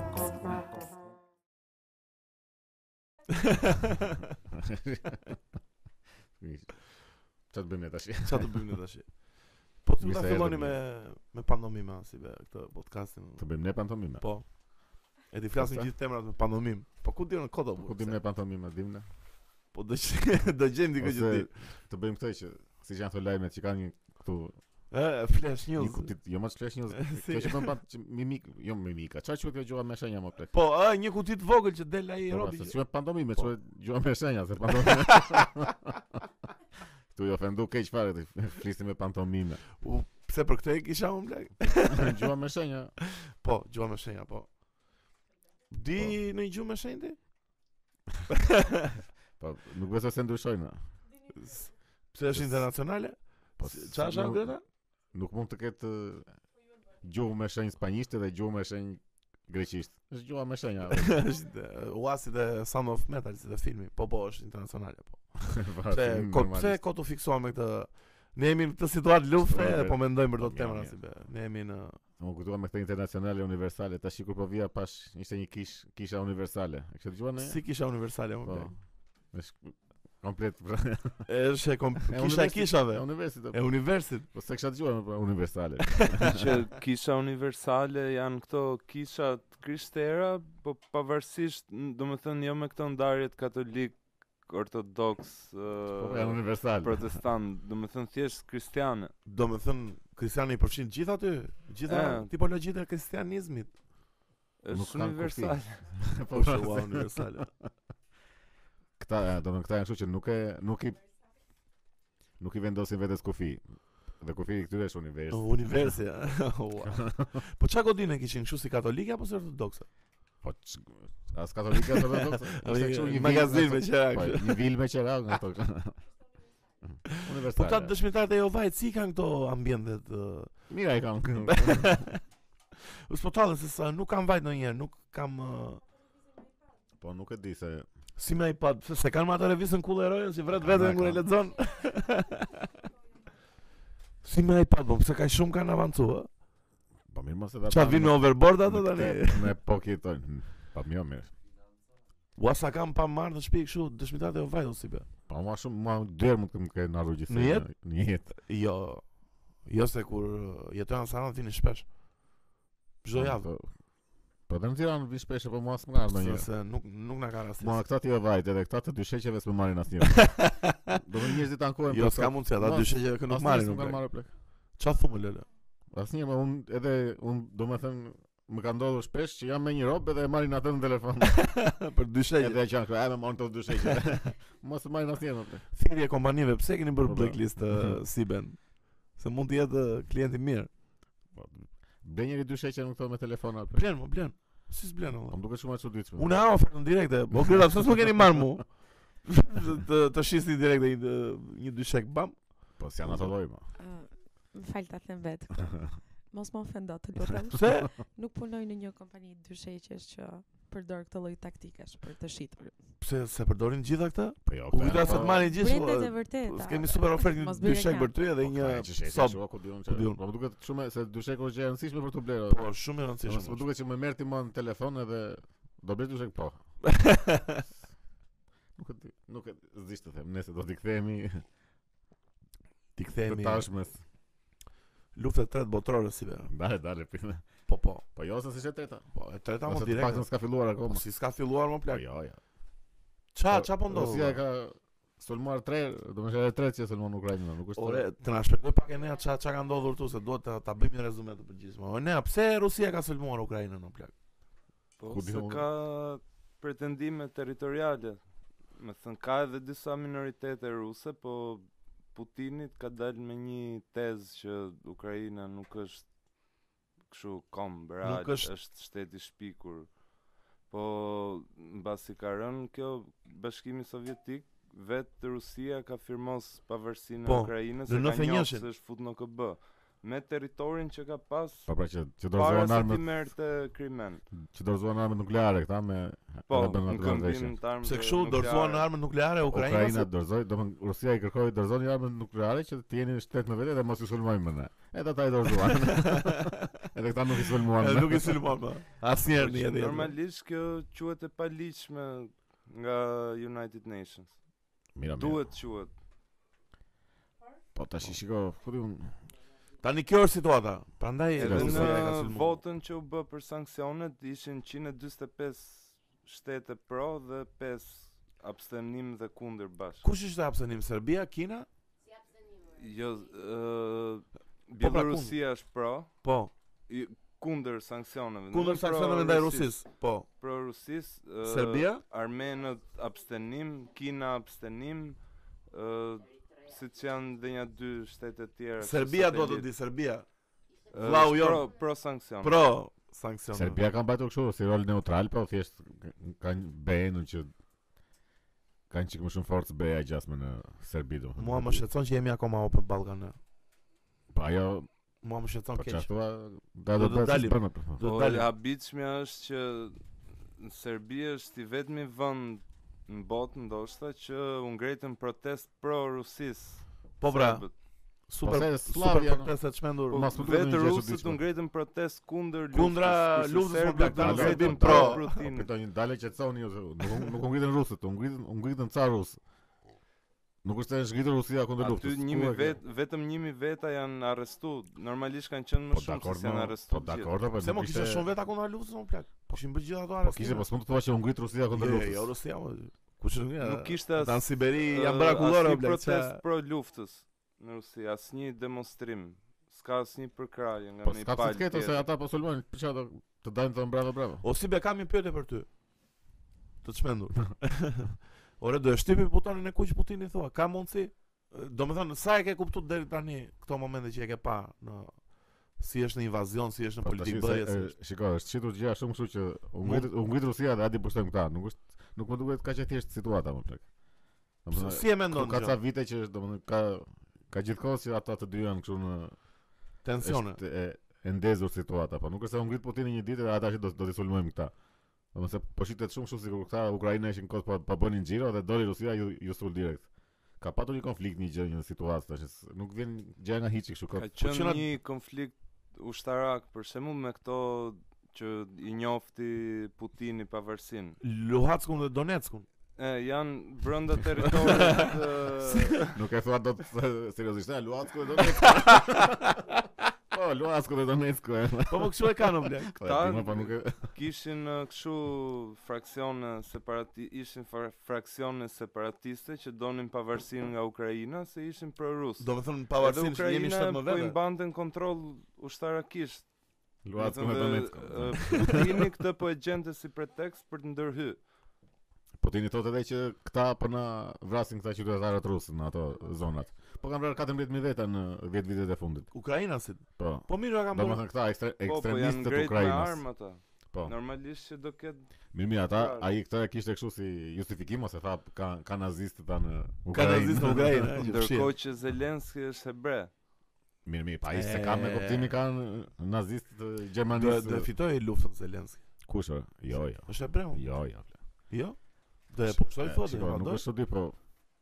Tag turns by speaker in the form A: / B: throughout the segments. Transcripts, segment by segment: A: Çfarë të bëjmë ne tash?
B: Çfarë të bëjmë ne tash? Po të
A: Mirë
B: ta
A: se
B: filloni
A: erdhe,
B: me me pandomima si be këtë podcastin.
A: Të bëjmë ne pantomime.
B: Po. E ti flasim
A: Pasta?
B: gjithë temrat me pandomim. Po ku diun kodo
A: Po dim ne pantomime, dim ne.
B: Po do që- do gjejmë diku që ti.
A: Ose të bëjmë këtë që siç janë këto lajmet që kanë një këtu
B: Ë, flash
A: një
B: news.
A: kuptim, jo më flash news.
B: Si-
A: Kjo që bën pat që mimik, jo mimika. Çfarë quhet kjo gjuha me shenja më plot?
B: Po, ë, një kuti të vogël që del ai
A: Po,
B: robi.
A: se
B: që-
A: quhet pantomime, quhet gjuha me shenja, se pantomime. Tu i ofendu keq fare ti flisim me pantomime.
B: U, pse për këtë e kisha unë blek?
A: Gjuha me shenja.
B: Po, gjua me shenja, po. Di në gjumë me shenjë ti?
A: Po nuk besoj se ndryshojnë.
B: S- Pse është internacionale?
A: Po
B: Si- Qa është
A: nuk-
B: Greta?
A: Nuk mund të ketë eh, gjuhë me shenjë spanjishte dhe gjuhë me shenjë greqisht. Është gjuha me shenja.
B: është e, Oasis dhe Sound of Metal si dhe filmi. Po, po, është internacionale, po. Pse ko, pse kotu fiksuam me këtë Ne jemi në këtë situatë lufte
A: Po,
B: dhe
A: po.
B: po mendojmë për do
A: Po,
B: të temra
A: mirë,
B: si be. Ne jemi në
A: Unë kuptova me këtë internacionale universale, tash kur po vija pash ishte një kish, kisha universale. E kështë dëgjuar ne?
B: si kisha universale unë.
A: po.
B: blek.
A: Është komplet pra.
B: Është e kom- kisha
A: universit-
B: kishave
A: E universit.
B: e Po, universit.
A: Po se kisha dëgjuar më pra universale.
C: që kisha universale janë këto kisha të krishtera, po pavarësisht, n- do më thënë, jo me këto ndarjet katolik, ortodoks,
A: Po
C: uh,
A: janë universale.
C: protestant, do më thënë thjesht kristiane.
B: Do me thënë, kristiani i përfshin gjithë aty, gjitha
A: Ah.
C: E.
B: tipologjitë e kristianizmit.
A: Nuk
C: Është
A: kanë
C: universal.
A: Po
B: Po është ua universale.
A: këta, e, do të këta janë kështu që nuk e nuk i nuk i vendosin vetes kufi. Dhe kufi i këtyre është univers.
B: Universi. ja. Ua. Po çka godinë kishin kështu si katolike apo si ortodokse?
A: Po ç- as katolike as ortodokse. Ishte kështu një
B: magazin me
A: qera.
B: qera
A: Po,
B: kështu.
A: një vil me qera nga ato.
B: Po
A: Universale.
B: ta dëshmitarët e Jehovait si kanë këto ambientet? ë?
A: Mira e kam. Po,
B: Us po tallën se sa nuk kam vajt ndonjëherë, nuk kam ë,
A: po nuk e di se
B: si me iPad, pse se kanë me atë revistën Kulleroja si vret
A: Ana,
B: veten kur e
A: kanë.
B: lexon. Si me iPad, po pse ka shumë kanë avancuar? ë?
A: Po mirë mos e dha.
B: Qa vinë me overboard ato
A: me
B: tani?
A: këtë- Me po kitojnë. Hm, Po mirë mirë.
B: Ua sa kam pa marrë në shtëpi kështu dëshmitarët e Jehovait ose be.
A: Po më shumë më derë mund të më kenë ardhur gjithë.
B: Në jetë?
A: Në jetë.
B: Jo. Jo se kur uh, jetojnë në Saran vini shpesh. Çdo javë.
A: Po- Po dhe në Tiranë vin shpesh po mua s'më ardhur ndonjë.
B: Se nuk nuk na ka rastis.
A: Ma këta ti e vajt edhe këta të dy sheqeve s'më marrin asnjë. Do të njerëzit ankohen.
B: Jo, s'ka mundsi ata
A: Ma,
B: dy sheqe që nuk marrin.
A: Nuk
B: nuk
A: kanë
B: plak.
A: marrë plek.
B: Çfarë thumë lele?
A: Asnjë, më unë edhe unë do me thënë më ka ndodhur shpesh që jam me një rob edhe e marrin atë në telefon.
B: Për dy sheqe.
A: edhe e kanë kërë, e me marrin të dy sheqe. Mos e marrin asnjë më plek.
B: Thirrje kompanive, pse e keni
A: Po,
B: bërë
A: po.
B: blacklist uh, Siben? Se mund të jetë uh, klient i mirë.
A: Ble njëri dy sheqe nuk këto me telefon atë.
B: Blen, mo blen. Si s'blen
A: Po
B: olla?
A: më duket shumë e çuditshme.
B: Unë ha ofertën direkte. Po gjëra, pse s'u keni marrë mu? të të shisni direkte një një dy shek bam.
A: po si janë ato lloj më.
D: Më falë ta them vetë këtë. Mos më ofendo të lutem.
B: Pse?
D: Nuk punoj në një kompani dysheqesh që përdor këtë lloj taktikesh për të shitur.
B: Pse se përdorin gjitha këta?
A: Po jo.
B: U kujtohet se të marrin gjithë.
D: Brendet
B: po,
D: e vërteta.
B: Kemi super ofertë një
D: Mos bëj
B: dy shek
D: reklam.
B: për
A: po,
B: ty edhe Po, një
A: sop.
B: sob.
A: Ku
B: Ku
A: diun
B: di
A: çfarë.
B: unë.
A: Po më duket shumë e- se dy sheqe është gjë e rëndësishme për tu blerë.
B: Po, shumë e
A: si
B: rëndësishme.
A: Më duket që më merr ti më në telefon edhe do blesh dy sheqe po. Nuk e di, nuk e zdish të them, nëse do t'i kthehemi
B: Ti
A: të
B: kthehemi
A: tashmës.
B: lufta e tretë botërore si be.
A: Dale, dale, pime.
B: Po, po.
A: Po jo se s'është e treta.
B: Po, e treta
A: Ose
B: më
A: të
B: direkt.
A: paktën s'ka filluar
B: Po,
A: akoma.
B: si s'ka filluar më
A: Po
B: plak.
A: jo, jo.
B: Ça, ça po ndodh?
A: Rusia
B: valla?
A: e ka sulmuar 3, domethënë e tretë që sulmon Ukrainën, nuk është.
B: Ore, të na shpjegoj pak e nea ça ça ka ndodhur këtu se duhet ta ta bëjmë një rezume të përgjithshme. O nea, pse Rusia ka sulmuar Ukrainën në plak?
C: Po,
A: Ku di
C: se
A: unë?
C: ka pretendime territoriale. Më thënë, ka edhe disa minoritete ruse, po Putinit ka dalë me një tezë që Ukraina nuk është kështu kom real,
B: Nuk është-
C: është... është shtet i shpikur. Po mbasi ka rënë kjo Bashkimi Sovjetik, vetë Rusia ka firmos pavarësinë
B: Po,
C: e Ukrainës,
B: në
C: e ka
B: 91-shin.
C: njohë se është fut në KB. Me territorin që ka pas,
A: Po pra që që
C: para
A: dorëzohen
C: se ti
A: armët,
C: merrte krimen.
A: që dorëzohen armët nukleare këta me
C: Po,
A: edhe bën
C: në
A: atë ndeshje.
C: këmbim të armëve
B: Pse kështu dorëzuan në armët nukleare Ukrainës?
A: Ukraina dorëzoi, domethënë Rusia i kërkoi dorëzoni armët nukleare që të jeni shtet në vetë dhe mos i sulmojnë më ne. Edhe ata i dorëzuan. edhe këta nuk i sulmuan.
B: Edhe
A: më.
B: nuk i sulmuan më. Asnjëherë në jetë.
C: Normalisht kjo quhet e paligjshme nga United Nations.
A: Mira, mira.
C: Duhet quhet.
A: Po tash shiko, ku di unë?
B: Tani kjo është situata. Prandaj
A: Edhe
C: Edhe
A: Edhe
B: Rusia e ka
C: në
B: sulmuar.
C: votën që u bë për sanksionet ishin 145 shtete pro dhe 5 abstenim dhe kundër bashkë.
B: Kush ishte abstenim? Serbia, Kina?
C: Jo,
B: pra,
C: ë Bielorusia është pro,
B: Po.
C: i, kundër sanksioneve.
B: Kundër
C: nuk pro
B: sanksioneve ndaj Rusisë. Po.
C: Pro Rusisë, pra, ë,
B: Serbia?
C: Armenët abstenim, Kina abstenim, ë si që janë dhe një dy shtetet tjera. që
B: Serbia do të
C: satelit.
B: di Serbia.
C: Ë,
B: vllau
C: është
B: jon.
C: Pro, pro sanksion.
B: Pro sanksioneve.
A: Serbia ka mbajtur kështu si rol neutral, po thjesht kanë BE-n që kanë çik më shumë forcë BE-ja gjasme në Serbi do.
B: Mua më shqetëson që jemi akoma Open Ballkan. ne.
A: Po ajo,
B: Mua më shqetëson
A: po
B: keq.
A: çfarë thua? Da
B: Do
A: do
B: të
A: të
B: dalim.
A: dalim.
B: Do
C: Po
B: të dalim.
C: e habitshmja është që në Serbi është i vetmi vend në botë ndoshta që u ngritën protest pro Rusis.
B: Po pra, super
A: Po
B: super
A: se Slavia, no.
B: protestë të çmendur.
A: Po, Mas po duhet
C: vetë
A: ndonjë gjë e
C: rusët
A: çuditshme.
C: u ngritën protest kundër
B: Kundra
C: luftës, kurse
B: luftës
C: serbët
B: kombëtare.
C: u ngritën
B: Dalë,
C: pro
B: dalë,
C: Putin.
A: Kuptoj një dalë që thoni ju, nuk nuk u ngritën rusët, u ngritën u ngritën ca rusë. Nuk është se ngritur Rusia kundër
C: Aty
A: luftës. ku
C: njëmi
A: e ke?
C: vet, vetëm njëmi veta janë arrestu. Normalisht kanë qenë më
A: Po
C: shumë
A: dakord,
C: se janë
A: mo, po
C: arrestuar.
A: dakord, po
B: Se
A: nuk
B: mo kishte
A: ishte-
B: shumë veta kundra luftës në plak. Po kishin bërë gjithë ato
A: Po
B: arrestime.
A: kishte, po s'mund të thua që u ngrit Rusia kundër
B: Jo,
A: luftës.
B: Jo, Rusia. mo. Kush është nga?
C: Nuk kishte as-
B: Në Siberi janë bërë akullore
C: Asnjë
B: plak.
C: protest
B: qa-
C: pro luftës në Rusi, asnjë demonstrim. S'ka asnjë përkrahje nga
A: Po
C: një
A: s'ka pse
C: palë.
A: të ketë se ata po sulmojnë, për çfarë do- të dalin të mbrapa brapa.
B: O si be kam një pyetje për ty. Të çmendur. Ore do e shtypi butonin e kuq Putini thua, ka mundsi? Do me thënë, sa e ke kuptu deri tani këto momente që e ke pa në si është në invazion, si është në
A: Po, tash
B: politikë
A: se,
B: bëje, si
A: e,
B: është.
A: Shiko, është shitur gjëra shumë kështu që u ngrit u ngrit Rusia dhe ati pushtojnë këta, nuk është nuk më duket kaq e thjeshtë situata më plak. Domethënë,
B: Si e
A: këtu
B: mendon
A: ka ca
B: gjë?
A: vite që është domethënë ka ka gjithkohë që ata të dy janë kështu në
B: Tensione.
A: është e, e ndezur situata, po nuk është se u ngrit Putini një ditë dhe ata që do do të sulmojmë këta. Domethënë se po shitet shumë kështu sikur këta Ukraina ishin kot pa, pa bënin xhiro dhe doli Rusia ju ju sul direkt. Ka patur një konflikt, një gjë, një situatë tash, s- nuk vjen gjë nga hiçi kështu kot.
C: Ka qenë
B: qëna-
C: një konflikt ushtarak për shembull me këto që i njofti Putini pavarësinë.
B: Luhackun dhe Donetskun.
C: E janë brenda territorit e,
A: Nuk e thua dot se- seriozisht, a Luansku dhe Donetsk. Po, Luansku dhe Donetsku. e.
B: Po më kështu e kanë blek.
A: Po, e di, mo, po nuk e
C: kishin e, kështu fraksione separati ishin fra- fraksione separatiste që donin pavarësinë nga Ukraina se ishin pro-rus.
B: Do me thënë
C: Edhe
B: pavarësinë që jemi
C: Ukraina
B: 7 më
C: po i
B: vete.
C: mbante në kontroll ushtarakisht.
A: Luansku
C: Me
A: dhe
C: thënë,
A: Donetsku.
C: e, Putini këtë po e gjente si pretekst për të ndërhy.
A: Po ti një thotë edhe që këta po na vrasin këta qytetarët rusë në ato zonat. Po kanë vrarë 14000 veta në 10 vitet e fundit.
B: Ukraina si.
A: Po.
B: Po mirë ja kam bërë.
A: Domethënë këta ekstre,
C: Po, po janë
A: ekstremistët
C: ngrit me
A: ukrainës.
C: armë Pra, ata.
A: Po.
C: Normalisht që do ketë
A: Mirë, mirë, ata
C: Ukrainë.
A: ai këtë e kishte kështu si justifikim ose tha ka ka nazistë ta në
B: Ka nazistë në
A: Ukrainë.
B: Ukrainë. e, që
C: Ndërkohë
B: fshihet.
C: që Zelenski është hebre.
A: Mirë, mirë, pa ai se
B: E.
A: kanë me kuptimin kanë nazistë të
B: Do do e
A: Gjermanisë.
B: fitoj luftën Zelenski.
A: Kush? o? Jo, jo.
B: Është e breu.
A: Jo, jo.
B: Jo. Do e pushtoj
A: E,
B: thotë,
A: shiko, nuk
B: mendoj.
A: është di, po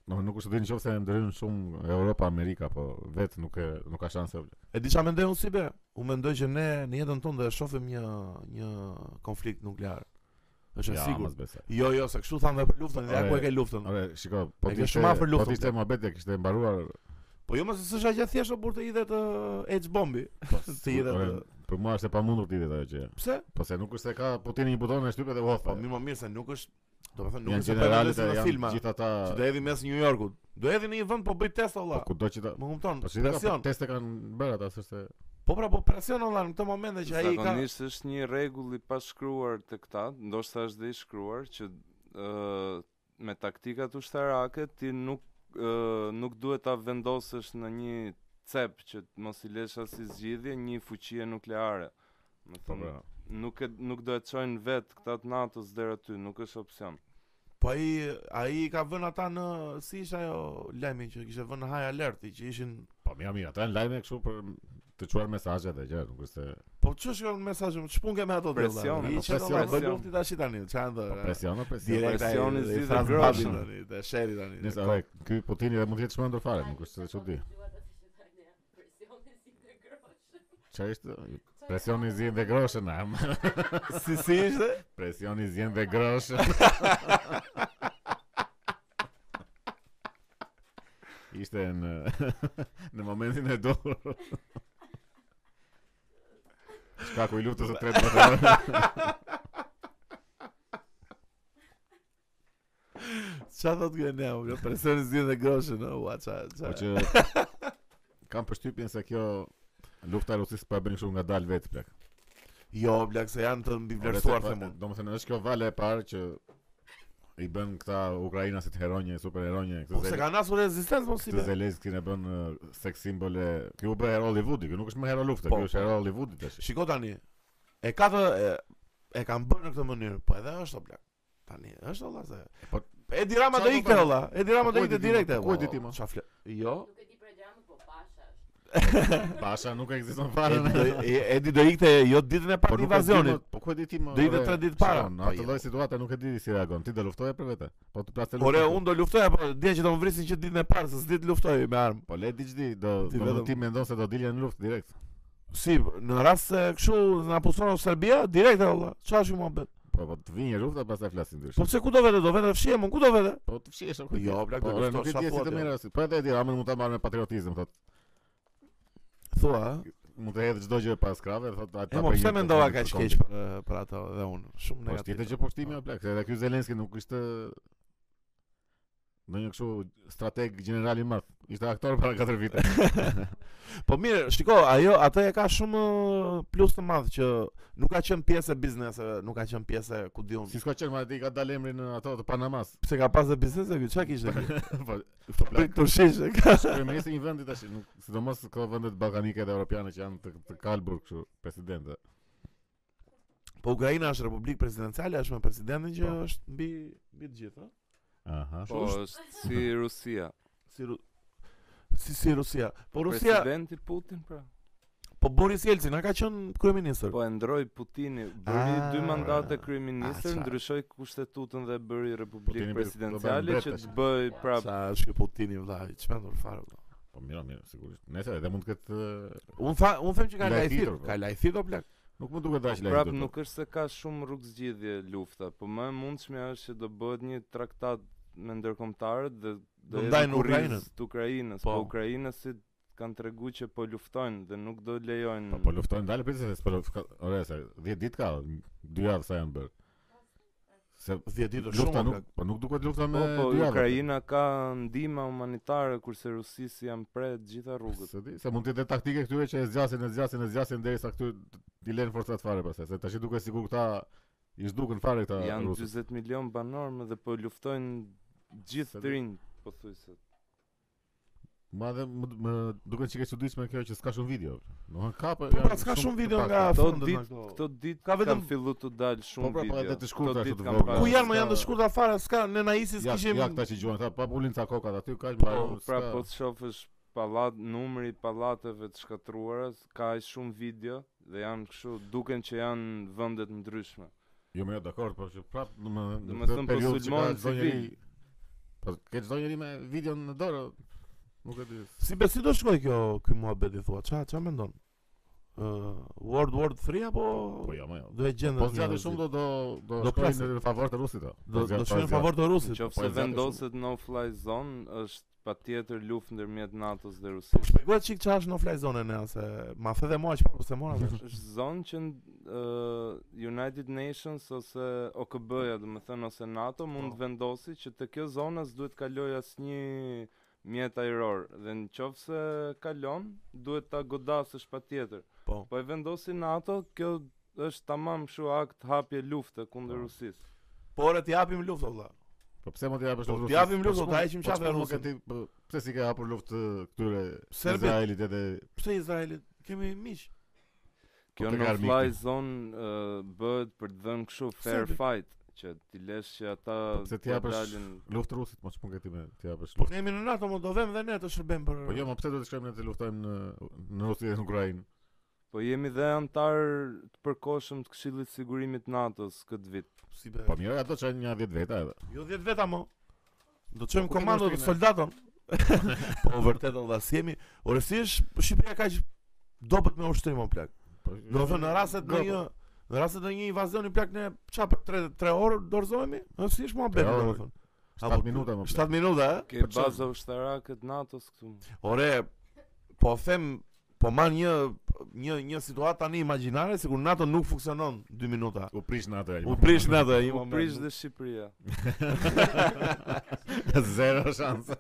A: do nuk është di nëse se ndryhën shumë Europa, Amerika, po vetë nuk e nuk ka shanse.
B: E di çfarë mendoj unë si be? Unë mendoj që ne në jetën tonë do e shohim një një konflikt nuklear. Është e
A: Ja, mos
B: sigurt.
A: besoj.
B: Jo, jo, se kështu thanë dhe për luftën, ja
A: Ore,
B: ku e ke luftën.
A: Ore, shiko, po
B: E
A: ti
B: ke
A: ishte
B: shumë afër
A: po
B: luftën,
A: ti ishte
B: plak.
A: mohabet e kishte mbaruar.
B: Po jo, mos s'është aq e thjeshtë burr të idhet edge bombi.
A: Po
B: Të idhet.
A: ore,
B: ë,
A: Për mua është e pamundur ti ajo gjë.
B: Pse?
A: Po se nuk është se ka Putini një buton e shtypet dhe
B: Po
A: hofa.
B: mirë, më mirë se nuk është, do të thënë nuk
A: Janë
B: është se po e mendoj
A: generalet
B: si
A: e
B: në
A: janë
B: filma.
A: gjithë ata.
B: Që do hedhi mes New Yorkut. Do hedhi në një vend po bëj test
A: Po
B: olla.
A: kudo që ta.
B: Më kupton?
A: Po si do ka
B: Presion.
A: teste kanë bërë ata s'është se
B: Po pra, po presion olla në këtë momente që ai ka.
C: Zakonisht është një rregull i pashkruar të këta, ndoshta është dhe i shkruar që ë me taktikat ushtarake ti nuk ë nuk duhet ta vendosësh në një cep që të mos i lesh as si zgjidhje një fuqie nukleare. Më
B: Mm.
A: po
C: thënë,
A: pra.
C: nuk e, nuk do të çojnë vet këta të NATO-s deri aty, nuk është opsion.
B: Po ai ai ka vënë ata në si ishte ajo lajmi që kishte vënë high alert, që ishin
A: Po mira, mira, ata janë lajme kështu për të çuar mesazhe dhe gjë, nuk është se
B: Po çu shkon mesazhi më çpun me ato vëlla.
C: Presion,
B: I
A: po,
B: çfarë
A: presion,
B: vëlla,
C: presion.
B: bëj lufti tash tani, çan do.
A: po presion, po presion.
B: Direkt ai
C: Presioni
B: i
C: zi dhe
B: thash
C: groshën.
B: babin tani, te sheri tani.
A: Nëse
B: te
A: ai ky Putini dhe mund të jetë çmendur fare, nuk është se çudi. Çfarë është? Presioni zjen dhe groshën am.
B: ko- Si si ishte?
A: Presioni zjen dhe groshën. Ishte në në momentin e dur. Shkaku i luftës së tretë botërore.
B: Qa thot kjo ne, o kjo personi zgjidh po, dhe groshën, o, ua, qa, qa.
A: Po që kam përshtypjen se kjo lufta e Rusisë po e bën kështu nga dalë vetë plak.
B: Jo, blak, se janë të mbi vlerësuar
A: Ore,
B: të
A: se-
B: mund.
A: Domethënë është kjo vale e parë që i bën këta ukrainasit heronje, superheronje,
B: Po
A: këtë
B: se
A: zel-
B: ka nasur rezistencë, po si
A: Këtë
B: be.
A: Zelenski në bën uh, sex symbol e Kjo u bë hero Hollywoodi, kjo nuk është më hero lufte,
B: Po,
A: kjo është
B: po.
A: hero Hollywoodi tash.
B: Shiko tani, e ka të, e, e kam bërë në këtë mënyrë, po edhe është o blak. Tani, është olla se.
A: Po-
B: Edi Rama
A: Qa
B: do
A: do
B: ikte
A: tani?
B: olla, Edi Rama do
A: Po ku e
B: ikte
A: di ti,
B: direkte.
A: ma? Ku
B: o,
A: e di ti, ma?
B: qa fle- Jo,
E: Nuk e di për gjamë, po pasha është.
A: Pasha nuk ekziston fare.
B: Edi do- e- Edi do ikte jo ditën e parë të
A: nuk e di,
B: invazionit.
A: mo, Po ku e di ti më?
B: Do i dhe
A: ore,
B: tre ditë para.
A: shikon,
B: Pa,
A: Në
B: jo.
A: atë lloj situate nuk e di si reagon. Ti do luftoje për vete. Po të plasë
B: Ore, unë do luftoj apo dia që do më vrisin që ditën e parë, se s'di të luftoj me armë.
A: Po le di çdi, do
B: Ti
A: do
B: vetëm-
A: ti mendon se do dilja në luftë direkt.
B: Si, në rast se kështu na puson Serbia, direkt e valla. Çfarë është kjo mohabet?
A: Po po të vinë lufta pastaj flasin ndryshe.
B: Po pse ku do vete, do vete fshije, mund ku do vete?
A: Po të fshihesh apo
B: Po jo, blak, do
A: Po ore,
B: luftosh,
A: nuk e
B: sa
A: di si
B: thua
A: të
B: ti,
A: merresh. Po edhe di, amë mund ta marr me patriotizëm, thotë.
B: Thua, a?
A: Mund të hedh çdo gjë pas krave, thotë ata.
B: E mo, pse mendova kaq keq për për ato dhe unë? Shumë
A: Po është tjetër
B: negativ.
A: që poshtimi o plak, se edhe ky Zelenski nuk ishte ndonjë kështu strateg general i madh. Ishte aktor para 4 vite.
B: Po mirë, shiko, ajo atë e ka shumë ë, plus të madh që nuk ka qenë pjesë e bizneseve, nuk ka qenë pjesë e, ku diun.
A: si s'ka qenë, ma di ka dalë emri në ato të Panamas.
B: Pse ka pas e biznese ky? Çka kishte ky?
A: po
B: Prit turshishë. ka-
A: kryeministri i vendit tash, nuk sidomos këto vendet ballkanike dhe europiane që janë të, të kalbur kështu presidentë.
B: Po Ukraina është republikë presidenciale, është me presidentin që
A: Po.
B: është mbi mbi të gjithë, ëh.
A: Aha.
C: Po është si Rusia.
B: Si Ru- si si Rusia. Po Rusia,
C: Presidenti Putin pra.
B: po Boris Yeltsin a ka qenë kryeministër.
C: Po e ndroi Putini, bëri
B: Ah,
C: dy mandate
B: ah,
C: kryeministër,
B: qa.
C: ndryshoi kushtetutën dhe bëri
A: Putini
C: republikë
A: për- do
C: presidenciale
A: bëjmë
C: që
A: mbretësh.
C: të bëj prap
B: Sa është ky Putini vllai, çmendur fare. vlla.
A: Po mira, mira, sigurisht. Nëse edhe mund të ketë eh,
B: Unë tha, unë them që ka
A: Lajthitur,
B: lajthit,
A: po.
B: ka lajthit o plak.
A: nuk mund duket dash
C: po, prap
A: lajë.
C: nuk është se ka shumë rrugë zgjidhje lufta, po më e mundshmja është që do bëhet një traktat me ndërkombëtarët dhe
B: Do
C: hedhin
B: ndajnë
C: kurriz
B: Ukrainën.
C: të Ukrainës,
B: Po.
C: po, ukrainësit kanë treguar që po luftojnë dhe nuk do lejojnë.
A: Po po luftojnë dalë pritet se s'po luft- ka- ore se 10 ditë ka, 2 javë sa janë bërë. Se
B: 10 ditë është shumë.
A: lufta
B: o
A: nuk,
B: plak.
A: po nuk duket lufta me
C: Po, po,
A: dy javë.
C: Ukraina ka ndihma humanitare kurse rusisi janë pre të gjitha rrugët.
A: Se di, se mund të jetë taktike këtyre që e zgjasin, e zgjasin, e zgjasin derisa këtu i lënë forcat fare pastaj. Se tash duket sikur këta i zhdukën fare këta
C: Janë
A: rusët.
C: 40 milion banor më dhe po luftojnë
A: Se di-
C: gjithë po
A: Po.
C: të rinj, pothuajse.
A: Ma dhe më, më duket çike çuditshme kjo që s'ka shumë video. Domthon ka po.
B: Po pra s'ka shumë video nga
C: Këto
B: fondet
C: ditë-
B: na këto.
C: Këto ditë
B: Ka
C: ka
B: vetëm-
C: vetëm fillu të dalë shumë
A: Po, pra, po,
C: video.
A: edhe të shkurtra
C: Këto
A: ashtu
C: ditë
A: të
C: kam
A: vogla.
C: parë.
B: Ku janë më
A: s'ka-
B: janë të shkurta fare, s'ka ne na isis
A: Ja,
B: kishim.
A: ja këta që gjuajnë, tha pa ulin ca kokat aty, kaq
B: Po,
A: më.
C: Pra po të shofësh pallat, numri i pallateve të shkatruara, ka aq shumë video dhe janë kështu, duken që janë vende të ndryshme.
A: Jo më jo, dakor, po që prap në më
C: Do
A: në
C: me
A: këtë
C: thënë, po
A: periudhë që ka
C: sulmohen
A: çdo
C: civil.
A: njeri- Po ke çdo njeri me videon në dorë. Nuk e di.
B: Si besi do shkoj kjo ky muhabet i thua? Ça ça mendon? Ë World War 3 apo
A: Po jo, më jo.
B: do e gjendë.
A: Po zgjatë shumë do po do do
B: Do
A: shkojnë
B: plasin.
A: në favor të rusit.
B: do do shkojnë në favor të
C: Në
B: rusit.
C: qoftë
A: po e
C: se
A: zjatë
C: vendoset no-fly zone, është patjetër luftë ndërmjet NATO-s dhe
B: Po
C: Rusisë.
B: shpjegohet çik çfarë është në fly zonën e se ma the dhe mua çfarë po se mora. vesh.
C: është zonë që uh, United Nations ose OKB-ja, do të thënë ose NATO mund
B: Po.
C: të vendosi që të kjo zonë as duhet kaloj asnjë mjet ajror dhe në qoftë se kalon duhet ta godasësh patjetër.
B: Po.
C: Po e vendosi NATO, kjo është tamam kështu akt hapje lufte kundër
A: Po.
C: Rusisë.
B: Por e t'i japim luftë valla.
A: Po pse mund t'i japësh
B: Po,
A: luftë?
B: t'i japim
A: Rusit?
B: luftë,
A: Po,
B: ta
A: s'mund-
B: heqim
A: po,
B: qafe
A: s'mund
B: Rusin.
A: ke ti- po, Pse si ke hapur luftë këtyre
B: Serbit.
A: Izraelit edhe
B: Pse Izraeli? Kemi miq.
C: Kjo
A: Po, tek
C: në
A: armikti.
C: fly zone uh, bëhet për të dhënë kështu fair
B: Serbi.
C: fight që ti lesh që ata
A: Po, pse t'i
C: po
A: japësh
C: dalin-
A: luftë rusit, Po, mos mund ke ti me t'i japësh.
B: Po
A: luftë.
B: ne jemi në NATO, mo do vëmë dhe ne të shërbejmë për.
A: Po jo, më pse do të shkojmë ne të luftojmë në në Rusi dhe në Ukrainë?
C: Po jemi dhe antar të përkohshëm të Këshillit të Sigurimit të NATO-s këtë vit.
B: si be.
A: Po mirë, ato çajnë një 10 veta edhe.
B: Jo 10 veta mo. Do të çojmë
A: Po, ku kemi
B: komando të
A: ushtrinë?
B: soldatën. po vërtet valla si jemi. Ore si është Shqipëria kaq dobët me ushtrim o plak.
A: Po,
B: Do të thënë në rastet në një në rastet në një invazioni plak ne çfarë për 3 3 orë dorëzohemi? Ëh si është
A: Tre
B: muhabeti
A: orë.
B: domethënë.
A: 7 po, minuta më plak.
B: 7 minuta, e?
C: Ke
A: Po çfarë?
C: baza ushtarake të NATO-s këtu.
B: Ore, po them, po marr një një një situatë tani imagjinare sikur NATO nuk funksionon 2 minuta.
A: U prish në atë.
B: U prish NATO, një
C: Po
B: moment.
C: prish dhe Shqipëria.
A: Zero shans.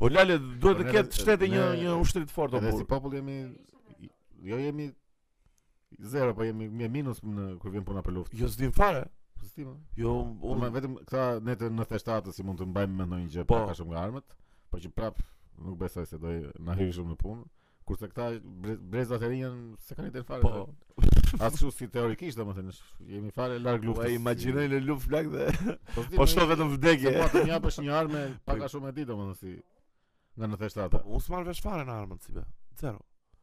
B: O lale duhet të
A: Po, ne-
B: ketë shteti një
A: ne-
B: një ushtri të fortë
A: Edhe si
B: apo.
A: popull jemi jo jemi zero, po jemi jemi minus në kur vjen puna për luftë.
B: Jo s'dim fare.
A: Po si ti, mo?
B: Jo,
A: Po ma
B: unë
A: vetëm këta ne të 97-s si mund të mbajmë mend ndonjë gjë
B: Po.
A: pak a shumë nga armët, po që prap nuk besoj se do i- na hyjë shumë në punë. Kurse këta bre- brezat e rinj janë se kanë iden fare.
B: po.
A: se- As kështu si teorikisht domethënë sh- jemi fare larg
B: Po
A: luftës.
B: imagjinoj në luftë flak dhe
A: si-
B: po
A: si-
B: shto vetëm
A: Se
B: vdekje.
A: po të japësh një armë pak a shumë e di domethënë si nga 97-a.
B: Unë s'marr vesh fare në armët si be. Zero.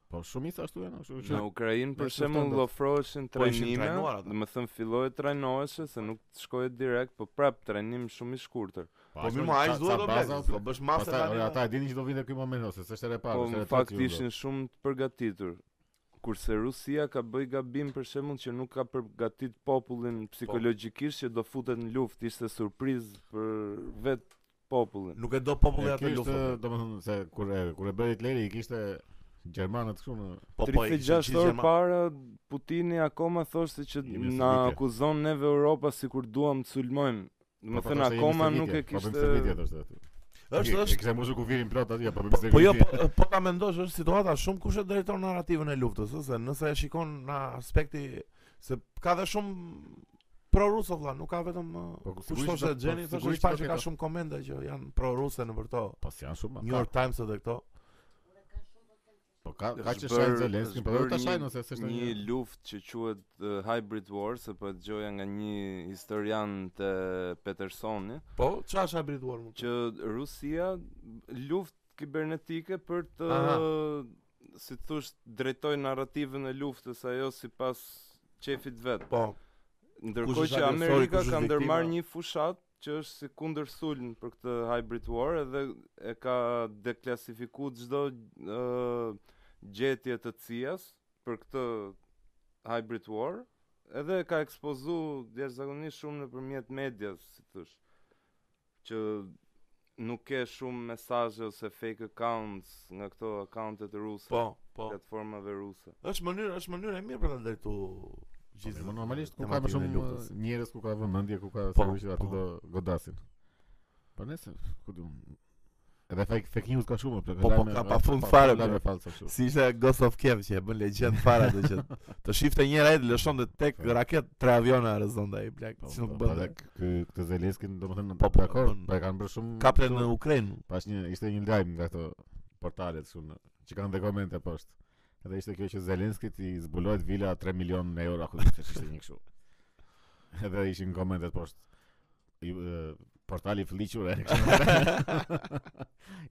A: Po shumë isa ashtu janë, kështu
C: Në
A: që
C: Ukrainë për
A: Ne s'u
C: shembull
A: shtandet.
C: ofroheshin
B: Po, ishin
C: trajnime,
B: trajnuar ata.
C: do të thënë filloi trajnoheshe se nuk shkohet direkt, po prap trajnim shumë i shkurtër.
B: Po mirë, ma ai duhet të bëj. Po bësh masë
A: Pastaj ore,
B: tani.
A: ata e dinin që do vinte ky moment ose s'është e parë,
C: Po
A: s'është
C: në
A: e tretë
C: fakt
A: që ju
C: ishin shumë të përgatitur. Kurse Rusia ka bëj gabim për shembull që nuk ka përgatit popullin
B: Po.
C: psikologjikisht që do futet në luftë, ishte surprizë për vetë popullin.
B: Nuk e do
A: do.
B: populli
A: E
B: atë
A: kishte,
B: luftën.
A: domethënë se kur e kur e bëri Hitleri i kishte gjermanët kështu në
B: Po po. e kishin
C: 36
B: gjithë
C: orë
B: Gjerman-
C: para Putini akoma thoshte që
A: Jemi
C: na
A: Sovietje.
C: akuzon neve Europa sikur duam të sulmojmë. Do të
A: po,
C: thënë
A: thoshte, jemi
C: akoma
A: Sovietje,
C: nuk e
A: Po
C: kishte
A: bëjmë Sovietje thoshte.
B: Është
A: E- e
B: është
A: Kishte moshu kufirin plot atje, po
B: Po,
A: bëjmë
B: po jo,
A: Sovietje.
B: po, po ta mendosh është situata shumë kush e drejton narrativën e luftës, ëh, se nëse e shikon në aspekti se ka dhe shumë pro-ruse vëlla, nuk ka vetëm ë,
A: Po,
B: kush
A: sigurisht
B: thoshte
A: do- po,
B: Gjeni, thoshte
A: sigurisht
B: shpaq
A: do
B: që ka
A: ketë.
B: shumë komente që janë pro-ruse në përto.
A: Po si janë shumë.
B: New York Times edhe këto.
A: Po ka ka
C: Është
A: që
C: bërë-
A: shajnë Zelenski,
C: është
A: po do
C: bërë
A: ta
C: një-
A: shajnë ose s'është
C: Një luftë që quhet uh, Hybrid War, se po e dëgjoja nga një historian të Petersoni,
B: Po, çfarë është hybrid war më?
C: që Rusia luftë kibernetike për të
B: Aha.
C: si të thush drejtoj narrativën e luftës ajo sipas qefit vet.
B: Po,
C: Ndërkohë
B: është
C: që
B: agresori,
C: Amerika
B: kush është
C: ka ndërmarr
B: viktima?
C: një fushat që është si kundër sulm për këtë hybrid war edhe e ka deklasifikuar çdo ë, gjetje të CIA-s për këtë hybrid war edhe e ka ekspozu jashtëzakonisht shumë nëpërmjet medias, si thosh. Që nuk ke shumë mesazhe ose fake accounts nga këto accountet ruse,
B: po, po.
C: platformave ruse.
B: Është mënyrë, është mënyrë e mirë për ta drejtu gjithë.
A: Po normalisht ku ka më
B: narrativën e
A: shumë
B: luftës.
A: njerëz ku ka vëmendje, ku ka
B: Po,
A: sigurisht aty
B: po.
A: do godasin. Po nëse, ku do Edhe fake, fake news ka shumë plak.
B: Po, po, ka pa fund fare,
A: me
B: plak.
A: falsa kështu.
B: Si ishte Ghost of Kiev që e bën legjend fare atë që të shifte një red lëshonte tek raket tre aviona rrezonte ai blaq,
A: Po,
B: si nuk
A: po,
B: bën.
A: edhe Ky këtë Zelenskin domethënë
B: Po,
A: po
B: po,
A: dakor,
B: bën-
A: po e kanë bërë shumë
B: Kapte
A: kështu.
B: në Ukrainë.
A: Pash një ishte një lajm nga këto portalet kështu në- që kanë dhe komente poshtë. Edhe ishte kjo që Zelenskit i zbulohet vila 3 milion në euro apo diçka ishte një kështu. Edhe ishin komentet poshtë. Ju, e, portali fliqur e kështu.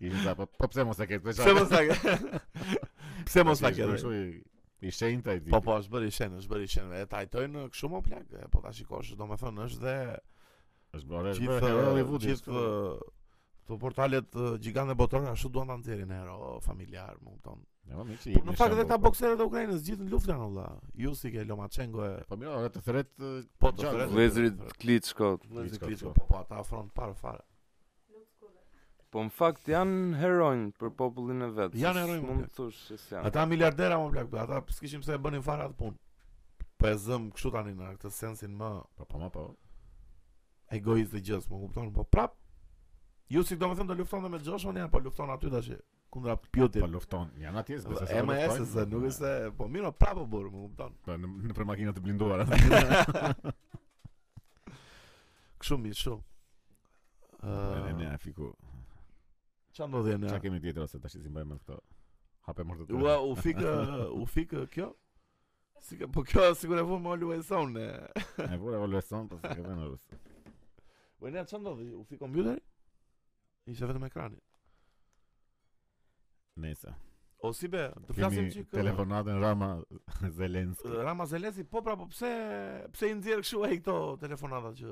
A: Ishin sa po po pse mos e ke këtë
B: Pse mos ta ke? Pse mos ta ke?
A: Kështu i- i shenjtë ai.
B: Po po, është bërë i shenë, është bërë i shenë. E tajtojnë kështu më plak, e, po ta shikosh, domethënë është dhe
A: Është bërë është bërë
B: gjithë
A: hero
B: ë,
A: Hollywoodi,
B: gjithë
A: kështu.
B: ë, këto portalet ë, gjigante botërore ashtu duan ta nxjerrin hero familjar, më kupton.
A: Ja, po, mirë që
B: Po
A: jepni
B: në fakt edhe
A: shembull,
B: ta
A: po.
B: bokserët e Ukrainës gjithë në luftë janë valla. Ju si ke Lomachenko e
A: Po mirë, ora të thret e,
B: Po, të
A: gjatë.
B: thret.
C: Vëzrit Klitschko,
B: Vëllezër
A: Klitschko,
B: Klitschko,
A: po.
B: po po, ata afron parë fare.
C: Po në fakt janë heronj për popullin e vet.
B: Janë
C: s-
B: heronj,
C: Mund
B: më
C: të thosh që janë.
B: Ata miliardera më plak, ata s'kishim se e bënin fare atë punë. Po e zëm kështu tani në këtë sensin më
A: Po po ma, po.
B: egoist të gjës, më kupton? Po prap ju si do me thëmë do lufton dhe me Joshua ja, po lufton aty tash kundra Pjutit.
A: Po lufton. Janë atje, s'besoj
B: E
A: se do
B: më e se
A: luftojnë.
B: se nuk e se, po miro prapë burë, më kupton?
A: Po, Në në për makina të blinduara.
B: Kështu mi, kështu.
A: Ne
B: Ë,
A: ne fiku.
B: Çfarë ndodhi e
A: Çka
B: ne?
A: kemi tjetër ose tash si mbajmë këto? Hape mërë të
B: Ua, u fik, ë, u fik ë, kjo? Si ka, po kjo sigur e vu më olu e sonë.
A: E vura o leson, pas e ke vënë rus.
B: Po ne çfarë ndodhi? U fik kompjuteri? Ishte vetëm ekrani.
A: Nëse.
B: O si be, të flasim
A: Kemi
B: çik. ë,
A: telefonatën Rama Zelenski.
B: Rama Zelesi, po pra, po pse pse i nxjerr kështu ai këto telefonata që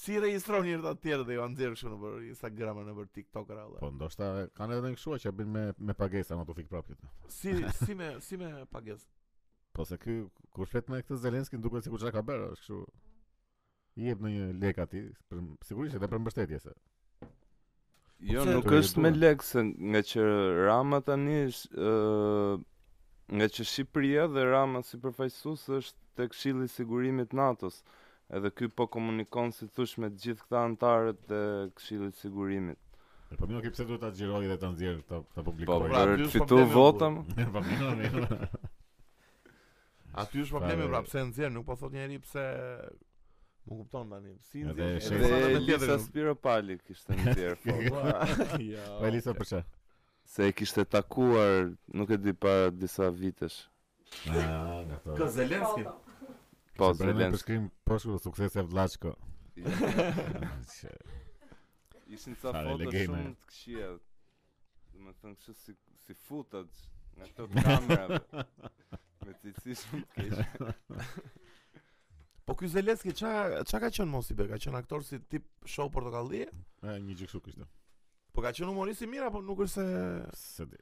B: si i regjistron njërë të tjerë dhe ju nxjerr kështu nëpër Instagram nëpër TikTok era. Po.
A: Po ndoshta kanë edhe një kështu që bën me me pagesa, ma tu fik prapë këtë.
B: Si si me si me pagesë.
A: Po se ky kur flet me këtë Zelenskin duket sikur çka ka bërë, është kështu. I jep në një lek atij, për- sigurisht edhe për mbështetje se.
C: Jo,
B: Pse-
C: nuk
A: Të
C: është me
A: rrjetua.
C: lek se nga që Rama tani është ë, nga që Shqipëria dhe Rama si përfaqësues është tek Këshilli i Sigurimit NATO-s. Edhe ky po komunikon si thosh me të gjithë këta anëtarët e Këshillit të Sigurimit.
A: E, Po mirë, ke pse duhet ta xhiroj dhe ta nxjerr, ta ta
C: Po
A: publikoj.
B: pra,
C: për
B: ky
C: të
B: është
C: fitu
B: problemi,
C: vota,
B: po.
C: më,
A: Po mirë, mirë. Po,
B: Aty është problemi
A: Fare.
B: pra pse nxjerr, nuk po thot njëri pse më kupton tani. Si
A: Edhe
B: nxjerr? sa
A: shefi-
C: edhe
B: me
C: Elisa
B: tjetrin.
C: Spiropali kishte nxjerr
B: Po,
C: fort.
A: Po Elisa për çfarë?
C: Se e kishte takuar, nuk e di para disa vitesh.
A: Ah, nga to.
B: Ka Zelenski.
A: Se
C: Po,
A: prandaj
C: Zelenski.
A: përshkrim poshtu suksese vllaçko.
C: Ishin ca
A: Fare
C: foto
A: legeme.
C: shumë të këqija. Do të thënë kështu si si footage nga këto kamera me cilësi shumë të keqe.
B: Po ky Zelenski çka çka ka qenë mos i be? Ka qenë aktor si tip show portokallie?
A: Një gjë kështu kishte.
B: Po ka qenë humorist i mirë apo nuk është se
A: Se di.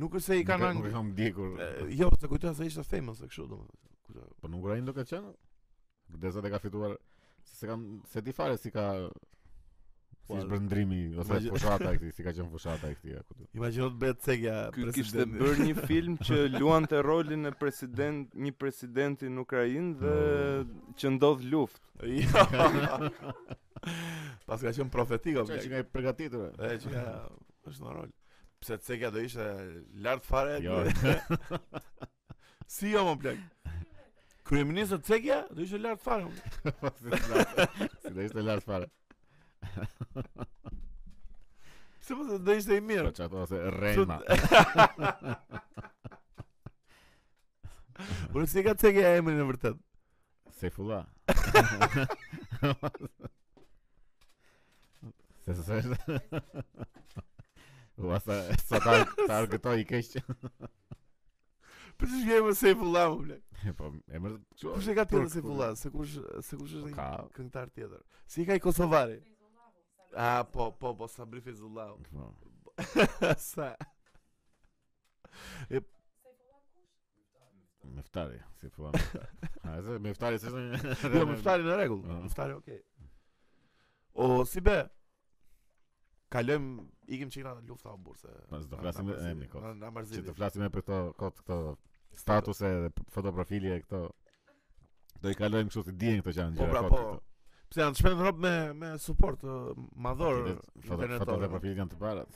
B: nuk është se i kanë
A: Nuk
B: ang...
A: e kam ndjekur.
B: E, Jo, se kujtoja se ishte famous e kështu domethënë. Kujtoja.
A: Po në Ukrainë do ka qenë. Derisa të ka fituar se se kam se di fare si ka si
B: Po,
A: është brëndrimi ose
B: imagin-
A: fushata e këtij, si ka qenë fushata e këtij. a ku di.
B: Imagjino të bëhet cekja
C: Ky kishte bërë një film që luante rolin e president, një presidenti në Ukrainë dhe që ndodh luftë.
B: Jo. Pas ka qenë profetika
A: Çka që
B: bjek.
A: nga i përgatitur. e?
B: E që ka është në rol. Pse cekja do ishte lart fare.
A: Jo.
B: si jo më plak. Kryeministër cekja do ishte lart fare. më.
A: Po, si të lartë- Si do ishte lart fare.
B: Pse mos do ishte i
A: Po
B: mirë.
A: çato ose Rema.
B: Por si ka cekja emrin e vërtet.
A: Sefullah. Se se se U asa sa ta ta argëtoj i keq.
B: Për çfarë ke emrin Seyfullah më plak?
A: Po emër çu.
B: Kush e ka tjetër
A: turk,
B: Seyfullah? Se kush se kush është
A: Po Ka.
B: një këngëtar tjetër. Si e ka i Kosovari? Ah, po, po, po, Sabri Fezullahu.
A: Po.
B: Sa
A: Meftari, si po. A se meftari s'është një-
B: Jo, mëftari në rregull.
A: Ah.
B: Mëftari, okay. O si be? Kalojm, ikim çik nga lufta o burse.
A: Po, s'do flasim e emri, kot.
B: Na na Po,
A: Që të
B: marrëziti.
A: flasim e për këto kot këto statuse dhe p- fotoprofile këto. Do i kalojmë kështu të dijen këto që janë
B: Po
A: gjëra
B: pra
A: kot
B: po.
A: këto.
B: Pse janë shpend rob me me suport ë, madhor
A: Foto- foto- Foto dhe
B: internetor.
A: profilet janë të parat.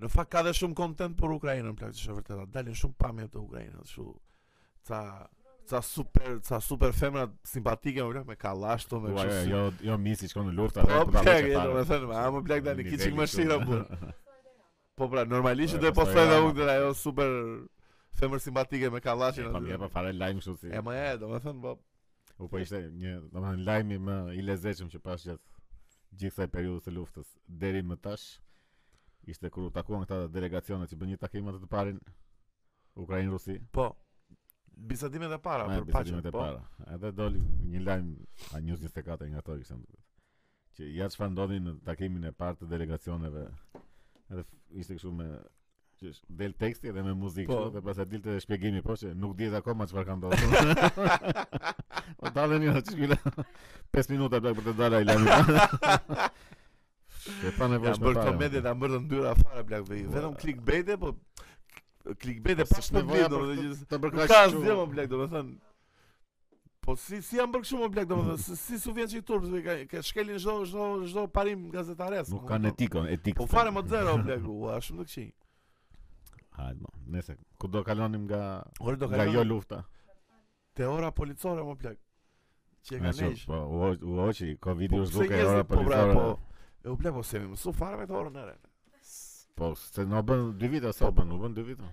B: Në fakt ka dhe shumë content për Ukrainën, plak është e vërteta. Dalin shumë pamje të Ukrainës, kështu ca ca super ca super femra simpatike më plak me kallashto me
A: Ua,
B: kështu.
A: jo,
B: si-
A: jo, jo misi që në luftë atë.
B: Po
A: po ta
B: plak,
A: veqe
B: e,
A: fare.
B: domethënë, a më plak tani
A: Niveli
B: kiçik më
A: kështu.
B: shira burr. Po pra, normalisht
A: Po,
B: do e
A: e
B: postoj
A: postoj
B: dhe
A: ama.
B: unë këtë ajo super femër simpatike me kallashin
A: Po mirë, po
B: aty.
A: fare lajm kështu si.
B: E më e, domethënë, po
A: U po ishte një, domethënë lajmi më i lezetshëm që pas gjatë gjithë kësaj periudhe të luftës deri më tash ishte kur u takuan këta delegacione që bën një takim atë të parin Ukrainë Rusi.
B: po. Bisedimet e para
A: Me
B: për paqen,
A: bisedimet e
B: po.
A: para. Edhe doli një lajm a News 24 nga ato ishte. më duket. Që ja çfarë ndodhi në takimin e parë të delegacioneve. Edhe f- ishte kështu me që sh- del teksti edhe me muzikë
B: Po.
A: kështu, dhe pastaj dilte shpjegimi po që nuk dihet akoma çfarë ka ndodhur. o dalën jo çkila. 5 minuta blaq për të dalë ai lajmi. E pa
B: Ja
A: nevojshme.
B: bërë këto media ta bërë të ndyra fare plak vej.
A: Ua.
B: Vetëm clickbait, po clickbait
A: Po,
B: pas
A: s'është
B: të
A: nevoja
B: vjen
A: për
B: domethënë
A: këtë-
B: gjithë.
A: të bërë
B: Nuk
A: kaq
B: ka
A: kështu.
B: asgjë më plak, domethënë. Po si si janë bërë kështu më plak domethënë, si, si su vjen çik turp, se ka, ka shkelin çdo çdo çdo parim gazetares.
A: Nuk
B: më
A: kanë
B: kupton.
A: etikon, etik.
B: Po fare më zero plak, ua, shumë të këqij.
A: Hajde, mo, nëse kudo kalonim nga
B: Ora do
A: nga jo
B: kalon
A: lufta.
B: te ora policore më plak. Që e
A: Na
B: ka
A: shoh,
B: nesh.
A: Po, u hoq- u hoqi, Covidi
B: Po
A: është
B: pse
A: duke
B: njerëzit-
A: ora
B: po, pra,
A: policore.
B: po. E u plak po se më su fare me të orën ere.
A: Po, se na bën 2 vite sa u bën, u bën 2 vite.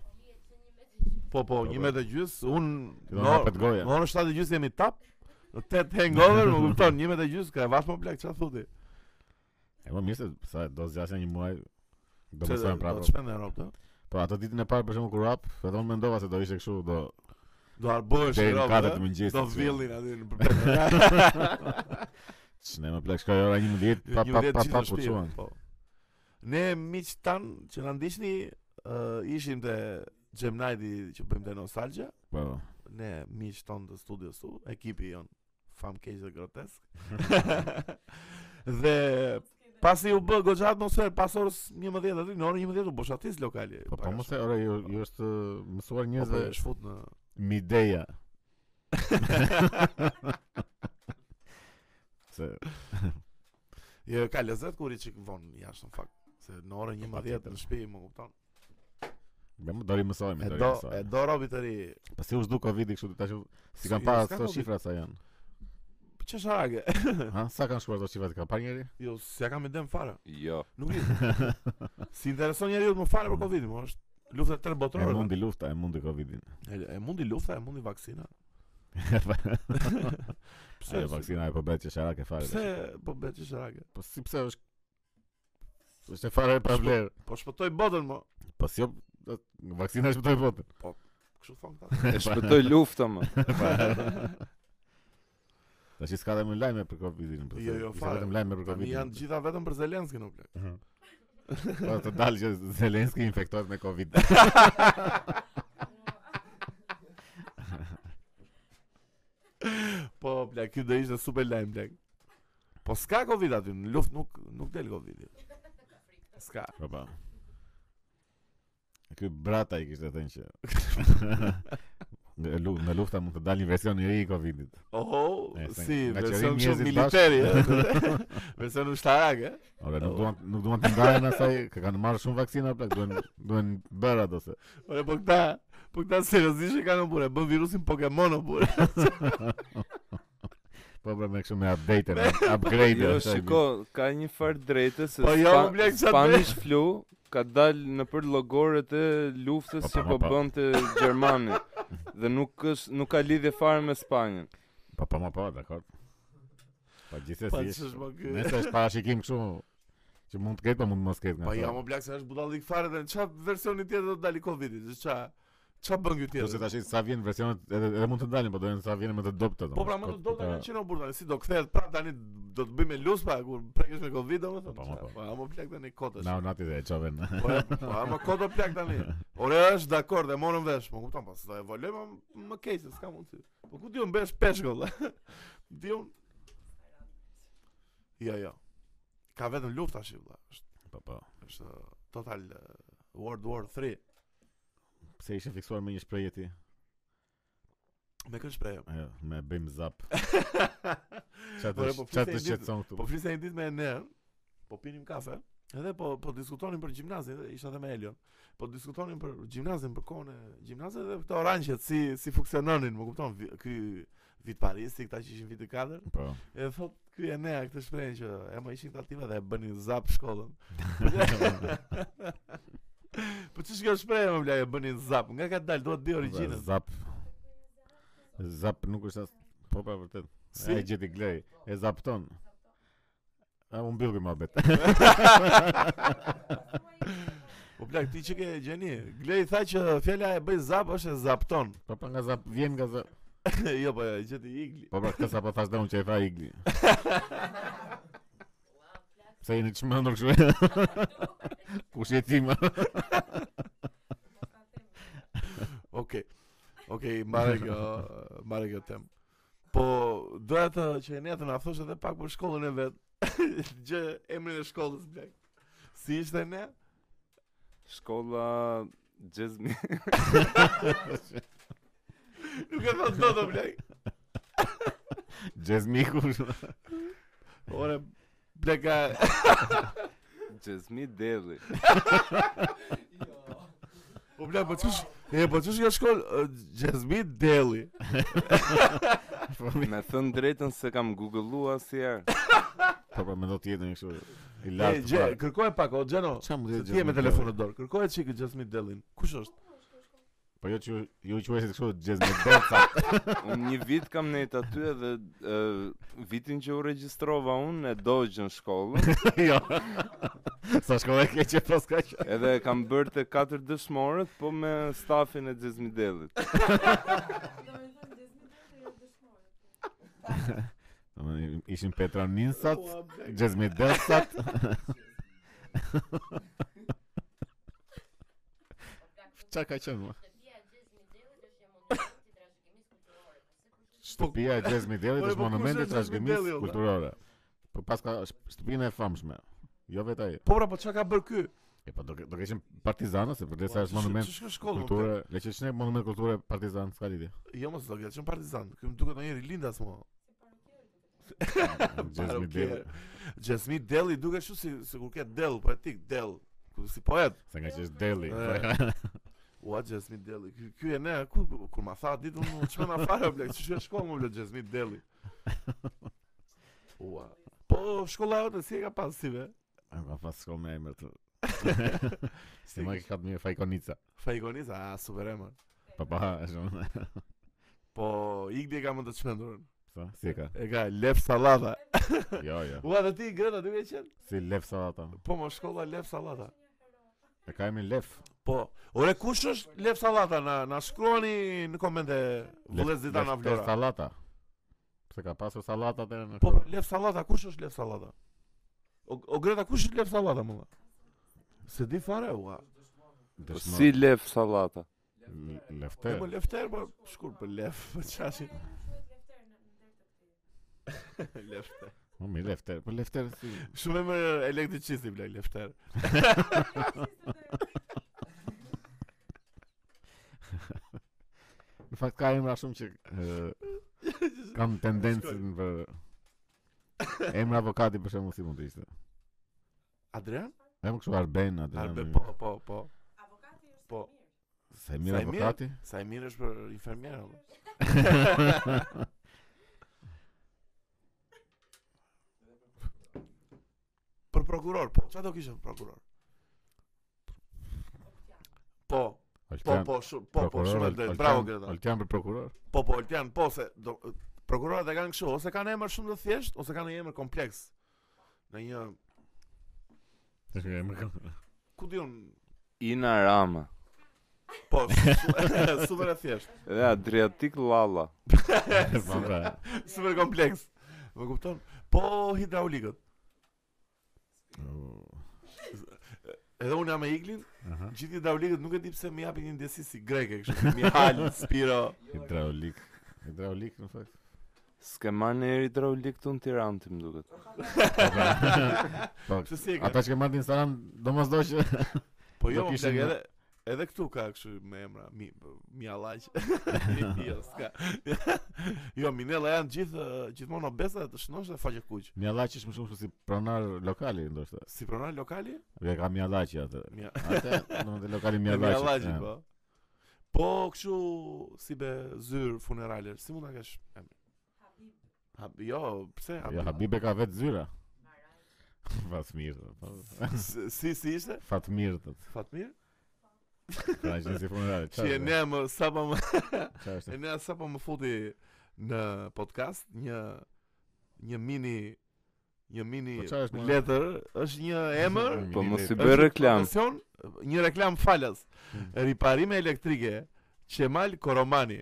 B: Po po,
A: Po,
B: një
A: po.
B: me të gjys, un
A: Fillon hapet goja.
B: Në orën 7 gjys jemi tap. Në 8 hangover, më kupton, një me të gjys, ka vash më plak çfarë thotë.
A: E po mirë se sa do zgjasja një muaj do
B: Pse
A: mësojmë
B: do
A: prapë.
B: të shpendë në Europë? do?
A: Po ato ditën e parë për shembull kur hap, edhe unë mendova se do ishte kështu do
B: Do harbohesh në
A: deri në 4
B: Europë.
A: të
B: do? eh,
A: mëngjesit.
B: Do
A: kështu.
B: villin aty në përpër.
A: Ne më plak shkoj ora 11 pa pa pa pa po çuan.
B: Po. Ne miq tan që na ndiqni, ë, ishim te Gemnajdi që bëjmë te Nostalgia,
A: Po.
B: ne miq ton të studios tu, ekipi jon Famkeq dhe grotesk. dhe Pasi u bë goxha atmosferë pas orës 11 aty, në orën 11 u boshatis lokali.
A: Po po
B: Pak a
A: mos e,
B: shumë.
A: ora ju, ju është uh,
B: Po,
A: mësuar
B: po,
A: njerëzve
B: e shfut në
A: mideja. Se
B: Jo, ka lezet kur i çik von jashtë në fakt. Se në
A: Po,
B: orën 11 në shtëpi, më kupton.
A: Ja më dori mësojmë,
B: E
A: dori
B: do e
A: mësojmë.
B: do robi të ri.
A: Pasi u zhdu Covidi kështu tash u- si kanë
B: Si-
A: parë
B: s'ka
A: ato
B: Covid.
A: shifra sa janë.
B: Po çfarë
A: Ha, sa kanë shkuar ato shifra të ka parë njëri?
B: Jo, s'ja kam idem fare.
C: Jo.
B: Nuk di. si intereson njeriu të më fare për Covidin, po është lufta tërë
A: E
B: botërore.
A: mundi lufta, e mundi Covidin.
B: E, e mundi lufta, e mundi vaksina. Pse?
A: Pse vaksina e po bëhet qesharake fare.
B: Pse po bëhet çfarë?
A: Po si pse është është e fare e pa vlerë.
B: Po shpëtoj botën më.
A: Po si jo vaksina është më të botë.
B: Kështu thon këta.
C: E shpëtoj lufta më.
A: Tash s'ka dhe më lajme për Covidin. po,
B: Jo,
A: se
B: jo,
A: s'ka
B: fare.
A: vetëm lajme për
B: Tani
A: Covidin.
B: janë të gjitha vetëm për Zelenski në plak.
C: Mhm.
A: Po të dalë që Zelenski infektohet me Covid.
B: Po plak, ky do ishte super lajm plak. Po s'ka Covid aty, në luftë nuk nuk del Covidi. S'ka.
A: Po po. Ky brata i kishte thënë që në, lu- në lufta mund të dalë një version i ri i Covidit.
B: Oho,
A: E, se
B: si,
A: nga
B: version
A: qërim
B: shumë
A: njerëzit
B: militari, e, version ushtarak, e?
A: Ora
C: Oh.
A: nuk duan nuk duan të ndahen asaj, që kanë marrë shumë vaksina plak, duhen duhen bërë ato se.
B: Ore, po këta, po këta seriozisht e kanë në burë, e bën virusin Pokemon në burë.
A: Po bërë me kështu me update, me upgrade.
C: Jo,
A: asaj.
C: shiko, ka një farë drejte se
B: Po jo,
C: spa-
B: më blek qatë
C: Spanish flu ka dalë në për logoret e luftës
A: Po,
C: që
A: po,
C: po
A: po.
C: bënte Gjermani dhe nuk është nuk ka lidhje fare me Spanjën.
A: Po po ma po, dakor. Po
B: Pa
A: gjithsesi.
B: ç'është më ky?
A: Nëse është parashikim kështu që mund të ketë, po mund të mos ketë nga.
B: Po ja,
A: ato.
B: më blek se është budallik fare dhe ç'a versioni tjetër do të dali Covidi, se ç'a ç'a bën ky
A: Po se
B: tjetër?
A: tash sa vjen versionet edhe, edhe mund të ndalen, po do të sa vjen me të dobta.
B: Po pra më të do të kanë qenë në burë, tani, si do kthehet prap tani do të bëjmë luspa kur prekesh me Covid domethënë.
A: Po, po,
B: ç'a?
A: po.
B: Po ja, më blek tani kotësh.
A: Na nati dhe e çove. në-
B: Po, e- po, ama kodo plak tani. Ore, është dakord, e morëm vesh, më kupton, pas do evoluoj më më keq, se s'ka mundsi. Po ku diun bësh peshkoll? diun. Jo, jo. Ka vetëm luftë tash, valla. Është
A: Po po.
B: është uh, total uh, World War 3.
A: Pse ishe fiksuar me një shprehje ti?
B: Me kë shpreh?
A: Jo, me bëjmë zap. Çfarë
B: Ore, po
A: të- çfarë të
B: fliste një ditë-
A: shqetëson
B: Po
A: këtu?
B: flisë një ditë me Enern, po pinim kafe, edhe po po diskutonin për gjimnazin, edhe isha edhe me Elion. Po diskutonin për gjimnazin, për kohën e gjimnazit dhe këto oranqet si si funksiononin, më kupton, vi- ky vit Parisi, këta që ishin vit i katërt.
A: Po.
B: E thot ky e nea këtë shprehje që e më ishin tativa dhe e bënin zap shkollën. po çish kjo shprehje më bla e bënin zap. Nga ka dal duhet di origjinën.
A: Zap. Zap nuk është as Po pa vërtet.
B: Si?
A: E gjeti glej. E zapton. A unë bëllë këmë abet
B: Po bla ti çike e gjeni. Glej tha që fjala e bëj zap është e zapton.
A: Po pa nga zap Vjen nga zap
B: jo po e gjeti igli.
A: Po pra këtë sa po thash dhe unë që e tha igli Pse jeni të shmëndur kështu Kush je ti më
B: Okej. Okej, marrë kjo, marrë kjo temë. Po doja të që e nea të na thosh edhe pak për shkollën e vet. Gjë emrin e shkollës bla. Si ishte ne?
C: Shkolla Gjezmi
B: Nuk e thot dot o, bla.
A: Gjezmiku
B: Ore, ble ka...
C: Gjezmi Deli.
B: O ble, po qësh... E, po qësh nga shkollë... ë, Gjezmi Deli.
A: Po
C: Me thënë drejtën se kam googëllu asjerë.
A: pra me do tjetën kështu I
B: E,
A: lartë
B: gje,
A: pra.
B: kërkoj pak, o Gjeno.
A: Qa mund të
B: Se
A: jetë
B: ti je me
A: Gjezmi
B: telefon në dorë. Kërkoj e qikë Gjezmi Delin. Kush është?
A: Po jo që ju quajse kështu Gjezmi Delca
C: Unë një vit kam nejtë aty edhe e, vitin që u regjistrova unë e dogjën shkollën
A: Jo Sa shkove e keqe pas ka që
C: edhe e kam bërë të 4 dëshmorët po me stafin e Gjezmi Delit.
A: Domethënë, Ishin Petra Ninsat
B: Ua, ble.
A: Gjezmi Delsat Qa ka qenë ma? Shtëpia e Gjezmi Delit
B: Po, e, po,
A: është
B: kush
A: monumenti
B: është Gjezmi Deli,
A: trashëgimisë
B: olla?
A: kulturore. Po pas ka sh- shtëpinë e famshme. jo vetë ai.
B: Po pra, po çka ka bër ky?
A: E po do ke- do kishim partizana se për
B: Po,
A: disa është monument
B: Ç'është
A: kulture, le që shne monument kulture partizan s'ka lidhje.
B: po Jo mos do të qenë partizan. Ky më duket ndonjëri lindas më.
A: Gjezmi
B: Parokier.
A: del.
B: Gjasmi Delli duket kështu si sikur ke Dell, poetik Dell. Ku si poet.
A: Se nga që është deli.
B: E. Ua Gjasmi Delli. Ky- Ky e ne ku kur ma tha ditën unë çmë na fare blek, ç'është shkolla më blek Gjasmi Delli. Ua. Po shkolla jote si e ka pas si be?
A: Ma pas shkon me emër të. Se më ka më fajkonica.
B: Fajgonica, a super emër.
A: Pa pa, është unë.
B: Po Igdi e ka më të çmendurën.
A: Sa, si e ka?
B: E ka Lef Sallata.
A: Jo, jo.
B: Ua dhe ti Greta dy vjeçën?
A: Si lef sallata.
B: Po më shkolla Lef Sallata.
A: E ka emrin lef.
B: Po, ore kush është Lef Sallata na na shkruani në komente
A: Lef-
B: vullez ditana
A: lefter
B: Vlora.
A: Sallata. Pse ka pasur sallata deri në.
B: Po
A: Po,
B: Lef Sallata, kush është Lef Sallata? O, o Greta kush është Lef Sallata më? valla? Se di fare ua.
C: Po si lef sallata.
B: Po
A: lefter.
B: më Lefter po shkur për Lef, po çashi. Lefter.
A: Po mi lefter. Po lefter si.
B: Shumë më elektricisti bla Lefter.
A: Në fakt ka emra shumë që e, kam tendencën për emra avokati për shembull si mund të ishte.
B: Adrian?
A: E më kështu Arben atë.
B: Arbe,
A: emri.
B: po, po, po. Po,
A: Se mirë
B: Sajmir?
A: avokati.
B: sa i mirë është për infermier. valla. Për prokuror, po, çfarë do kishte për prokuror? Po, po,
A: Altan,
B: po, shumë, po, po, shumë e drejtë. Bravo Greta.
A: Altan për prokuror.
B: Po, po, Oltian, po se do, prokurorët e kanë kështu, ose kanë emër shumë të thjeshtë, ose kanë një emër kompleks. Në një,
A: Tash nga emri ka-
B: ku diun,
C: Ina Rama
B: po, su- super e thjeshtë,
C: dhe Adriatik Lalla.
A: Po, pra.
B: super kompleks. Më kupton? Po, hidraulikët.
A: U,
B: Edhe unë jam me iglin,
A: Aha.
B: gjithë hidraulikët nuk e di pse më japin një ndjesi si greke, kështu, Mihal, Spiro.
A: Hidraulik. Hidraulik në fakt.
C: Skemani e hidraulik të në Tiranë ti më duket.
A: Po,
B: Pse si e ka?
A: Ata që marrin në Instagram, domosdoshmë
B: Po jo,
A: do
B: më
A: kishin-
B: plak, edhe edhe këtu ka kështu me emra, mi mi allaq. jo, s'ka. jo, Minella janë gjithë eh, gjithmonë obesa të shnosh dhe faqe kuq.
A: Mjallaçi është më shumë si pronar lokali ndoshta.
B: Si pronar lokali?
A: Dhe ka Mjallaçi atë.
B: Mja-
A: Atë, domethënë lokali
B: me
A: Mjallaçi.
B: Allaçi, po. Po kështu si be zyr funerale, si mund ta kesh emrin? Habib. Jo, pse
A: Jo,
B: Habib?
A: Habibe ka vetë zyra. Fatmir. po.
B: S- Si si ishte?
A: Fatmir thotë.
B: Fatmir?
A: Pra që si funerale.
B: Që e ne më sapo më
A: çfarë
B: E
A: është?
B: ne sa po më futi në podcast një një mini një mini
A: Po çfarë është, mo?
B: letër, është një emër,
C: Po
A: Mini
C: mos i
A: lefter.
C: bëj
B: është
C: reklam.
B: profesion, një reklam falas.
A: Hmm.
B: Riparime elektrike Qemal Koromani.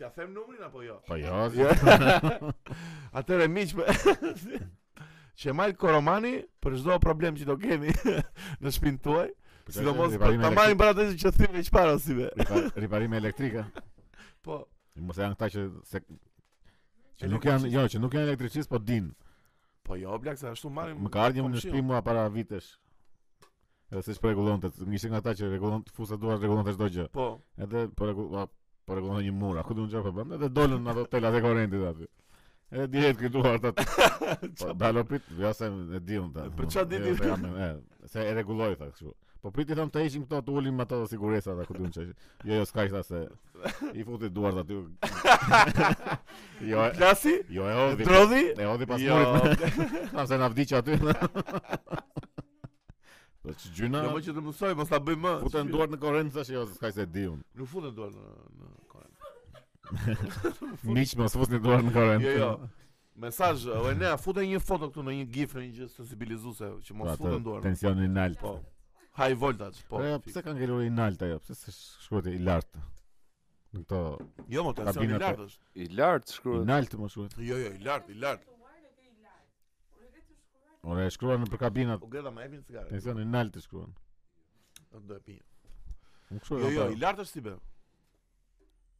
B: Ja them numrin apo jo?
A: Po jo.
B: Jo. Atëre miq më Qemal Koromani për çdo problem që do keni në shtëpinë tuaj,
A: po çfarë
B: sidomos
A: është
B: për
A: riparimi
B: ta marrin para atë që thymë çfarë si be.
A: elektri- Riparime elektrike.
B: Po,
A: Mos janë këta që se që nuk janë, jo, që nuk janë elektricist, po din.
B: po jo, blaq se ashtu marrin.
A: Më ka ardhur një në
B: komshiu.
A: shtëpi mua para vitesh. Edhe se ç'rregullonte, ishte nga ata që rregullon fusa duar rregullonte çdo gjë.
B: Po,
A: Edhe po rregullon po rregullon një mur, a ku do të çfarë bën? Edhe dolën ato telat e korrentit aty. Edhe direkt këtu ardha. Po dalo prit, ja se e di unë ta.
B: Po çfarë di ti?
A: Jo, se jam- e, Se e rregulloi tha kështu. Po priti thon të heqim këto, të ulim ato sigurisat apo ku do të Jo, jo, s'ka tha se i futi duart aty. Jo, e-
B: Plasi?
A: jo e hodhi.
B: Drodhi?
A: E hodhi pas
B: Jo,
A: murit. Tham se na vdiq aty. Po që gjyna,
B: jo më që të mësoj, mos ta bëj më.
A: futën duart në korrent, thashë jo, s'ka se di unë.
B: Nuk futen duart në në korrent.
A: Miq mos fusni duart në korrent.
B: Jo, jo. Mesazh, o e nea, futen një foto këtu në një gif në një gjë sensibilizuese që mos futen duart.
A: Pra, Tensioni i nalt.
B: Po. High voltage, po.
A: Po, jo,
B: fik.
A: pse kanë ngelur i nalt ajo? Pse s'e shkruhet i lart? Në këto
B: Jo, më tensioni
A: Kabina
B: i lartë është.
C: I lartë
A: i
C: shkruhet.
A: nalt më shkruhet.
B: Jo, jo, i lartë, i lartë.
A: Ora e shkruan në për kabinat.
B: O Greta më jepin cigare.
A: Tensioni i nalt e shkruan.
B: Do e pi.
A: Nuk
B: Jo,
A: shkruaj.
B: jo, i lartë është si be.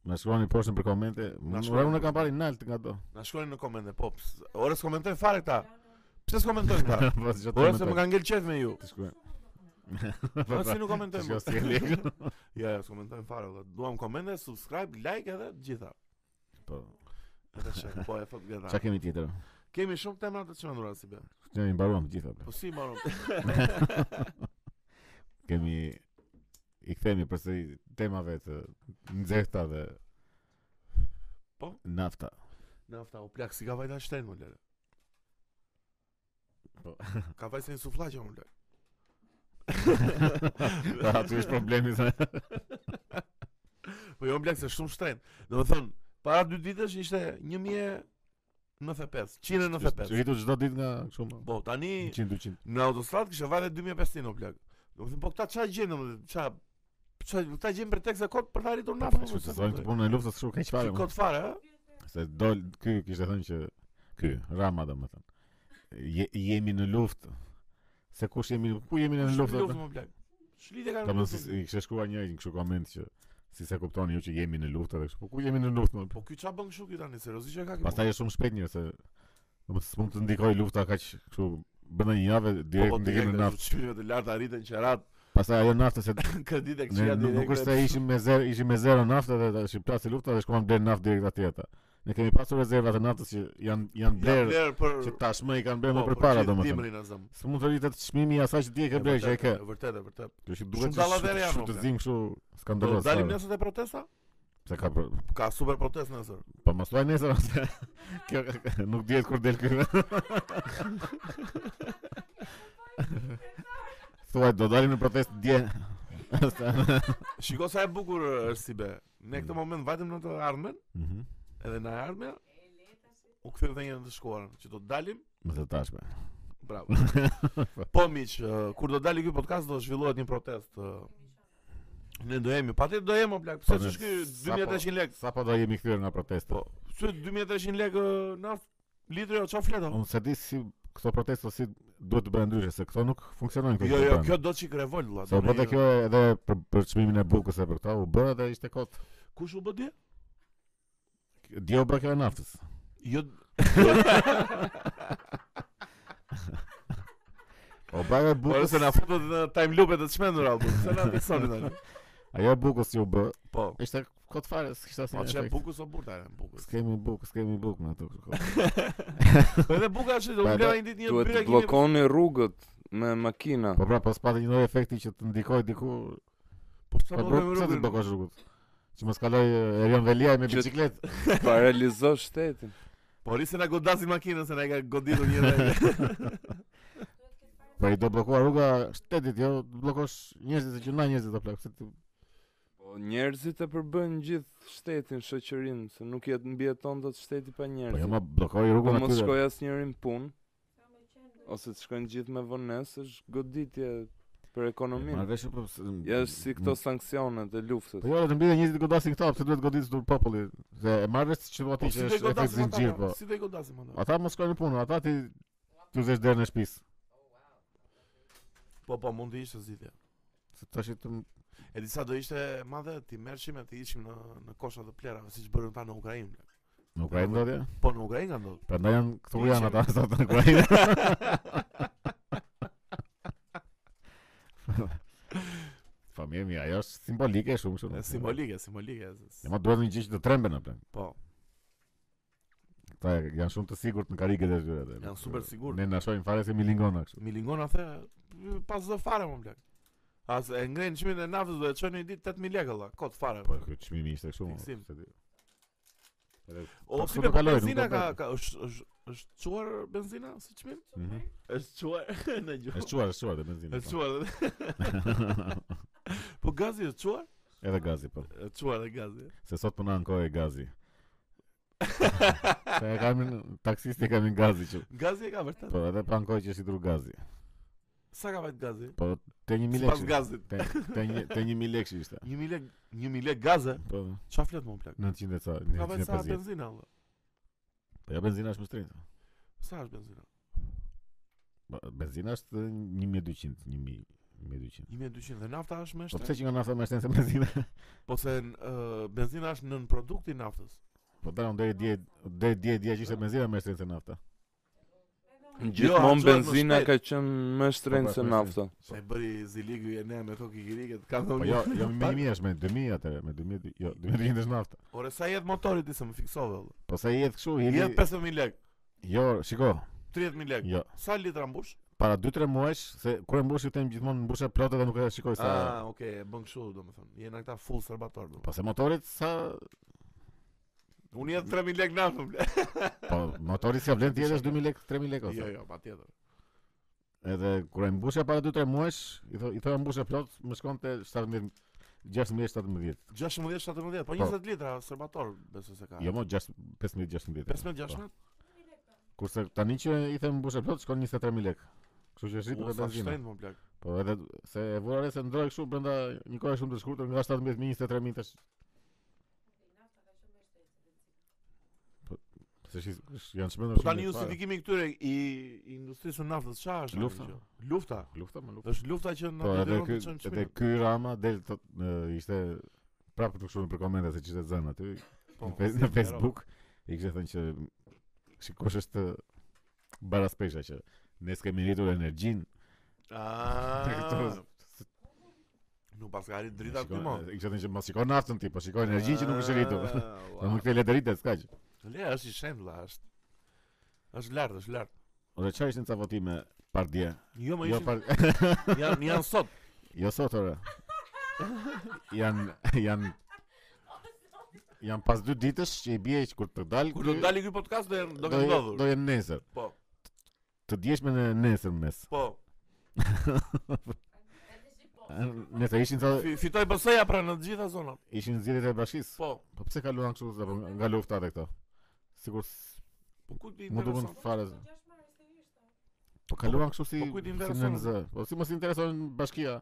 A: Më shkruani poshtë për komente.
B: Na
A: Unë
B: shkruani.
A: unë e kam parë i nalt nga do.
B: Na shkruani në komente, po. ps- Ore s'komentoj fare këta. Pse s'komentojnë këta?
A: Po
B: Ora se
A: çfarë komentoj?
B: më kanë ngel qef me ju.
A: Ti shkruaj.
B: Po si nuk komentojmë.
A: Kjo
B: po?
A: Pra, jo, si e lek.
B: Ja, ja, s'komentojmë fare. valla. Duam komente, subscribe, like edhe të gjitha.
A: Po.
B: Edhe shek, po e thot
A: Çka
B: gjeta.
A: kemi tjetër?
B: Kemi shumë tema të çmendura si be.
A: Ne i mbaruam të gjitha. bre.
B: Po si mbaron?
A: Kemi i kthemi përsëri temave të nxehta dhe
B: Po.
A: nafta.
B: Nafta u plak si ka vajta shten më lere.
A: Po.
B: Ka vajtë se një suflaqe më lere.
A: Ta, Po, Aty është problemi se
B: Po jo më plak se shumë shtren. Do me thënë, para dy ditësh ishte 1095, 195.
A: rritu çdo ditë nga kështu më.
B: Po tani
A: 100 200.
B: në autostradë kishte vajtë 2500 o plak. Do me thënë, po këta qa gjenë, më qa... Qa, këta gjenë për tekse kot për të arritur
A: Po,
B: naftën.
A: kështu se thonë të punën e luftës kështu keq fare. po.
B: Si
A: mo.
B: kot fare, ha?
A: Se dol ky kishte thënë që ky Rama domethënë. Je, jemi në luftë. Se kush jemi ku jemi ne në luftë?
B: Luftë më plak. Shlidhe kanë.
A: Domethënë
B: luftë.
A: si- i kishte shkruar njëri në kështu koment që si se kuptoni ju që jemi në luftë edhe kështu. Po ku jemi në luftë? mo?
B: Po ky qa bën kështu ky tani, seriozisht e ka kjo.
A: Pastaj është shumë shpejt njërë se domethënë s'mund të ndikoj lufta kaq kështu brenda një javë
B: Po,
A: direkt ndikim në naftë.
B: Çmime të larta arritën qerat,
A: Pastaj ajo naftë se
B: kreditë
A: Ne
B: këshia
A: nuk-
B: direkt.
A: nuk është se ishim me zero, ishim me zero naftë dhe tash plasi lufta dhe shkuam bler naftë direkt atje ata. Ne kemi pasur rezerva të naftës që janë janë
B: bler
A: bler
B: për
A: që tashmë i kanë bler më
B: po, për
A: përpara
B: gjithë
A: domethënë.
B: dimrin azam.
A: S'mund të rritet çmimi i asaj që ti e ke bler që e ke.
B: Vërtet, e vërtet.
A: Kjo që
B: Shumë
A: duhet
B: dallavere
A: të
B: janë,
A: shumë të
B: o,
A: zim kështu
B: Do
A: skandaloz.
B: dalim
A: fare.
B: nesër te protesta?
A: Se ka pro-
B: Ka super protestë nesër.
A: po mos thuaj nesër ose kjo nuk dihet kur del ky. Thuaj do dalim në protestë dje.
B: Shiko sa e bukur është si be. Ne këtë
A: Mm.
B: moment vajtëm në të armen,
A: Mhm.
B: edhe në armen u kthyer dhe një në të shkuarën që do dalim
A: Më të tashme.
B: Bravo. po miq, ë, kur do dali ky podcast do zhvillohet një protestë. ë. Ne do jemi, patjetër do jemi o plak. Pse
A: Po, ne
B: ç'është ky
A: sapo-
B: 2300 lekë?
A: Sa po do jemi kthyer nga protesta?
B: Po, pse 2300 lekë ë, naft litri o çfarë flet? o?
A: Unë se di si këto protesta si duhet të bëhen ndryshe, se këto nuk funksionojnë këto.
B: Jo, jo,
A: protesta.
B: kjo do çik revolt vëlla.
A: Se u
B: do
A: bë
B: ne-
A: kjo edhe për për çmimin e bukës e për këto, u bë edhe ishte kot.
B: kush u bë dje?
A: Dje u bë kjo e naftës.
B: Jo.
A: U bë e
B: Po
A: bukës.
B: se na futët në time loop të çmendur albu. Se na fiksoni tani.
A: Ajo e bukës që u bë,
B: Po.
A: ishte kot fare, s'kishte
B: Po
A: asnjë
B: çe
A: efekt.
B: bukës o burta e bukës.
A: S'kemi bukë, s'kemi bukë në ato kohë.
B: Po edhe buka është do
A: Pa,
B: bleva një ditë një
C: Duhet
B: byra
C: të
B: kimi.
C: bllokoni rrugët me makina.
A: Po pra, po s'pati një lloj efekti që të ndikoj diku.
B: Po
A: Po
B: sa po
A: bro, pse të blokosh rrugët? Që mos kaloj e, Erion Velia me
C: Që-
A: bicikletë.
C: Paralizo shtetin.
B: Po rrisën na godasin makinën se na e ka goditur një herë.
A: Po i do bllokuar rruga shtetit, jo bllokosh njerëzit që na njerëzit do plak, se ti
C: Po njerëzit e përbën gjithë shtetin, shoqërinë, se nuk jetë mbijeton dot shteti pa
A: po jo
C: njerëz.
A: më bllokoj
C: Po
A: rrugën
C: mos
A: aty.
C: shkoj asnjëri në punë. Ose të shkojnë gjithë me vonesë, është goditje për ekonominë.
A: Marrësh po. s-
C: Ja është si këto sanksionet e luftës.
A: Po jo, të mbidhen njerëzit godasin këta, pse duhet goditës tur populli? Se e marrësh që
B: Po
A: aty që
B: si do i
A: është efekt
B: godasim
A: zinxhir po.
B: ata? Si do i godasim ata?
A: Ata mos shkojnë në punë, ata ti tu zesh derën e shtëpisë.
B: Po po mund të ishte zgjidhje.
A: Se tash i të m-
B: E disa do ishte madhe ti merrshim e ti ishim në në kosha të plerave siç bërën ata në Ukrainë.
A: në Ukrainë ndodje.
B: Po në Ukrainë ka ndodhur.
A: Prandaj janë këtu
B: Ti ishe-
A: janë ata sa të në Ukrainë. Familje mia, ajo është simbolike shumë shumë.
B: E Simbolike, simbolike.
A: Ne ma duhet një gjë që të tremben atë.
B: Po.
A: Ata janë shumë të sigurt në karriget e tyre. dhe-
B: Janë super sigurt.
A: Ne na shohim fare se milingona kështu.
B: Milingona the pas do fare më blek. As e ngrenë çmimin e naftës do të çojnë një ditë 8000 lekë valla, kot fare.
A: Po ky çmimi ishte kështu. mo,
B: Fiksim.
A: se di.
B: O
A: Po,
B: si
A: kështu
B: be
A: do
B: po
A: kalojnë,
B: benzina
A: nuk do
B: ka
A: bëhet.
B: ka është është është çuar benzina si çmim?
A: Mhm.
B: Është çuar në gjuhë.
A: Është çuar, është çuar dhe benzinë.
B: Është çuar. Po gazi është çuar?
A: Edhe gazi po.
B: Është çuar edhe gazi.
A: Se sot puna në kohë e gazi. Se e kam taksisti kam në gazi që.
B: Gazi e ka vërtet.
A: Po edhe pa në kohë që si tru gazi.
B: Sa ka vajt gazi?
A: Po te 1000
B: Sipas
A: lekë.
B: gazit.
A: Te te një te 1000 lekë ishte.
B: 1000 lek, 1000 lek gaze.
A: Po
B: Çfarë flet më plak?
A: 900 e ca,
B: Ka vajt sa
A: 950.
B: benzina valla.
A: Po ja benzina është më shtrenjtë.
B: Sa është benzina?
A: Po, Benzina është 1200, 1000, 1200.
B: 1200 dhe nafta është më
A: Po
B: shtë.
A: pse që nga nafta më shtrenjtë se benzina?
B: Po se ë, benzina është nën produkti i naftës.
A: Po dalon deri dje deri dje dje që ishte benzina më shtrenjtë se nafta.
C: Gjithmonë
B: Jo,
C: benzina
B: shpejt.
C: ka qenë më shtrenjtë
A: Po,
C: se
A: po,
C: nafta.
B: Sa i bëri Ziligu e ne me kokë kikiriket, kam
A: Po
B: thonë.
A: jo, jo me 1000 është me 2000 atëre, me 2000 jo, 2000 është nafta.
B: Ore sa jet motori ti se më fiksove vëllë.
A: Po sa jetë kështu,
B: Jet
A: jeni
B: 50.000 lek,
A: jo, shiko,
B: 30.000 lek.
A: jo.
B: Sa litra mbush?
A: Para 2-3 muajsh se kur e mbushi them gjithmonë mbusha plotë dhe nuk e shikoj Po, sa.
B: Ah, okay, e bën kështu domethënë. Jena këta full serbator domethënë.
A: Po se motorit sa
B: Unë jet 3000 lek naftën. ble.
A: po motori s'ka vlen tjetër është 2000 lekë, 3000 lekë
B: Jo,
A: ose.
B: jo, patjetër.
A: Edhe kur e mbusha para 2-3 muajsh, i tho i thoya mbusha plot, më shkonte 17 16 17.
B: 16, 17, po
A: Po.
B: 20 litra serbator besoj se ka.
A: Jo po. më 6 15 16.
B: 15, 16.
A: Kurse tani që i them mbusha plot shkon 23000 lekë. Kështu që shit
B: U
A: për
B: sa
A: benzinë.
B: shtrenjtë më plak.
A: Po edhe se e vura re se ndroi kështu brenda një kohë shumë të shkurtër nga 17000 23000 tash. Po se shi, sh- janë shmendur
B: Po
A: shumë.
B: tani
A: mirë fare.
B: justifikimi këtyre i i industrisë së naftës çfarë është? tani
A: Lufta.
B: kjo? Lufta.
A: lufta më lufta.
B: Është lufta që na
A: Po edhe
B: detyron
A: ky
B: të çojmë
A: edhe
B: çmimin.
A: ky Rama del tot e, ishte prapë të kështu për komente se çishte zën aty
B: Po,
A: në fe-
B: si
A: në
B: e
A: Facebook i kishte thënë që sikosh është baraspesha që ne s'kemi rritur energjinë.
B: po. Ah. Nuk pas ka arrit drita
A: Shikon-
B: këtu më.
A: I kishte thënë që mos shikon naftën ti, po shikoj energjinë që nuk është e rritur. Po më këtë letëritë s'ka që.
B: Ah, Le, është i shembla, është. Është lart, është lart.
A: Ore çfarë ishin ca votime pardje?
B: Jo më
A: Jo
B: ishin,
A: par
B: janë janë sot.
A: jo sot ore. Jan jan jan pas dy ditësh që i bie që kur të dal
B: Kur do
A: ky-
B: dali ky podcast do janë- do të
A: je- Do
B: ndodhur.
A: jenë nesër.
B: Po,
A: Të djesh me në nesër mes.
B: po.
A: Nëse ishin sa
B: Fi- Fitoi BS-ja pra në të gjitha zonat.
A: ishin zgjedhjet e bashkisë.
B: Po.
A: Po pse kaluan kështu apo nga lufta atë këto? Sigur s-
B: Po ku ti
A: mu duken
B: intereson?
A: fare. Po kaluan kështu si
B: po kujt i
A: si
B: intereson?
A: NMZ. Po si mos i intereson bashkia.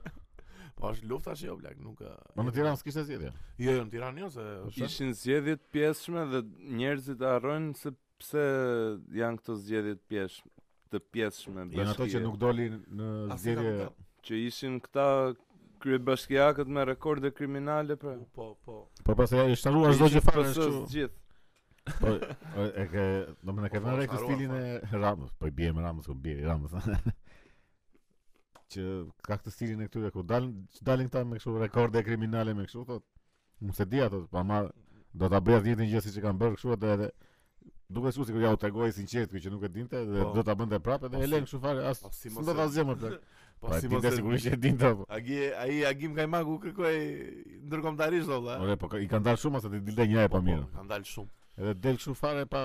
B: Po është lufta që jo blak, nuk. e-
A: Po në Tiranë s'kishte zgjedhje.
B: Jo, jo, në Tiranë jo se
A: po.
B: është.
C: Ishin zgjedhje të pjesshme dhe njerëzit harrojnë se pse janë këto zgjedhje të pjesh të pjesshme
A: Janë ato që
C: bashkie.
A: nuk dolin në
B: Asnjë
A: zgjedhje.
B: kapital.
C: që ishin këta kryebashkiakët me rekorde kriminale pra.
B: Po, po.
A: Po pastaj i shtaruar çdo gjë fare
C: kështu.
A: kështu. Po e- e ke, do më në ke
B: Po, po,
A: vënë re këtë
B: shtaruan
A: stilin e Ramës, po i bie me Ramës, po bie i Ramës. që ka këtë stilin e këtyre ku dalin dalin këta me kështu rekorde kriminale me kështu thotë. Nuk se di ato, po ama do ta bëj atë njëjtën gjë siç e kanë bërë kështu atë edhe duke sikur sikur ja u tregoi sinqert kjo që nuk e dinte dhe
B: Po.
A: do ta bënte
B: Po,
A: prapë dhe e lën
B: si-
A: kështu fare as
B: po, si
A: s'm
B: mos
A: do
B: e-
A: ta zgjem më plak.
B: Po,
A: Po e
B: si mos.
A: dinte sigurisht që e dinte po. apo.
B: Agi, ai Agim Kajmaku kërkoi ndërkombëtarisht do vëlla.
A: Ore, po ka- i kanë dalë shumë ose ti dilte një herë
B: Po,
A: pa
B: po,
A: mirë.
B: Kanë dalë shumë.
A: Edhe del kështu fare pa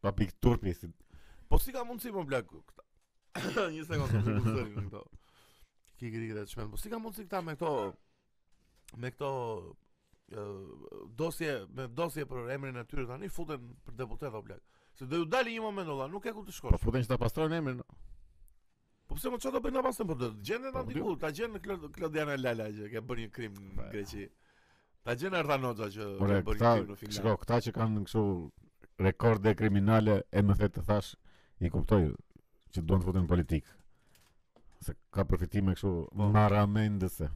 A: pa pikë turpi si
B: Po si ka mundësi më blak këta? Një sekondë, po më kushtoni në këto. Kikiri këtë çmen. Po si ka mundësi këta me këto me këto ë, dosje me dosje për emrin e tyre tani futen për deputet o blak. Se do ju dali një moment olla, nuk e ku të
A: Po
B: shkosh.
A: futen që ta pastrojnë emrin.
B: Po pse më çfarë do bëjnë na pasën për do të gjenden
A: Po,
B: aty ku, ta gjen në Klo- Klodiana Lala që ka bërë një krim në
A: Po.
B: Greqi. Ta gjen Ardhanoxha që
A: Ore,
B: ka bërë
A: këta,
B: një krim në
A: shiko,
B: Finland.
A: këta që kanë kështu rekorde kriminale, e më the të thash, i kuptoj që duan të futen në politikë. Se ka përfitime kështu maramendëse.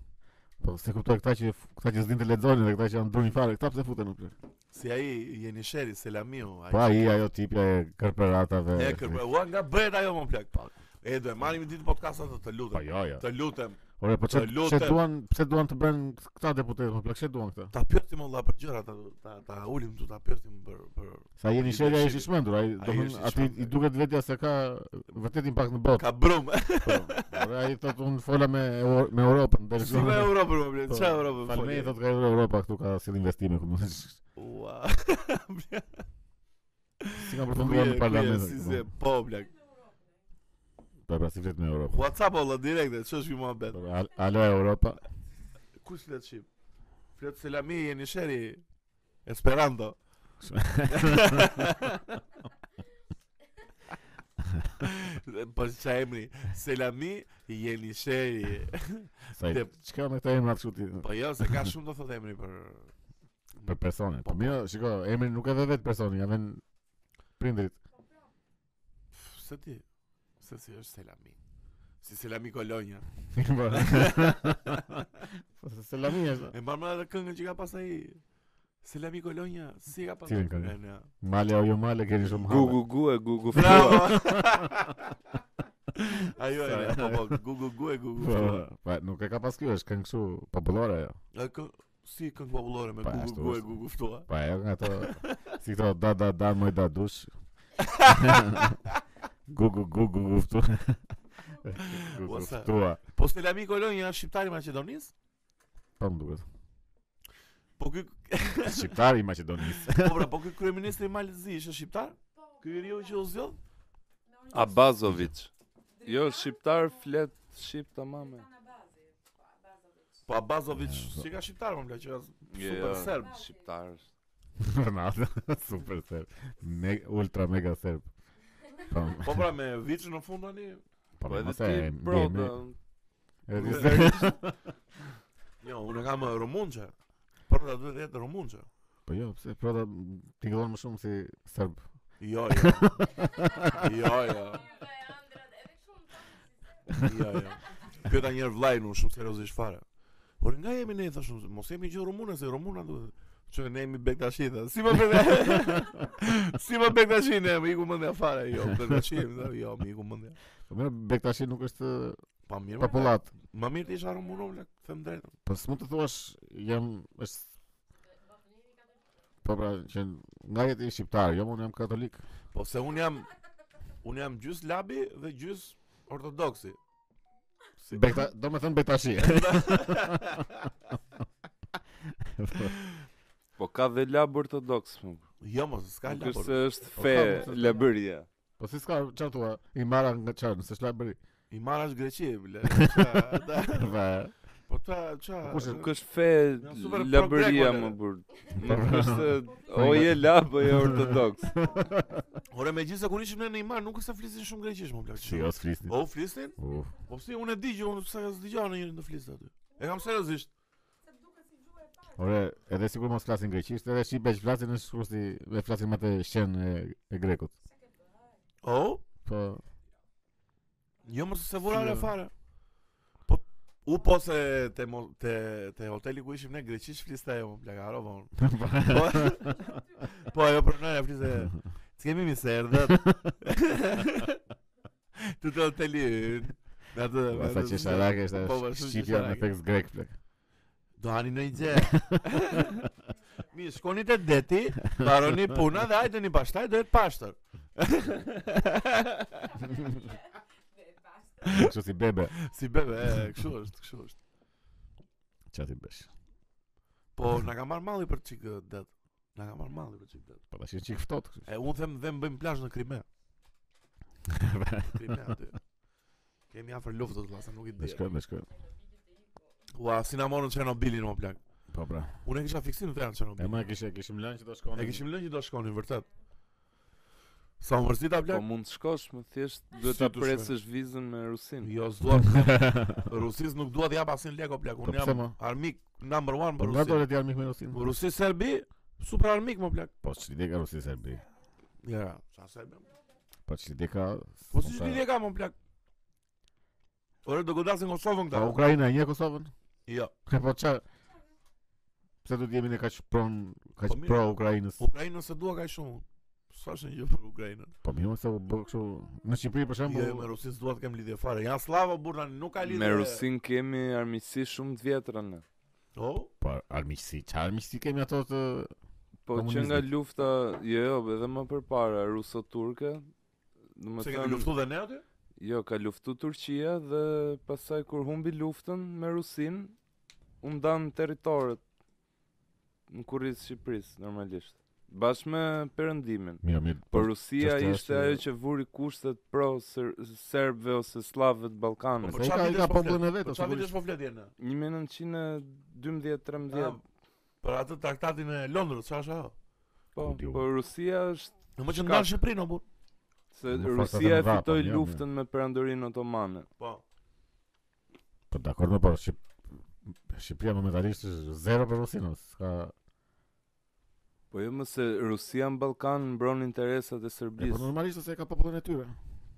A: Po se kuptoj këta që këta që s'din të lexojnë dhe këta që janë druni fare, këta pse futen në politikë?
B: Si ai Jenisheri Selamiu, ai
A: Po ai ajo tipja e kërperatave.
B: E kërkoj, ua nga bëhet ajo më plak. E do e marrim një ditë podcastat të të
A: Po
B: lutem.
A: jo, jo.
B: Të lutem,
A: Ore, po çe
B: Të
A: çe
B: lutem.
A: duan, pse duan të bëjnë këta deputetë, po çe duan këta?
B: ta pyesim olla për gjëra, ta ta, ta ulim tu ta pyesim për për
A: Sa jeni shëria ishi shmendur, ai
B: Ai
A: domthon
B: është i
A: aty
B: shmendur.
A: i duket vetja se ka vërtet impakt në botë.
B: ka brum.
A: Po, Ora ai thotë unë fola me Euro- me Europën, deri
B: Si me Europën më plak, çfarë Europë?
A: po, Falmej thotë ka erdhur Europa këtu ka sill investime këtu.
B: Ua.
A: Si kanë përfunduar në parlament.
B: Si
A: këtu.
B: se po plak.
A: Po pra si flet me Europë.
B: WhatsApp olla direkte, ç'është ky muhabet?
A: Po, al- Alo Europa.
B: Kush flet shqip? Flet Selami Jenisheri Esperanto. Po qa emri Selami Jenisheri
A: Sa i-
B: Tep.
A: çka me këta emra kështu ti
B: Po jo, se ka shumë do thotë emri për
A: për persone. Po mirë, shiko, emri nuk e vë vet personi, ja vën prindrit.
B: Pff, Se ti Se si është Selami Si Selami Kolonja
A: Po. Po se Selami është.
B: E mbarë më edhe këngën që ka pas ai Selami Kolonja, si ka pasur
A: Cilin ka
B: në në-
A: Male o jo male, keni shumë hame.
C: Gugu gu e gugu flua.
B: Bravo. Ajo e po po gu gu gu e gu gu.
A: Po, pa, nuk e ka pas kjo, është këngë kështu popullore ajo.
B: A kë- si këngë popullore me
A: Pa,
B: gu gu
A: ashtu
B: gu e
A: është.
B: gu gu ftua.
A: Pa ajo nga ato si këto da da da moj da dush. Gugu gugu guftu. Gugu
B: Ose-
A: guftua.
B: Po Selami Kolonja është shqiptar i Maqedonisë?
A: Po më duket.
B: Po ky
A: Shqiptari i Maqedonisë.
B: po pra, po ky kryeministri i Malzi është shqiptar? Ky njeriu që u zgjodh?
C: Abazovic. Jo, shqiptar flet shqip tamam.
B: Po Abazovic si ka shqiptar më bla që as super serb.
C: Jo, Shqiptar. është.
A: Ronaldo, super serb. Me, ultra mega serb. Po,
B: Po pra me Vic në fund tani.
A: po
C: Po edhe
A: mos e
C: ti, bro,
A: ndjemi.
C: da-
A: Edhe ti se-
B: Jo, unë kam eh, rumunçe. Por ta duhet jetë rumunçe.
A: Po jo, pse prota ti gëllon më shumë si serb.
B: Jo, jo. Jo, jo. Jo, jo. Pyeta një herë vllai unë shumë seriozisht fare. Por nga jemi ne thashë, mos jemi gjë rumune se rumuna duhet. Që ne jemi bektashi tha. Si më bektashi? si më bektashi ne, më iku mendja fare, jo, bektashi, më tha, jo, më iku mendja.
A: Po më Bektashi nuk është
B: Pa mirë. më
A: popullat.
B: bla, Më mirë të isha rumunë, bla, them drejtën.
A: Po s'mund të thuash jam është Po pra, që nga jeti shqiptar, jo unë jam katolik.
B: Po se un jam un jam gjys labi dhe gjys ortodoksi. Si-
A: Bekta, do me thënë bektashi.
C: Po ka dhe lab ortodoks. më.
B: Jo, mos s'ka
C: Nuk
B: lab.
C: është se
B: por-
C: është
A: Po
C: fe
A: ka, mos është-
C: labëria.
A: po si s'ka, çfarë thua? I marra nga çan, s'është la bëri.
B: I marrësh Greqi, bla. qa- ta-
A: Dhe
B: Po ta ça.
A: Kush është-
C: Nuk është fe
B: Janë super
C: labëria
B: pro-greko,
C: më
B: lere.
C: burr.
A: Po.
C: Nuk është se o je lab o je ortodoks.
B: Ore megjithëse kur ishim ne në Imar nuk është se flisin shumë greqisht, më plaq.
A: si os flisni.
B: O flisnin?
A: Uf,
B: Po si unë e di që unë pse as dëgjova në njërin të flisë aty. E kam seriozisht.
A: ore, edhe sikur mos flasin greqisht, edhe shqipe që flasin është sikur si e flasin me të shen e, e grekut.
B: O?
A: Po,
B: Jo mos se vurare
A: Si, e?
B: fare. Po u po se te mo, te te hoteli ku ishim ne greqisht fliste ajo, më plaq, harova unë. Po. po ajo pronare fliste. S'kemi mi se erdhët. Të të hoteli. Në atë
A: po sa që sharake është
B: Po, po, shumë
A: shqipja me
B: qesharake.
A: tekst grek plek.
B: Do hani në i gjë Mi, shkoni të deti Baroni puna dhe hajde një pastaj Do jetë pashtër
A: Kështu si bebe.
B: Si bebe, e, këshu është, këshu është
A: Çfarë ti bësh?
B: Po, na ka marrë malli për çik eh, det Na ka marrë malli për çik det
A: Po tash është çik ftohtë. kështu.
B: E, unë them dhe më bëjmë plazh në Krime Krime aty Kemi afër luftës, vllasa, nuk i
A: Ne
B: di.
A: shkojmë, ne shkojmë.
B: Ua, si na morën Çernobilin më plak.
A: Po pra.
B: Unë e kisha fiksim vetëm
A: E
B: Çernobil.
A: më kishë kishim lënë që do shkonim.
B: E kishim lënë që do shkonin vërtet. Sa më mërzita
C: Po
B: plak.
C: mund të shkosh, më thjesht duhet
B: Si
C: ta
B: të shkoj?
C: presësh vizën me Rusin.
B: Jo, s'dua Rusis nuk dua të jap asnjë lek o plak.
A: Po
B: Unë
A: pse
B: jam
A: mo?
B: armik number 1
A: Po
B: për
A: nga do
B: Rusin.
A: të janë mikë me Rusin.
B: Rusi Serbi, super armik më plak.
A: Po çlidhe ka Rusi Serbi.
B: Ja, sa Serbi.
A: Po çlidhe ka.
B: Po si lidhje ka më plak? Ore do godasin Kosovën
A: Po
B: këta.
A: Ukraina e një Kosovën.
B: Jo,
A: Po çfarë? Pse do të jemi ne kaq pron, kaq
B: Po mirë.
A: pro Ukrainës.
B: Ukrainën se dua kaq shumë. Sa është një gjë për Ukrainën.
A: Po mirë se u bë kështu në Shqipëri për
B: Jo, jo, me
A: shembull.
B: Rusin s'dua të kem lidhje fare. Jan slava burr tani, nuk ka lidhje.
C: Me Rusin kemi armiqësi shumë të vjetra ne.
B: Po.
A: Po armiqësi, çfarë armiqësi kemi ato të
C: Po që
A: Komunizmit.
C: nga lufta, jo, jo, edhe më përpara ruso-turke, do të
B: Se kanë
C: thënë,
B: luftu dhe ne aty?
C: jo, ka luftu Turqia dhe pastaj kur humbi luftën me Rusin, u ndan territoret në kurrizë të Shqipërisë normalisht, bashkë me perëndimin.
A: mirë mirë.
C: Po Rusia
A: çështja
C: ishte
A: është-
C: ajo që vuri kushtet pro ser- serbëve ose slavëve të Ballkanit.
A: Po ai ka- ai ka popullin e vet,
B: Po
A: ose
B: çfarë
A: kur
B: vitesh po flet jena? Ah,
C: 1912-13
B: Për atë traktatin e Londrës, çfarë është ajo?
C: Po,
A: ku diu.
C: po Rusia është
B: Në më që ndan Shqipërinë o burr.
C: Se
A: Më fakt
C: Rusia
A: atë
C: e
A: më dha, po,
C: fitoi
A: mirë,
C: luftën me perandorin otomane.
B: Po.
A: Po dakor, më po Shqip Shqipëria momentalisht është zero për Rusinë, s'ka
C: Po jo më se Rusia në Ballkan mbron interesat
A: e,
C: e
A: po
C: Serbisë.
A: normalisht se e ka popullin e tyre.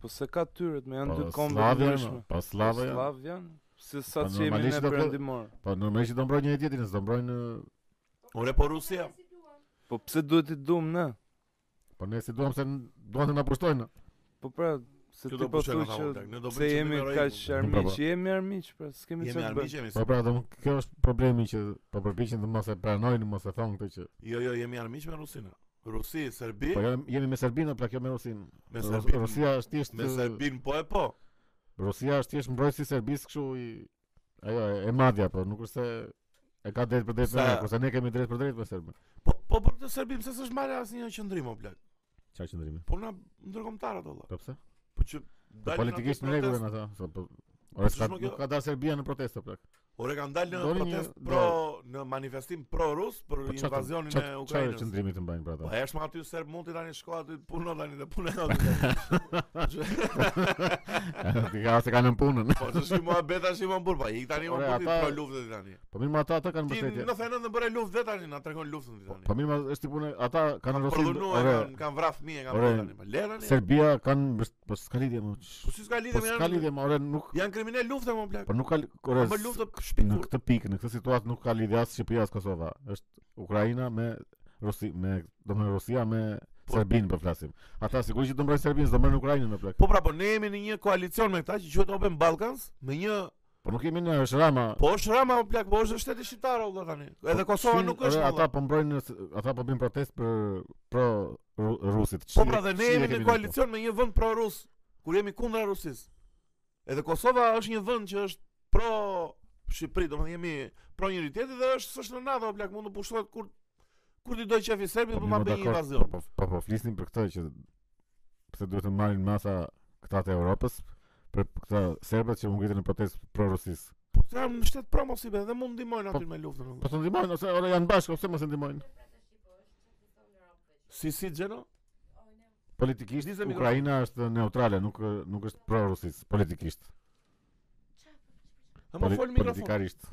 C: Po se ka tyret, me janë
A: Po
C: dy kombe të
A: slavë janë,
C: ndryshme.
A: po
C: Po,
A: slavë janë.
C: Slav janë. Se sa
A: Po,
C: që jemi
A: normalisht
C: ne
A: do kë-
C: perëndimor.
A: Po normalisht do mbrojnë një tjetrin, s'do mbrojnë
B: Ore po Rusia.
C: Po pse duhet i dum ne?
A: Po ne si duam se n- duan të na pushtojnë.
C: Po pra, se
B: Kjo
C: ti
B: do
C: po
B: pushojnë
C: thuj
B: ata
C: që
B: ullak, ne do
C: pse
B: bëjmë që
C: jemi
B: numero i
C: kaq
B: ullak.
C: armiq,
A: Po, po.
C: jemi armiq, pra s'kemi
B: Jemi
C: çfarë
B: armiq
C: bëjmë.
B: jemi. se-
A: Po pra, domun kjo është problemi që po përpiqen të mos e pranojnë, mos e thonë këtë që
B: Jo, jo, jemi armiq me Rusinë. Rusi, Serbi,
A: po jemi- jemi me Serbinë apo kjo me Rusin.
B: me Serbin.
A: Rusia është thjesht
B: Me Serbin po e po.
A: Rusia është thjesht mbrojtësi i Serbisë kështu i ajo e- e madhja, po nuk është se e ka drejt për drejt me
B: Sa-
A: ne, kurse ne kemi drejt për drejt me serbët.
B: Po po për të Serbin pse s'është marrë asnjë qendrim o blaq.
A: Çfarë qëndrimi?
B: Po na ndërkombëtar ato valla.
A: Po pse?
B: Po që
A: Po
B: dalin
A: politikisht
B: ato
A: në rregull
B: protest-
A: janë ata, sa po Ora
B: s'është
A: s'ka
B: më
A: nuk
B: kjo-
A: ka dalë Serbia në po, pra, protesta plak.
B: Ore kanë dalë në
A: Doli një-
B: protest
A: doli.
B: pro në manifestim pro rus për
A: Po çfarë-
B: invazionin
A: çfarë-
B: e
A: Çfarë
B: Ukrainës.
A: qëndrimi të mbajnë për ata?
B: Po e është më aty serb mund të tani shko aty puno tani dhe punë aty.
A: Ti ka se kanë në punën.
B: Po të shkoj mua beta shi më burpa. po, I tani më
A: Ore,
B: puti
A: ata-
B: pro luftën ti tani.
A: Po mirë, ma ata ata kanë
B: Ti
A: mbështetje.
B: 99 në bëre luftë dhe tani na tregon luftën ti
A: Po-
B: tani.
A: Po mirë, ma është punë, ata kanë
B: Po
A: rrosin.
B: dhunuar,
A: Ore,
B: kanë kanë vrarë fëmijë, kanë
A: Ore,
B: bërë tani. Po, Le tani.
A: Serbia kanë mbësht- po s'ka lidhje më.
B: Po si s'ka
A: Po
B: lidhje me
A: s'ka
B: janë.
A: lidhje më, ore nuk
B: Janë kriminal luftë më blaq.
A: po nuk ka li- ore.
B: Më
A: s-
B: luftë
A: Në
B: shpikur.
A: këtë pikë, në këtë situatë nuk ka lidhje as Shqipëria as Kosova. Është Ukraina me Rusi me domethënë Rusia me
B: Po-
A: Serbinë po flasim. Ata sigurisht që do mbrojnë Serbinë, do mbrojnë Ukrainën në plak.
B: Po pra, po ne jemi në një koalicion me këta që quhet Open Balkans, me një
A: Po nuk kemi ne është Rama.
B: po është Rama o plak, po është shteti shqiptar o vëlla tani. Edhe Kosova nuk është.
A: Ore,
B: vëlla.
A: Po, ata po mbrojnë ata po bëjnë protestë për pro Ru- rusit.
B: Po
A: Qi-
B: pra dhe ne
A: qi e
B: jemi
A: kemi
B: në
A: ne këtu?
B: koalicion me një vend pro-rus, kur jemi kundra Rusisë. Edhe Kosova është një vend që është pro Shqipëri, domethënë jemi pro njerëzitetit dhe është s'është në NATO, o plak, mund të pushtohet kur kur ti do qefi serbi
A: Po
B: po
A: mi
B: ma
A: më
B: bëj një
A: dakord,
B: invazion.
A: Po po po flisnim për këtë që pse duhet të marrin masa këta të Europës për këta serbët që u ngritën në protestë pro rusisë.
B: Po të jam në shtet pro mos i bë dhe mund ndihmojnë
A: Po-
B: aty me luftën. o
A: Po
B: vëlla.
A: të ndihmojnë ose ora janë bashkë ose mos e ndihmojnë.
B: Si si Xheno?
A: Politikisht
B: Nisem mikrofon.
A: Ukraina është neutrale, nuk nuk është pro rusisë politikisht.
B: Ha më
A: Poli-
B: fol mikrofon.
A: Politikarisht.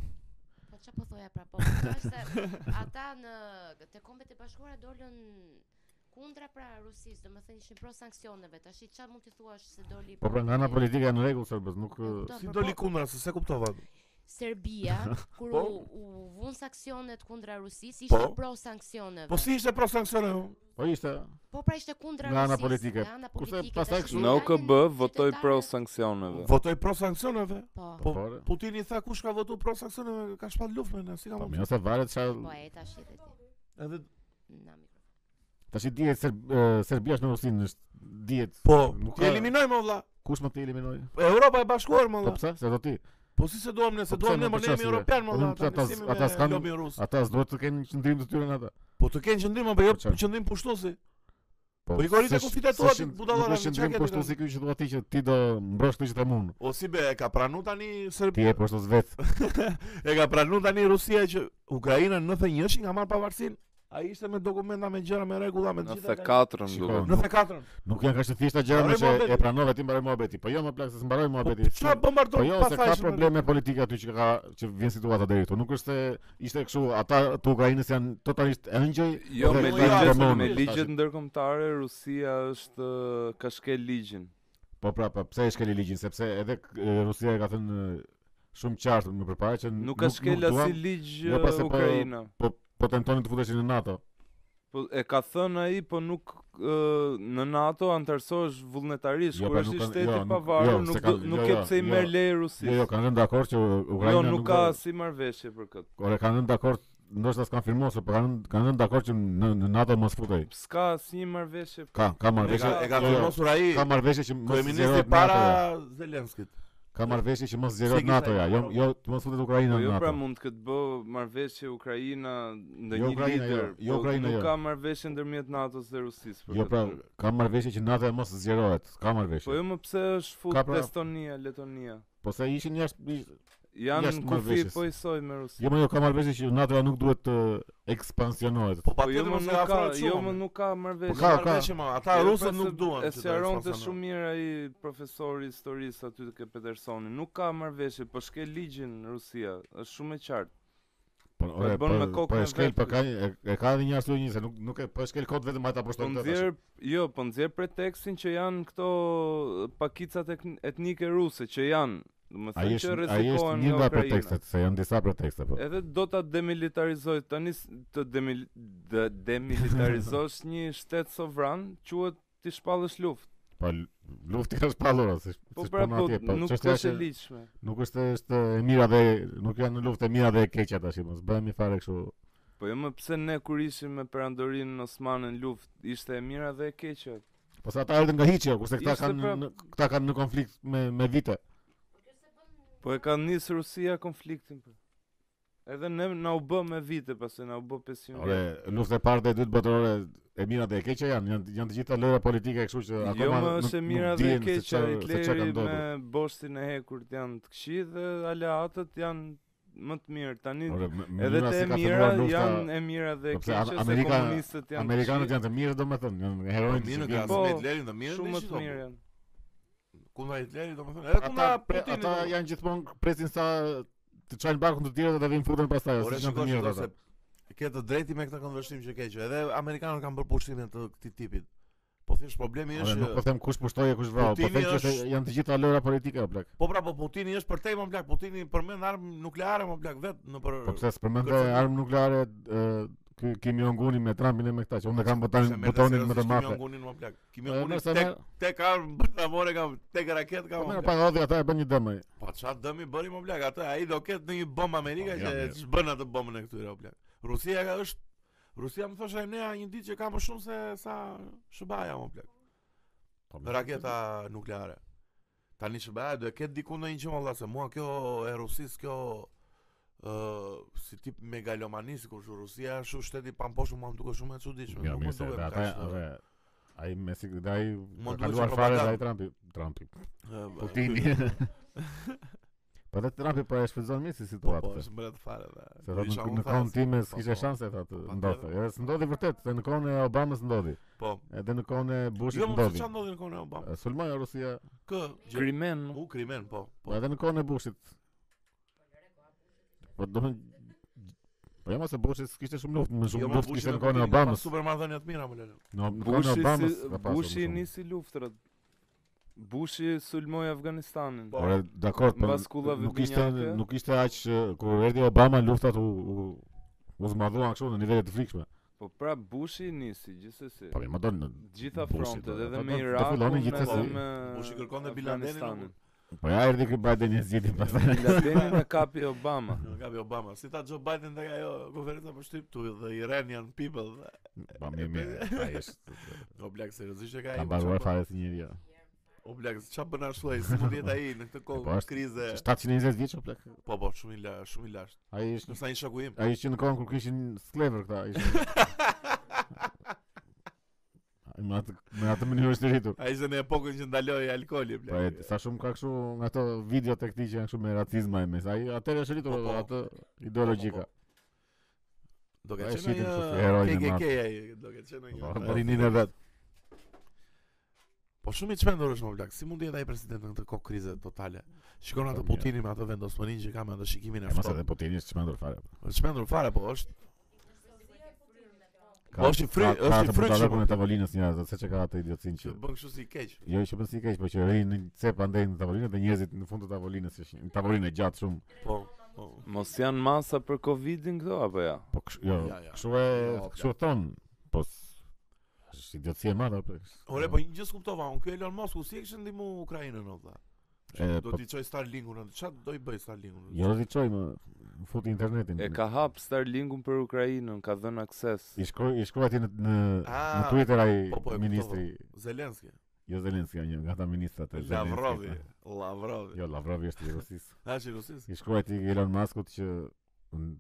E: Po çfarë po thoja pra po? Është ata në te kombet e bashkuara dolën kundra pra Rusisë, domethënë ishin pro sanksioneve. Tash çfarë mund të thuash se doli
A: Po pra nga ana politike janë në rregull serbët, nuk
E: E kuptoj,
B: Si
E: po,
B: doli
E: po,
B: kundra, se se kuptova.
E: Serbia kur
B: Po.
E: u, u vun sanksionet kundra Rusisë, ishte
B: Po.
E: pro sanksioneve.
B: Po si ishte pro sanksionë? o?
A: po ishte
E: Po pra ishte kundra
A: Nga ana
E: Rusisë,
A: politike.
E: Nga ana
A: Kurse
E: politike.
A: pastaj
E: tash
A: kështu-
C: Në
E: Italia,
C: OKB votoj
E: qytetarët-
C: pro sanksioneve.
B: Votoi pro sanksioneve.
E: Po.
B: Po
A: Po, fare.
B: Putini tha kush ka votu pro sanksioneve, ka shpat luftë me ne, si ka
A: po
B: mund.
A: më ose varet
E: Po
A: çfarë
E: e tash i dhe ti.
B: Edhe
E: Na mikro.
A: tash i dihet Serb- e, Serbia është me Rusinë, është dihet
B: Po,
A: Nuk
B: ti
A: ka-
B: eliminojmë o vëlla.
A: kush më të eliminoj.
B: Europa e bashkuar më
A: Po
B: vëlla.
A: pse? Se do ti.
B: Po si se duam ne, se
A: Po
B: duam
A: pse
B: ne,
A: nuk
B: më
A: po
B: ne jemi
A: qasje?
B: europian më
A: Po
B: vëlla.
A: nuk pse ata- ata s'kan-
B: lobin rus.
A: Ata s'duhet të kenë qendrim të tyre në ata.
B: Po të kenë qendrim apo jo,
A: Po çfarë?
B: qendrim pushtuesi.
A: Po,
B: Po i korrit e
A: s'është-
B: kufit e tua,
A: s'është-
B: ti budallare,
A: Nuk është
B: mi çka
A: qëndrim
B: ke ti
A: poshtu
B: tani?
A: si ky që thua ti që ti do mbrosh këtë që të mund.
B: O si be, e ka pranu tani
A: Ti
B: Serbia,
A: je poshtu vetë.
B: e ka pranu tani Rusia që Ukraina në 91 nga marr pavarësinë. Ai ishte me dokumenta, me gjëra, me rregulla, me të gjitha. ka-
C: 94
A: Shiko,
C: duhet.
B: 94.
A: Nuk janë kaq të thjeshta gjëra më
B: Mbaroj
A: që e
B: muhabetin.
A: pranove ti mbaroj muhabetin. Po jo më plak se s'mbaroj
B: Po
A: muhabetin.
B: çfarë bombardon
A: Po jo, se
B: pasaj
A: ka
B: shumë-
A: probleme politike aty që ka që vjen situata deri këtu. Nuk është se ishte kështu, ata të Ukrainës janë totalisht ëngjëj.
C: Jo,
A: Po, dhe
C: me
A: kanë
B: ligjet-
A: demonën,
C: me
B: Tash.
C: ligjet ndërkombëtare Rusia është ë, ka shkel ligjin.
A: Po pra, po pse e shkeli ligjin? Sepse edhe e, Rusia e ka thënë e, shumë qartë më përpara që
C: Nuk ka shkel
A: duam,
C: asnjë ligj
A: Jo, pra,
C: ë,
A: se po-
C: Ukraina.
A: Po po tentonin të futeshin në NATO.
C: Po e ka thënë ai, po nuk ë, në NATO antarsohesh vullnetarisht
A: Jo,
C: kur
A: pra,
C: është
A: nuk
C: i
A: kanë-
C: shteti
A: jo,
C: i
A: nuk- jo,
C: pavarur,
A: se
C: nuk
A: kanë-
C: do- nuk
A: jo,
C: e
A: jo,
C: pse i
A: jo.
C: merr lejë
A: Jo, jo,
C: Rusisë.
A: kanë rënë dakord që Ukraina
C: Jo, nuk ka
A: do-
C: si marrveshje për këtë.
A: Ore kanë rënë dakord, ndoshta s'kan firmuar, se po kanë rënë- kanë rënë dakord që në, në NATO mos futej.
C: S'ka asnjë marrveshje.
A: Ka ka
B: E
A: marrëveshje.
B: ka e ka
A: jo, jo,
B: vendosur ai.
A: Ka marrëveshje që mos
B: Kryeministi
A: zgjerohet NATO.
B: para Zelenskit.
A: Ka marrëveshje që mos
B: Se
A: zgjerohet
B: kishte
A: NATO-ja. Jo,
B: një-
A: jo, të mos futet Ukraina
C: Po
A: në
C: jo pra
A: NATO.
C: mund të këtë bë marrveshje Ukraina ndë
A: Jo,
C: një
A: Ukraina,
C: lider.
A: jo. Jo,
C: po
A: Ukraina,
C: nuk
A: jo.
C: ka marrveshje ndërmjet NATO-s dhe Rusisë për
A: Jo
C: këtë.
A: pra, ka marrëveshje që NATO-ja mos zgjerohet. Ka
C: Po
A: marrëveshje.
C: jo më pse është fut
A: Ka pra-
C: Estonia, Letonia.
A: Po se ishin jashtë ish-
C: Janë
A: Jashtë
C: në kufi
A: marrëveshjes.
C: po isoj me Rusinë.
A: Jo më jo ka marrëveshje që NATO-ja nuk duhet të ekspansionohet.
B: Po
C: Po jo
B: patjetër
C: më
B: mos e
C: nuk ka,
B: afrohet shumë.
C: jo
B: më.
C: më nuk ka
A: Po
B: Po
C: marrveshje.
B: ka,
A: ka,
B: ka. Ata
C: Jo, pra
B: rusët
C: se
B: nuk duan.
C: E
B: që ta
C: sqaronte
B: eksplosionin.
C: shumë mirë ai profesori i historisë aty te Petersoni. Nuk ka marrveshje, po shkel ligjin Rusia. Është shumë e qartë.
A: Po ore,
C: bën me
A: po
C: kokën
A: po e
C: e
A: shkel
C: vet,
A: po
C: ky.
A: ka një- e, e ka edhe një arsye një se nuk nuk e po e shkel kot vetëm ata po
C: Po
A: shtojnë këtë. tash.
C: nxjerr, jo, po nxjerr pretekstin që janë këto pakicat ek- etnike ruse që janë Do të
A: Ai
C: thënë
A: është ai është
C: që rrezikohen
A: një
C: nga
A: nga
C: Ukraina.
A: pretekstet, se janë disa pretekste po.
C: Edhe do ta demilitarizoj tani s- të demil, dë- demilitarizosh një shtet sovran, quhet ti shpallësh luftë.
A: Po lufti ka shpallur ose
C: Po
A: si
C: pra
A: shpallon
C: po
A: atje, po
C: nuk
A: çështja
C: është e
A: që-
C: ligjshme.
A: Nuk është është e mira dhe nuk janë në luftë e mira dhe e keqja tash, mos bëhemi fare kështu.
C: Po jo më pse ne kur ishim me perandorin Osmanën në luftë, ishte e mira dhe e keqja.
A: Po sa ata erdhën nga hiçja, kurse këta
C: Ishte
A: kanë
C: pra-
A: në- këta kanë në konflikt me me vite.
C: Po e ka nis Rusia konfliktin. pra. Edhe ne na u bë me vite pastaj na u bë 500
A: Ore,
C: vjet.
A: lufta e parë dhe e dytë botërore e mira dhe e keqja janë, janë janë të gjitha lëra politike kështu që akoma
C: Jo më
A: nuk-
C: është e
A: nuk
C: mira dhe e
A: dihen se
C: keqja
A: çfarë- se çfarë ka
C: Hitleri
A: ndodhur.
C: me boshtin e hekurt janë të këqij dhe aleatët janë më të mirë. Tani
A: Ore, m-
C: Edhe
A: mënyra
C: të
A: si
C: e
A: ka
C: mira
A: filluar lufta,
C: janë e mira dhe e
A: Po pse
C: keqe
A: Am-
C: se
A: Amerika-
C: komunistët janë.
A: Amerikanët janë të Po, mirë domethënë, janë heronjë.
B: Po, Mirë në
A: të civilizimit.
B: krahasim me Hitlerin, të mirë
C: shumë më të mirë janë.
B: Kundra Hitlerit, domethënë, edhe kundra
A: Ata, pre,
B: Putinit.
A: ata
B: domethënë.
A: janë gjithmonë presin sa të çajnë barkun të tjerë dhe ta vinë futen pastaj,
B: Ore,
A: ose janë të
B: shikosh
A: mirë
B: shikosh
A: ata.
B: se ke të drejti me këtë konversim që ke që edhe amerikanët kanë bërë pushime të këtij tipit. Po thjesht problemi
A: Ore,
B: është
A: nuk po
B: që-
A: them kush pushtoi e kush vrau, po
B: Putini
A: them që se
B: është-
A: janë të gjitha lëra politike o blek.
B: po pra po Putini është për te më blak, Putini përmend armë nukleare më blak vet në për
A: Po pse s'përmend
B: kërcen-
A: armë nukleare e, ky Kim Jong Uni me Trumpin e me këta, që unë e kam botanin botonin me të mafe.
B: Kim Jong-unin më blak. Kim
A: Po,
B: Jong-unin
A: nëse
B: tek
A: me-
B: tek armë bërtamore ka tek raket ka.
A: Po
B: më
A: më
B: blak.
A: pa hodhi ata e bën një dëm ai.
B: Po çfarë dëmi bëri më blak atë, ai do ketë në një bombë Amerika
A: Po,
B: që
A: jam, jam.
B: ç'bën atë bombën e këtyre o blak. Rusia ka është Rusia më thosha ne një ditë që ka më shumë se sa shëbaja më blak. Po, Raketa nukleare. Tani shëbaja do e ketë diku në një që më valla, se mua kjo e Rusis kjo ë si tip megalomani sikur që Rusia është shumë shteti i pamposhëm, mua më duket shumë e çuditshme.
A: Ja,
B: Nuk
A: mirë
B: më
A: se
B: duket.
A: ata
B: kaq,
A: ore, ai me si ai
B: Mund
A: ka
B: duhet
A: kaluar
B: që
A: fare
B: propagandë.
A: dhe ai Trumpi, Trumpi.
B: ë,
A: Putini. Po dhe Trumpi po e shfrytëzon mirë si
B: Po, po,
A: situatë.
B: është bërë të fare. dhe.
A: Se thotë
B: Isha
A: në-
B: unë
A: në
B: thare,
A: kohën
B: se-
A: time
B: po, po,
A: s'kishe shanse thotë,
B: Po,
A: ndoshta.
B: patjetër.
A: Jo, s'ndodhi vërtet, se në kohën e Obamës ndodhi,
B: Po.
A: edhe në kohën e
B: Jo,
A: Bushit
B: mos e
A: ndodhi.
B: çan ndodhi në kohën e Obama.
A: E, Sulmoi Rusia,
B: Kë gjë-
C: Krimen, mo.
B: u krimen, po.
A: po edhe në kohën e Bushit. Po do të Po jam se Bushi s'kishte shumë luftë, më shumë
B: Jo, më
A: luftë
B: Bushi
A: kishte
B: me
A: në kohën e
B: Putinin ka pas
A: Obamës.
B: Supermarketën e të mira, më lele.
A: Në në kohën e
C: Bushi
A: Obamës.
C: si
A: ka pasur
C: Bushi
A: më shumë.
C: nisi luftrat. Bushi sulmoi Afganistanin.
B: Po.
A: Ore, dakord, po
C: Mbas kullave
A: nuk ishte
C: binjake.
A: nuk ishte aq uh, kur erdhi Obama luftat u u, u zmadhuan kështu në nivele të frikshme.
C: Po pra Bushi nisi gjithsesi.
A: Po më don.
C: Gjitha
A: Bushi,
C: frontet,
A: do-
C: edhe
A: do-
C: me
A: do- do
C: Irakun,
A: fillonin
C: edhe
A: gjithsesi.
C: me
B: Bushi kërkonte Bin Ladenin,
C: Afganistanin.
A: Po ja erdhi ky Biden e zgjidhi pastaj.
C: Bin Ladenin e kapi Obama.
B: Nuk Gabi Obama, si ta Joe Biden dhe ajo konferenca për shtyp tu dhe Iranian people. Dhe...
A: Po mirë, mirë, ai është
B: O blak seriozisht e ka
A: ka
B: ai. çfarë
A: mbaruar
B: bën-
A: fare si jo. njeriu.
B: O blak, çfarë bën ashtu ai? Si mund jetë ai në këtë
A: E, po,
B: kohë
A: është-
B: krize?
A: 720 vjeç o plak.
B: Po po, shumë i la, shumë i lashtë.
A: Ai është
B: Nësa një shoku im.
A: ai ishte në kohën kur kishin sklever këta, ishte. Ai me atë me atë mënyrë është i rritur.
B: Ai ishte në epokën që ndaloi alkooli
A: Po e,
B: blak.
A: sa shumë ka kështu nga ato video tek ti që janë kështu me racizëm e mes. Ai atëherë është rritur
B: Po, po.
A: atë ideologjika.
B: Do
A: po,
B: ka
A: e
B: qenë
A: shitim kështu si
B: një
A: heroin e
B: KKK ai, do ka qenë
A: Po,
B: një.
A: po, rinin e vet.
B: Po shumë i çmendur është më blak. Si mund të jetë ai president në këtë kohë krize totale? Shikon atë
A: Po, mirë.
B: Putinin me atë vendosmërinë që ka me atë shikimin
A: E
B: e
A: mos edhe
B: ftohtë.
A: po Putini është çmendur fare.
B: Është çmendur fare, po është
A: Ka-
B: Po, është i fry-
A: ka- ka
B: është i
A: atë
B: frykshëm,
A: budallakun
B: o.
A: e tavolinës një herë, se çka ka atë idiocin që
B: që bën kështu si keq.
A: Jo, që bën si keq, po që rrinë në cep andej në tavolinë dhe njerëzit në fund të tavolinës që ishin- tavolinë e gjatë shumë.
B: Po. po.
C: Mos janë masa për Covidin këto apo ja?
A: Po kështu, jo,
B: Ja, ja.
A: kështu e
B: Jo,
A: kështu e thon. Po s- është idioci e madhe apo?
B: Ore, po një gjë s'kuptova, unë ky Elon Musk u si e kishte ndihmu Ukrainën o vëlla.
A: E,
B: Do
A: po-
B: t'i çoj Starlinkun, çfarë do i bëj Starlinkun?
A: Jo, do t'i çoj më futi internetin.
C: E ka hap Starlinkun për Ukrainën, ka dhënë akses.
A: I shkruaj i shkruaj aty në në,
B: Ah,
A: në Twitter ai
B: po, po, e kuptova.
A: ministri
B: Zelenski,
A: Jo Zelenski, jo, nga ata ministrat e Zelenski.
B: Lavrovi, Lavrovi.
A: Jo, Lavrovi është i Rusisë.
B: Ha që Rusis.
A: I shkruaj ti Elon Muskut që n-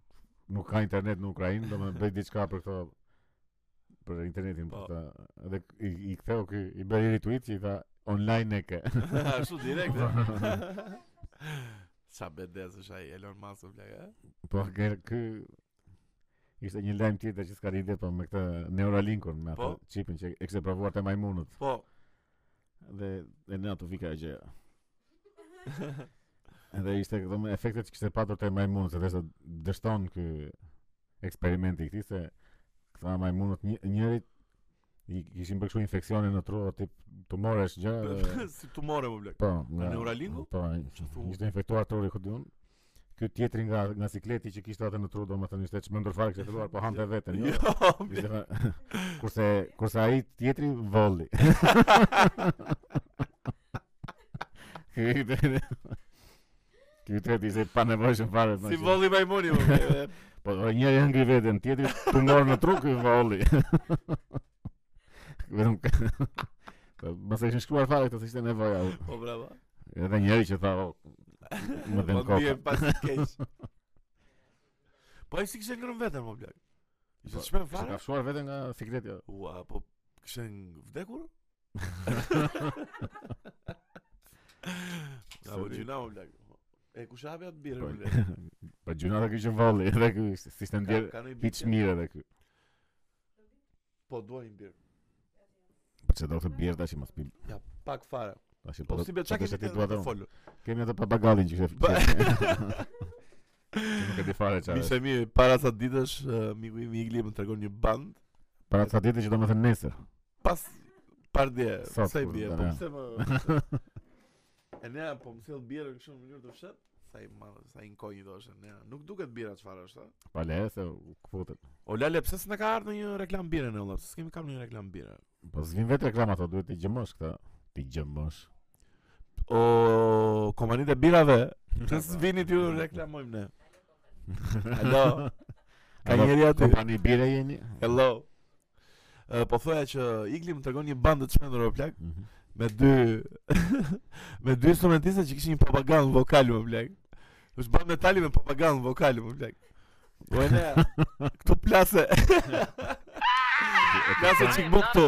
A: nuk ka internet në Ukrainë, do më bëj diçka për këto për internetin për
B: Po.
A: këta. Edhe k- i, i ktheu ky i bëri retweet që i tha online e ke.
B: Ashtu direkt. e? Sa bedes është ai Elon Musk o eh? vlla, e?
A: po ke- ky ishte një lajm tjetër që s'ka rinj po me këtë Neuralinkun me atë
B: Po.
A: chipin që e kishte provuar te majmunët
B: Po,
A: dhe dhe në ato vika e gjëja. Edhe ishte këto me efektet që kishte patur te majmunët, se dështon dështon ky eksperimenti i këtij se këta majmunët një, njëri i kishin bërë kështu infeksione në tru, tip tumoresh gjë. dhe-
B: si tumore më blek.
A: Po,
B: A në Uralingu?
A: Po, ai
B: Ço thua?
A: ishte infektuar truri ku diun. Ky tjetri nga nga sikleti që kishte atë në tru, domethënë ishte çmendur fare kishte filluar po hante veten, jo.
B: Jo,
A: Ishte fa- kurse kurse ai tjetri volli. Ky tjetri- Ky tjetri ishte pa nevojshëm fare.
B: si
A: domethënë.
B: volli majmoni më blek. eh?
A: Po o, njëri e ngri veten, tjetri tumor në truk i volli. Vetëm ka- Po, Mos e kishin shkruar fare këtë se ishte nevoja. u.
B: Po brava.
A: Edhe njëri që tha, o, më dhe në
B: Po ndiem
A: koka.
B: pas i keq. Po ai si kishte ngrënë veten më blek. Ishte
A: Po,
B: çmend
A: Se ka
B: fare.
A: fshuar veten nga jo. sikletja.
B: Ua, po kishte ng- vdekur? Ja, po
A: Se di.
B: gjuna më blek. E kush hapi atë birë
A: Po,
B: më blek?
A: Po gjunata ky që volli, edhe ky si ishte
B: Ka,
A: ndjer
B: ka në
A: hiç mirë edhe ky.
B: Po duaj një birë.
A: Po çe do të bjerë tash mos pi.
B: Ja, pak fare.
A: Tash
B: Po si be çka
A: tash
B: kemi
A: ti
B: të
A: dua të.
B: të folur.
A: Kemi atë pa bagallin që kishte.
B: Ba-
A: Që Nuk e di fare çfarë.
B: Mishe mi, para sa ditësh, eh, miku i Igli më tregon një band
A: Para ca ditë që domethënë nesër.
B: pas par dje,
A: Sot,
B: sa i
A: kur,
B: bie,
A: da,
B: po
A: da.
B: pse më E nea po më sjell birën kështu në mënyrë të fshet, sa i ma, sa i inkognito është nea. Nuk duket bira çfarë është. a?
A: Pa le se u futet.
B: O lale, pse s'na ka ardhur një reklam bire në vëlla? S'kemi kam një reklam bire.
A: Po s'vin vetë reklama ato, duhet ti gjëmosh këtë. Ti gjëmosh.
B: O kompanitë e birave, pse s'vini ti ju reklamojmë ne? Alo. Ka
A: Alo,
B: njëri aty.
A: Kompani bire jeni?
B: Hello. Ë, po thoya që Igli më tregon një bandë të çmendur o plak
A: Mhm.
B: me dy me dy instrumentistë që kishin një propagandë vokale më blek. Është bën metali me propagandë vokale më blek. Po ne këtu plase. Plase çik më këtu.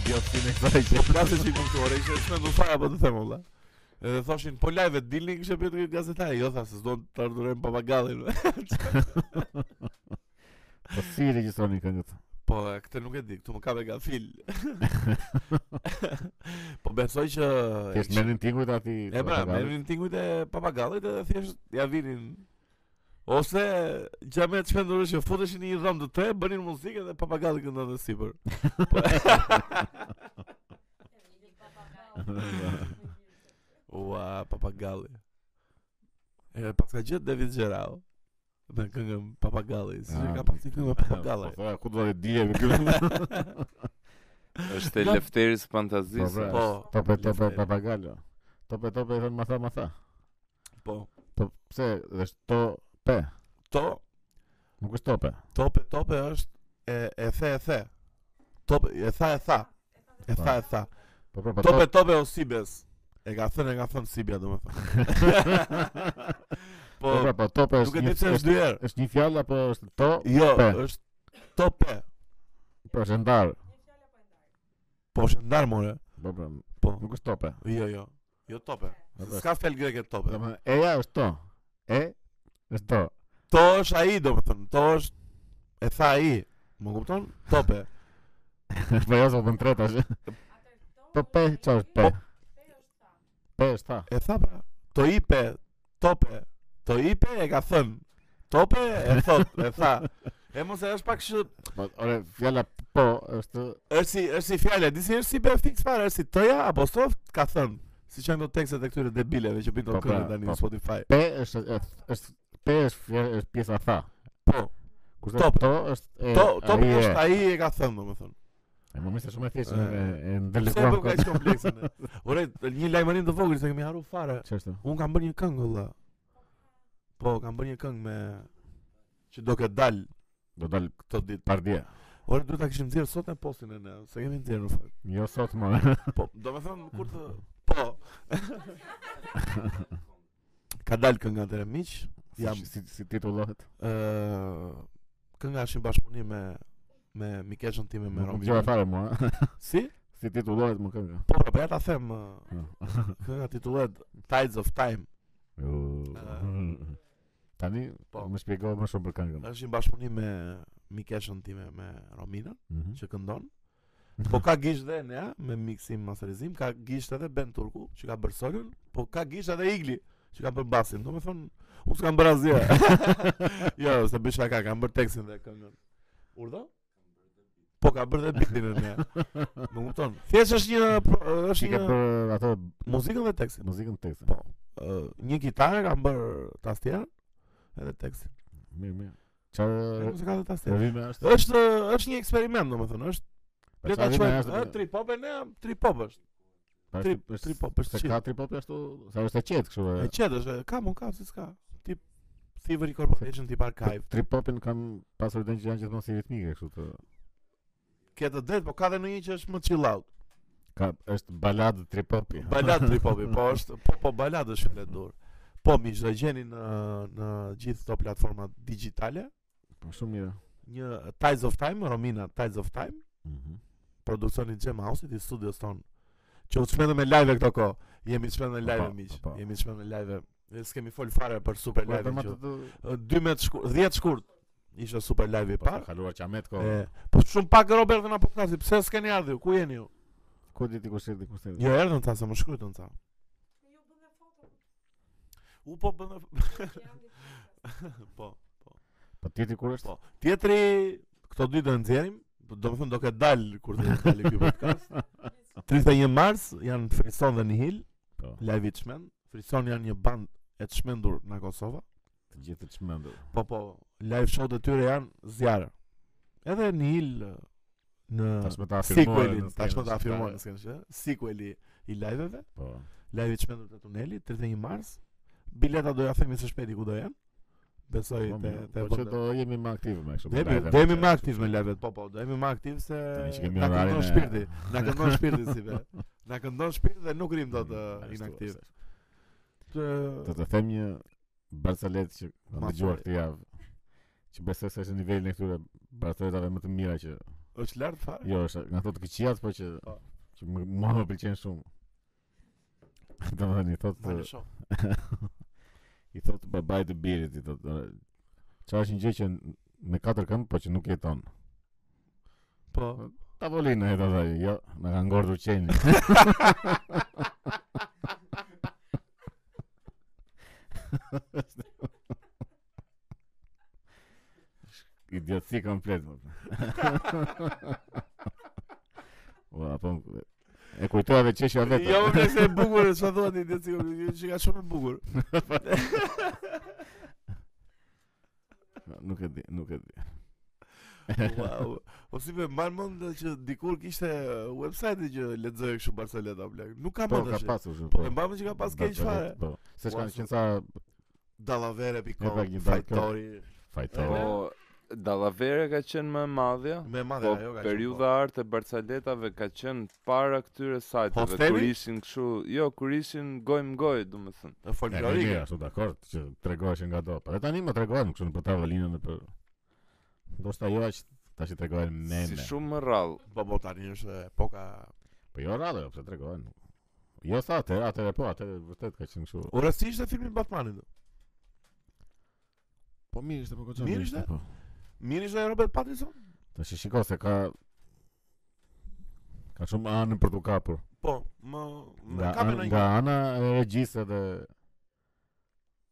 A: Idiotin e kësaj që.
B: Plase çik më këtu. Ora ishte çmendur fare apo të them valla. Edhe thoshin po live dilni kishte bërë këtë gazetari, jo tha se s'do të ardhurojmë propagandën.
A: Po si i regjistroni këngët?
B: Po, e, këtë nuk e di, këtu më ka me gafil. po besoj që
A: Thjesht merrin tingut aty.
B: E pra, merrin tingujt e papagallit edhe thjesht ja vinin Ose gjame të shpendurë që futeshin në një dhëmë të te, bënin muzikë dhe papagalli këndon dhe sipër Ua, papagalli E pas ka gjithë David Gjerau Me këngën papagalli, si që
A: Ah,
B: ka pas një këngë me papagalli
A: Po, ku do të dije me këtu?
C: Është e
B: Na-
C: Lefteris
A: Po,
C: Fantazisë.
A: pra,
B: Po,
A: tope tope papagallo. Tope tope thon ma tha ma tha.
B: po
A: Po pse është to pe?
B: To,
A: Nuk është tope.
B: tope, tope është e, e the, e the Tope, e tha, e tha E tha, e tha
A: Po po po.
B: Tope tope o Sibes. E ka thënë, e ka thënë Sibia domethënë. po,
A: Po pra, po tope
B: nuk
A: është.
B: e di
A: një-
B: pse është dy herë.
A: Është një fjalë apo është to?
B: Jo,
A: Pe.
B: është tope.
A: Po është ndar.
B: Po është ndar more.
A: Po po.
B: Po.
A: Nuk është tope.
B: Jo, jo. Jo tope.
A: Po, po,
B: S'ka fjalë greke tope.
A: Domethënë eja është to. E është to.
B: To është ai domethënë, to është e tha ai. Më kupton? Tope.
A: Po jo, po tre tash. Po pe, çfarë është pe? Pe është tha.
B: E tha pra. To ipe, tope. To ipe e ka thënë. Tope e thot, e tha. E mos e është pak shë
A: Po, ore, fjala po është
B: është si është si fjalë, di si është si be fix fare, është si toja apostrof ka thënë. Si që janë këto tekstet e këtyre debileve që
A: Po,
B: bindon
A: pra,
B: këngë tani
A: po.
B: në Spotify.
A: P është është- është P është fjalë është pjesa tha.
B: Po,
A: Kurse
B: Top.
A: to është e.
B: to to
A: ai e.
B: është ai e ka thënë domethënë.
A: E më mëse shumë e thjeshtë
B: E.
A: e e
B: Pse e
A: ndërlikuam
B: bëm kaq komplekse ne? Ore, një lajmërim të vogël se kemi harru fare.
A: Ç'është?
B: Un kam bërë një këngë valla. Po, kam bërë një këngë me që do këtë dal
A: Do dal
B: këto ditë.
A: par dje.
B: Ore, duhet ta kishim nxjerr sot në postin e ne, se kemi nxjerr në fakt.
A: Jo sot më.
B: Po, domethënë kur të po. ka dal kënga atëre miq. Jam
A: si si titullohet.
B: Ë, kënga është një bashkëpunim me me Mikeshën time me
A: Nuk
B: Romi.
A: gjova fare mua.
B: Si?
A: Si titullohet më kënga.
B: Po, pra, po ja ta them, ë, kënga titullohet Tides of Time.
A: U. Jo. Tani
B: Po.
A: më shpjegoj më shumë për këngën.
B: Është një bashkëpunim me Mikeshën time me Rominën
A: Mhm.
B: që këndon. Po ka gisht dhe ne, me miksim masterizim, ka gisht edhe Ben Turku që ka bërë solun, po ka gisht edhe Igli që ka bërë basin. Domethënë, unë s'kam bërë asgjë. jo, se bëj shaka, kam bërë tekstin dhe këngën. Urdhë? Po ka bërë dhe bitin e ne. Më kupton. Thjesht është një pro- është
A: Ti ke
B: një
A: për ato
B: muzikën dhe tekstin.
A: muzikën tekstin.
B: Po. Ë, një gitarë ka bërë tastier edhe tekstin.
A: Mirë, mirë.
B: Edhe
A: Çfarë
B: Muzika dhe tastier.
A: rime është?
B: Është është një eksperiment domethënë, është le ta
A: Çfarë rime
B: quajmë ë,
A: Po, është?
B: trip hop e ne trip hop është.
A: Pa,
B: trip-
A: është-
B: trip hop, është
A: Se
B: chill.
A: ka trip hop ashtu, sa është e qetë kështu. e.
B: E qetë është, e, ka mund ka si s'ka. Tip Thievery Corporation tip archive.
A: Trip hopin kanë pasur dhe një që janë gjithmonë si ritmike kështu të.
B: Ke të drejtë, po ka edhe ndonjë që është më chill out.
A: Ka është baladë trip hopi.
B: Balad trip hopi, po është, po po balad është shumë e dur. Po miq, do gjeni në në gjithë këto platforma digjitale,
A: Po shumë mirë.
B: një Tides of Time, Romina Tides of Time,
A: Mhm.
B: produksioni Gem House-it i studios ton. Që u shmendëm me live këto kohë. Jemi shmendëm me
A: Po,
B: live
A: po,
B: miq.
A: po.
B: Jemi shmendëm me live. Ne s'kemi fol fare për super
A: Po e
B: live.
A: bëma
B: që-
A: të
B: Ë,
A: të
B: 12 shkurt, 10 shkurt. Ishte super live i
A: Po ka
B: parë.
A: kaluar qamet ko.
B: E, po shumë pak Robert na po flasi, pse s'keni ardhur? Ku jeni ju?
A: Ku di ti kush erdhi kush erdhi?
B: Jo erdhën ta se më shkruajtën ta. U po bën po.
A: Po ti ti kur është?
B: Po. Tjetri këto dy do nxjerrim, do të thonë do ketë dalë kur të jetë dalë ky podcast. 31 mars janë Frison dhe Nihil,
A: Po.
B: live i çmend. Frison janë një band e çmendur nga Kosova.
A: Të gjithë të çmendur.
B: Po po, live show-t e tyre janë zjarë. Edhe Nihil eh, në
A: Tashmë ta
B: sequelin,
A: afirmojnë.
B: tashmë ta afirmojnë, s'kenë shë, sequeli i live-eve,
A: Po.
B: live i çmendur te tuneli 31 mars. Bileta do ja themi së shpejti ku do janë. Besoj
A: Po,
B: te
A: mirë.
B: te
A: Po që do jemi më aktiv me kështu.
B: Demi,
A: live-e,
B: demi
A: që-
B: më aktiv me live-et, po po, demi më aktiv se
A: Tani që kemi
B: na
A: orarin
B: këndon
A: e-
B: shpirti, na këndon shpirti si be. Na këndon shpirti dhe nuk rim dot
A: Mm,
B: ë,
A: ashtu
B: inaktiv.
A: është. Do
B: Të-
A: të them një Barcelet që kam
B: Ma
A: dëgjuar
B: thuaj.
A: këtë javë. Që besoj se është në nivelin e këtyre Barceletave më të mira që
B: Është lart fare.
A: jo, është nga ato të këqijat, po që
B: Po.
A: që më mua më pëlqen shumë. Domethënë i
B: Ma
A: thotë
B: në shoh.
A: i thotë babai të birit, i thotë "Ore, çfarë është një gjë që n- me katër këmbë, po që nuk jeton.
B: Po.
A: Tavolinë e thotë ai, jo, na ka ngordhur qeni. Idiotësi komplet. Më. Ua, po më- e kujtova vetë çeshja vetë.
B: Jo, më vjen se e bukur, çfarë thua ti, ti që ka shumë e bukur.
A: nuk e di, nuk e di.
B: Wow. O si be mban mend që dikur kishte uh, website-i që lexoj kështu Barcelona plak. Nuk ka
A: Po
B: mend
A: ka
B: tash.
A: pasur shumë.
B: Po e mbam që ka pas keq
A: Barcelet,
B: fare.
A: Po. Se
B: Ua,
A: kanë
B: se-
A: qenë sa E pak
B: Dallavere.com,
A: një dark web.
B: fajtori.
A: fajtorë.
C: Po, Dallavere ka qenë më e madhja.
B: Me madhe
C: Po,
B: ajo ka. qenë, po.
C: periudha arte e Barcaletave ka qenë para këtyre sajteve,
B: Hoftemi?
C: kur ishin kështu, jo, kur ishin gojë më gojë, domethënë.
B: E folklorike.
A: Ashtu dakord që tregoheshin nga do. Po dhe tani më tregohen kështu në për tavolinën e për ndoshta jo aq tash i tregohen
C: Si
A: meme.
C: shumë më rrallë.
B: Po po tani është epoka
A: Po jo rradhë, jo, pse tregohen. Jo sa atë, atë po, atë vërtet ka qenë kështu.
B: Ora si ishte filmi Batmanit? do?
A: Po mirë ishte po goxha.
B: Mirë ishte?
A: Po.
B: Mirë ishte Robert Pattinson?
A: Tash shiko se ka ka shumë anë për t'u kapur.
B: Po, më më
A: Nga,
B: kapën
A: an, nga
B: një
A: ana e regjisë dhe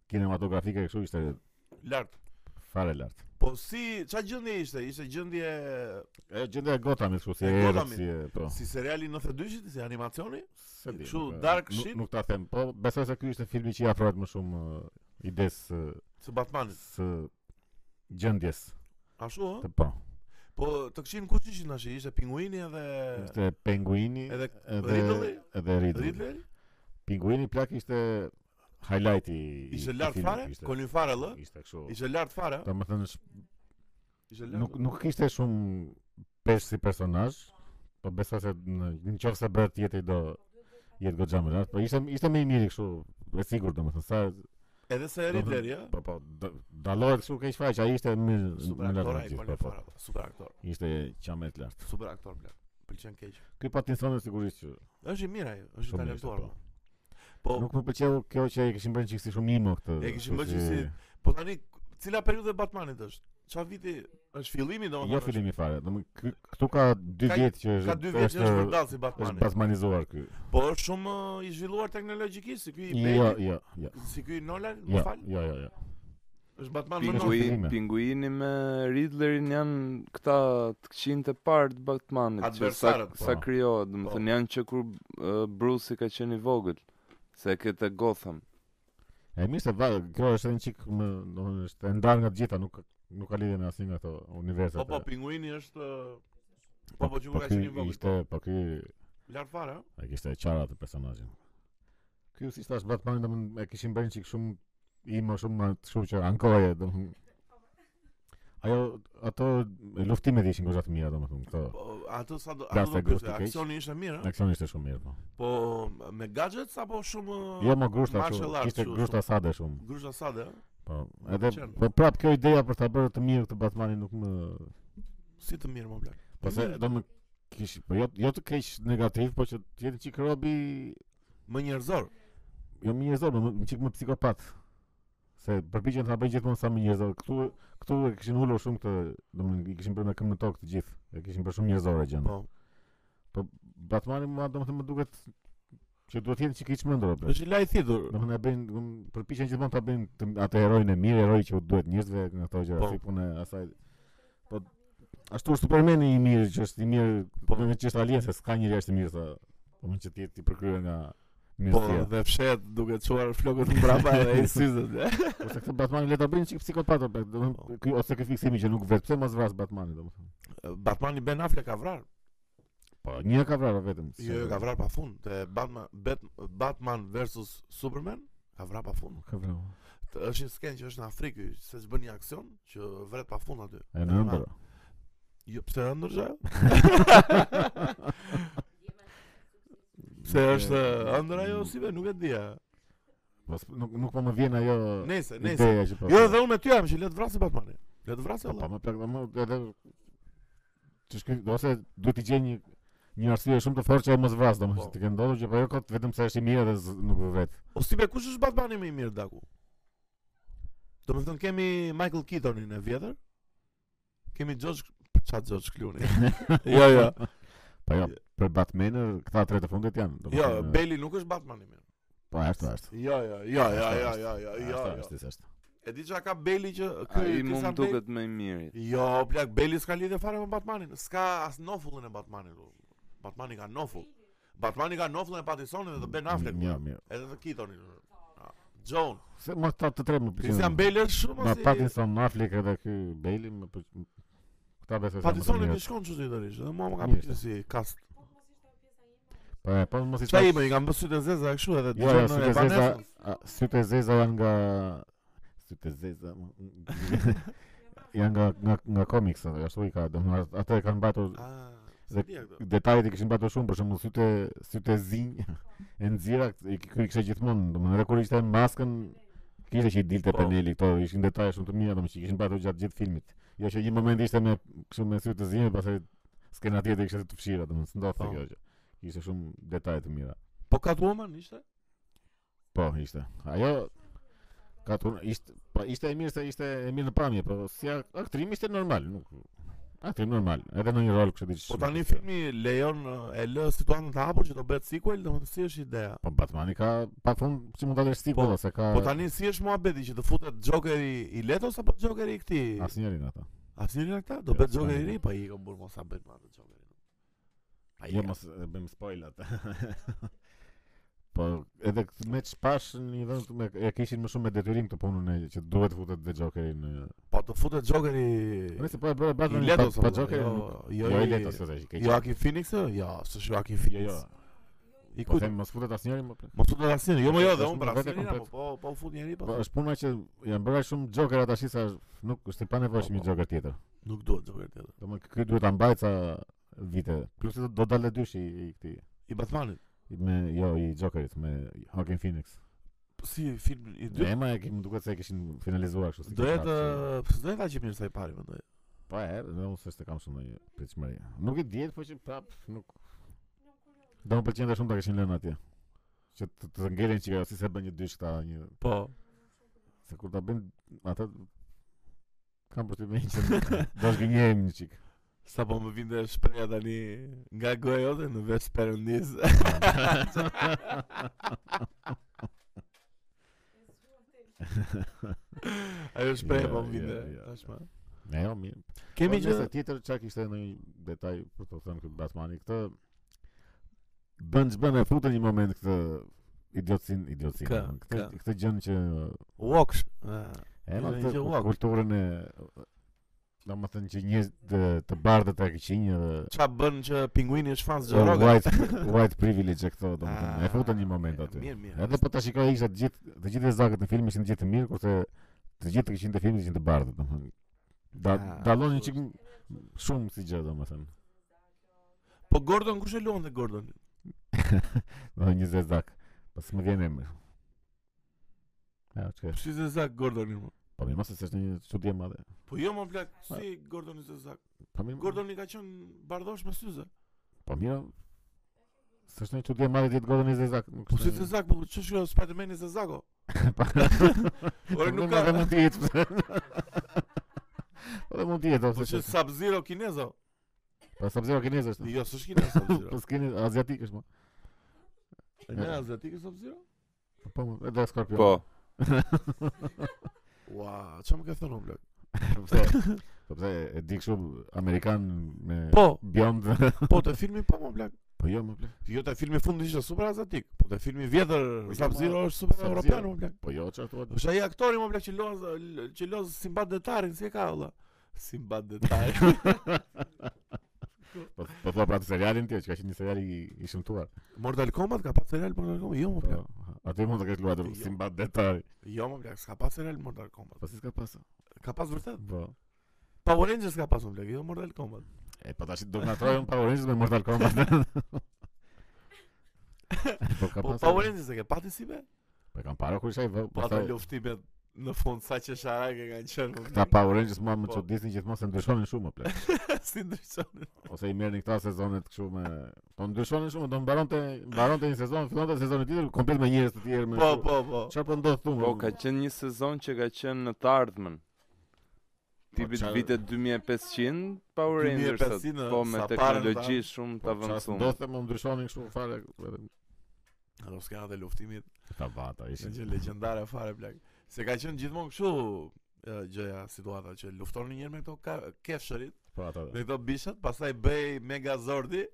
A: kinematografike kështu ishte
B: lart.
A: fare lart.
B: Po si ç'a gjendje ishte? Ishte gjendje
A: E gjendja e Gothamit kështu si
B: E
A: e erët,
B: Gothamit.
A: si e po.
B: si seriali 92-shit, si animacioni?
A: Se di,
B: Kështu,
A: nuk e-
B: dark
A: nuk-
B: shit?
A: Nuk ta them, po besoj se ky ishte filmi që i afrohet më shumë uh, ides uh,
B: Së Batmanit.
A: së gjendjes.
B: Ashtu ë?
A: Të po.
B: Po të kishin kush ishin tash? Ishte pinguini edhe
A: Ishte penguini
B: edhe
A: edhe
B: Riddle-i?
A: edhe Riddle.
B: Ridley?
A: Pinguini plak ishte highlighti. i-
B: Ishte
A: i
B: lart
A: filmit,
B: fare?
A: Ishte,
B: Colin Farrell ë?
A: ishte kështu.
B: Ishte lart fare? ë?
A: Domethënë sh-
B: Ishte
A: nuk
B: lart.
A: nuk kishte shumë pesh si personazh, po besoj se në në qoftë se bëhet tjetri do jetë goxha më lart, po ishte ishte më i miri kështu, e sigurt domethënë sa
B: Edhe se Ridley ë?
A: Po po, d- dallohet kështu keq faq, ai ishte më
B: Super
A: më
B: aktor
A: lart.
B: ai
A: gjithë,
B: Colin
A: po, po.
B: Farrell. Super aktor.
A: Ishte qamet lart.
B: Super aktor bler. Pëlqen keq.
A: Ky Patinsoni sigurisht që
B: Është i mirë ai, është i
A: Shumë mirë ishte,
B: talentuar.
A: po.
B: bler. Po,
A: nuk më pëlqeu kjo që e kishin bërë çiksi si shumë imo këtë.
B: E kishin bërë
A: kështu
B: çiksi- Po tani cila periudhë e Batmanit është? Qa viti është fillimi domethënë?
A: Jo fillimi fare, domethënë ky- këtu ka 2
B: Ka-
A: vjet që
B: Ka dy vjetë që është vërdall si
A: është
B: Batmani.
A: basmanizuar ky.
B: Po është shumë ë, i zhvilluar teknologjikisht si ky i
A: Jo,
B: Bale,
A: jo, jo.
B: si ky i Nolan,
A: Jo,
B: më fal.
A: jo, jo, jo.
B: Është Batman më nën.
A: Pinguin.
C: Pinguini, pinguini me Riddlerin janë këta të këqin të parë të Batmanit që sa,
B: Adversarët,
A: po.
C: sa kryohet, do
B: Po.
C: të thënë janë që kur uh, Bruce i ka qenë i vogël se këtë Gotham.
A: E mirë se va, kjo është një çik më, domethënë është e ndarë nga të gjitha, nuk nuk ka lidhje me asnjë nga ato universet.
B: Po po
A: e-
B: pinguini është ë, Po po që kur ka
A: ky
B: qenë i vogël.
A: Ishte,
B: po.
A: po ky
B: Lart fare. ë?
A: e kishte e qara atë personazhin. Ky si thash Batman domethënë e kishin bërë një çik shumë i më shumë shumë që ankoje, domethënë Ajo ato luftimet ishin goxha të mira domethënë këto.
B: Po ato sa do
A: Last
B: ato do
A: e Ghost
B: pyesë,
A: i Cage.
B: aksioni ishte mirë, ë?
A: Aksioni ishte shumë mirë po.
B: po me gadgets apo shumë ë,
A: Jo më grushta
B: martial
A: shumë,
B: arts,
A: ishte
B: kështu,
A: grushta sade shumë.
B: gruzha sade. ë?
A: Po,
B: Më
A: edhe
B: pëlqen.
A: po prap kjo ideja për ta bërë të mirë këtë Batmanin nuk më
B: Si të mirë më blaq.
A: po se do më kish po jo jo të keq negativ, po që të jetë çik robi
B: Më njerëzor.
A: jo më njerëzor, më më çik më psikopat. Se përpiqen ta bëjnë gjithmonë sa më njerëzor. Ktu këtu e kishin ulur shumë këtë, domethënë i kishin bërë me këmbë në tokë të gjithë. E kishin bërë shumë njerëzore gjën.
B: Po.
A: Po Batmani më domethënë më duket që duhet të jetë çik i çmendur apo.
B: Është i laj i thithur.
A: Domethënë e bëjnë dom- përpiqen gjithmonë ta bëjnë të, atë heroin e mirë, heroi që u duhet njerëzve nga ato gjëra,
B: Po.
A: si punë e asaj. Po ashtu është Supermani i mirë, që është i mirë,
B: Po.
A: po më që është alien se s'ka njëri jashtë i mirë sa, domethënë që ti ti përkryer nga
B: Po
A: mirësia.
B: dhe fshet duke çuar flokët mbrapa edhe i syzet.
A: Ose këtë Batmani le ta bëjnë çik psikopat, apo,
B: Po.
A: domethënë ky ose ky fiksimi që nuk vet, pse mos vras Batmani domethënë.
B: Batmani Ben Affleck ka vrarë.
A: Po një ka vrarë vetëm. se-
B: Jo, jo, ka vrarë pa fund. Te Batman Bat- Batman versus Superman ka vrarë pa fund.
A: Ka vrarë.
B: Të- Është një sken që është në Afrikë, se s'bën një aksion që vret pa fund aty.
A: E në ëndër.
B: Jo, pse ëndër zha? Pse është ëndër ajo si be, nuk e di. a.
A: Mos nuk nuk po më vjen ajo
B: Nëse, nëse.
A: ideja që po.
B: Jo, dhe unë me ty jam që le të vrasë Batmani. Le të vrasë
A: Po po,
B: Allah.
A: më plak, më edhe që shkoj, ose duhet të gjej një një arsye shumë të fortë që ajo mos vras,
B: Po.
A: domethënë të ke ndodhur që po ajo kot vetëm se është i mirë dhe z- nuk vret.
B: O si be, kush është Batmani më i mirë daku? Do me thënë kemi Michael Keatonin e vjetër. Kemi George Qa George Clooney Jo, jo
A: Po jo, për Batman këta tre të fundit janë.
B: Jo,
A: domethënë,
B: Bailey nuk është Batman i mirë
A: po ashtu ashtu.
B: Jo, jo, jo, jo, jo, jo, jo, jo,
A: Ashtu,
B: jo.
A: ashtu, ashtu.
B: E di çka ka Bailey që
C: Ai
B: ky
C: mu
B: disa
C: më
B: Bailey-
C: duket më i miri.
B: Jo, plak Bailey s'ka lidhje fare me Batmanin. S'ka as nofullin e Batmanit. u. Batmani ka nofull. Batmani ka nofullin e Pattisonin dhe të Ben Affleck.
A: Jo,
B: u.
A: mirë.
B: Edhe të Keatonin. u. Ah, John,
A: Se mos ta të tre më pëlqen.
B: Christian Bale është shumë
A: Ma
B: as i-
A: Pattinson, Affleck edhe ky Bailey më pël- Këta besoj se janë më të
B: Pattisoni më
A: mirët.
B: shkon çu drejtërisht, edhe mua më ka
A: Mirë.
B: pëlqyer si cast.
A: Po e, po mos i
B: Çfarë
A: thash-
B: ime, i kam bërë sytë e zeza kështu edhe
A: Jo, jo,
B: dëgjon
A: sytë
B: e
A: e zeza,
B: banesën.
A: a, sytë e zeza janë nga sytë e zeza m- m- janë nga nga nga komiks ato, ashtu i ka, domethënë at- ato e kanë mbajtur
B: Ah,
A: Dhe-
B: s'di e këtë.
A: detajet i kishin mbajtur shumë, për shembull sytë e- sytë e zinj e nxira i k- i kishte gjithmonë, domethënë edhe kur ishte në maskën kishte që i dilte
B: Po.
A: peneli këto, ishin detaje shumë të mira domethënë që i kishin mbajtur gjatë gjithë filmit. Jo që një moment ishte me kështu me sytë e zinj, e pastaj skena tjetër kishte të fshira, domethënë s'ndodhte
B: Po.
A: kjo gjë. Ishte shumë detaje të mira.
B: Po Catwoman ishte?
A: Po, ishte. Ajo katun ishte, po ishte e mirë se ishte e mirë në pamje, po si ak- aktrim ishte normal, nuk aktrim normal, edhe në një rol kështu diçka.
B: Po tani filmi lejon ë, e lë situatën të hapur që do bëhet sequel, domethënë si është ideja?
A: Po Batmani ka pafund si mund ta lësh
B: Po,
A: sikull ose ka
B: Po tani si është muhabeti që të futet Jokeri i Letos apo Jokeri i këtij?
A: asnjëri nga ata.
B: Asnjëri nga këta do
A: Jo,
B: bëhet
A: s'ka
B: Jokeri i
A: ndonjë.
B: ri, po i kam burë mos sa bëjmë atë Jokerin. Ai
A: Jo mos e bëjmë spoiler atë. po edhe këtë me çpash në një vend me e kishin më shumë me detyrim këtë punën e që duhet futet dhe Jokeri në.
B: po të futet Jokeri
A: Nëse po e bëre
B: i
A: Batman
B: Letos
A: pa
B: apo-
A: Jokeri.
B: jo,
A: nuk-
B: jo,
A: Jo i
B: i-
A: Letos ose që
B: Jo, Joaquin Phoenix, ë? jo, s'është Joaquin
A: Jo, jo.
B: Phoenix. I
A: Po
B: kujt?
A: them mos futet asnjëri më. plak.
B: Mos u do asnjëri. Jo, më jo, dhe
A: Është
B: unë për
A: vetë
B: asnjëri, na, po
A: komplet.
B: po po u fut njëri
A: Po
B: po.
A: është puna që janë bërë aq shumë Joker tash sa nuk është i
B: Po,
A: panevojshëm një Joker tjetër.
B: Nuk duhet Joker tjetër.
A: Domethënë ky duhet ta mbajë ca vite. Plus do, do dalë dyshi i i këtij
B: I Batmanit.
A: i- me jo i Jokerit me Joaquin Phoenix.
B: Po Si film i
A: Dhe
B: dytë.
A: ema e kim duket se e kishin finalizuar kështu. si
B: Do
A: kontratë,
B: jetë
A: si-
B: ë, pse do jetë aq i mirë sa i pari mendoj.
A: Po e, dhe unë s'është e kam shumë ndonjë pritshmëri. Nuk e diet, po që prap nuk Do më pëlqente shumë ta kishin lënë atje. Që të, të ngelen çika si se bën një dysh këta një
B: Po.
A: se kur ta bën ata kam për të vënë që do të gënjejmë një çik.
B: Sa po më vinte shpreha tani nga goja jote në veç perëndis. Ajo shpreh
A: Ja,
B: po
A: ja,
B: më vjen.
A: ja.
B: Tashmë.
A: Ne jo mirë.
B: Kemi
A: Po,
B: gjë
A: nëse tjetër çka kishte ndonjë detaj për të thënë këtë Batmani këtë bën ç'bën e futën një moment këtë idiotsin idiotsin.
B: Kë,
A: Këtë
B: kë.
A: këtë gjën që
B: walks.
A: e ma
B: Gjën
A: këtë
B: që ua.
A: kulturën e domethënë që njerëz të, të bardhë të këqinj dhe
B: Ça bën që pinguini është fans
A: dhe
B: Xhoroga?
A: Oh, white white privilege e këto domethënë e futën një moment aty.
B: Ah, Mirë, mirë.
A: Edhe po ta shikoj isha të gjithë të gjithë zakët në film ishin të gjithë të mirë kurse të gjithë të kishin të filmit ishin të bardhë domethënë. Da,
B: Ah,
A: dallonin çik shumë si gjë domethënë.
B: Po Gordon kush e luante Gordon?
A: Në një zezak Pas më vjen emri Ja, që
B: Si Zezak Gordoni? mo?
A: Po mirë mos e s'është një çudi e madhe
B: Po jo më plak,
A: Ah.
B: si Gordoni Zezak?
A: Po mirë
B: Gordoni ka qenë bardhosh me syze.
A: Po mirë S'është një çudi e madhe ti të gordon një zezak nuk
B: Po si
A: është-
B: Zezak, po ç'është kjo Spider-Man i Zezako?
A: Po,
B: Ore nuk
A: mirë,
B: ka.
A: madhe mund të jetë pse. Po dhe mund të jetë
B: Po që
A: ose
B: Sub-Zero kinezo.
A: Po sa zero kinez është
B: Jo, s'është kinez Sub-Zero.
A: Po skinez aziatik është më
B: Ne azjatik e Sub-Zero?
A: Po më edhe skorpion
C: Po,
B: Ua, çfarë më ke thënë o plak?
A: Po pse Po pse e di kështu amerikan me
B: Po,
A: Beyond
B: po te filmi po më plak.
A: Po jo më ple
B: Jo te filmi fundi ishte super azjatik, po te filmi vjetër
A: Po,
B: Sub-Zero është super
A: Sub-Zero.
B: evropian më plak.
A: Po jo çfarë thua
B: Është ai aktori më plak që loz që loz Simbad detarin, si e ka valla? Simbad detar.
A: Po po thua pra të serialin tjetër që ka qenë një serial i i shëmtuar
B: Mortal Kombat ka pas serial Mortal Kombat? Jo më plak.
A: Po, aty mund të kesh luajtur
B: Jo.
A: si mbat detari.
B: Jo më plak, s'ka pas serial Mortal Kombat.
A: Po si s'ka pasur?
B: Ka pas vërtet.
A: Po.
B: Power Rangers ka pas më plak, jo Mortal Kombat.
A: E po tash do na trojën Power Rangers me Mortal Kombat. po ka
B: Po
A: pasur.
B: Power Rangers e ke pati si be?
A: Po kam parë kur ishaj vë.
B: Po ato luftimet në fund sa që sharake kanë qenë. më
A: Këta
B: plak.
A: Power Rangers mua më
B: Po.
A: çuditni gjithmonë se ndryshonin shumë më plot.
B: si ndryshon.
A: Ose i merrnin këta sezonet kështu me po ndryshonin shumë, do mbaronte mbaronte një sezon, fillonte sezoni tjetër komplet me njerëz të tjerë me.
B: Po, po, po.
A: Çfarë po ndodh thumë?
C: po ka qenë një sezon që ka qenë në të ardhmen. Tipit
A: qa-
C: vitet 2500 Power Rangers
B: 2500,
C: po me
B: sa parën
C: teknologji shumë të
A: Po çfarë
C: avancuar.
A: ndodhte më ndryshonin kështu fare.
B: Ato s'ka dhe luftimit,
A: Ka vata
B: ishin
A: ishin.
B: që legjendare fare plak. Se ka qenë gjithmonë kështu e, gjëja situata që lufton një herë me këto ka- kefshërit,
A: Po ata.
B: me këto bishat, pastaj bëj Megazordi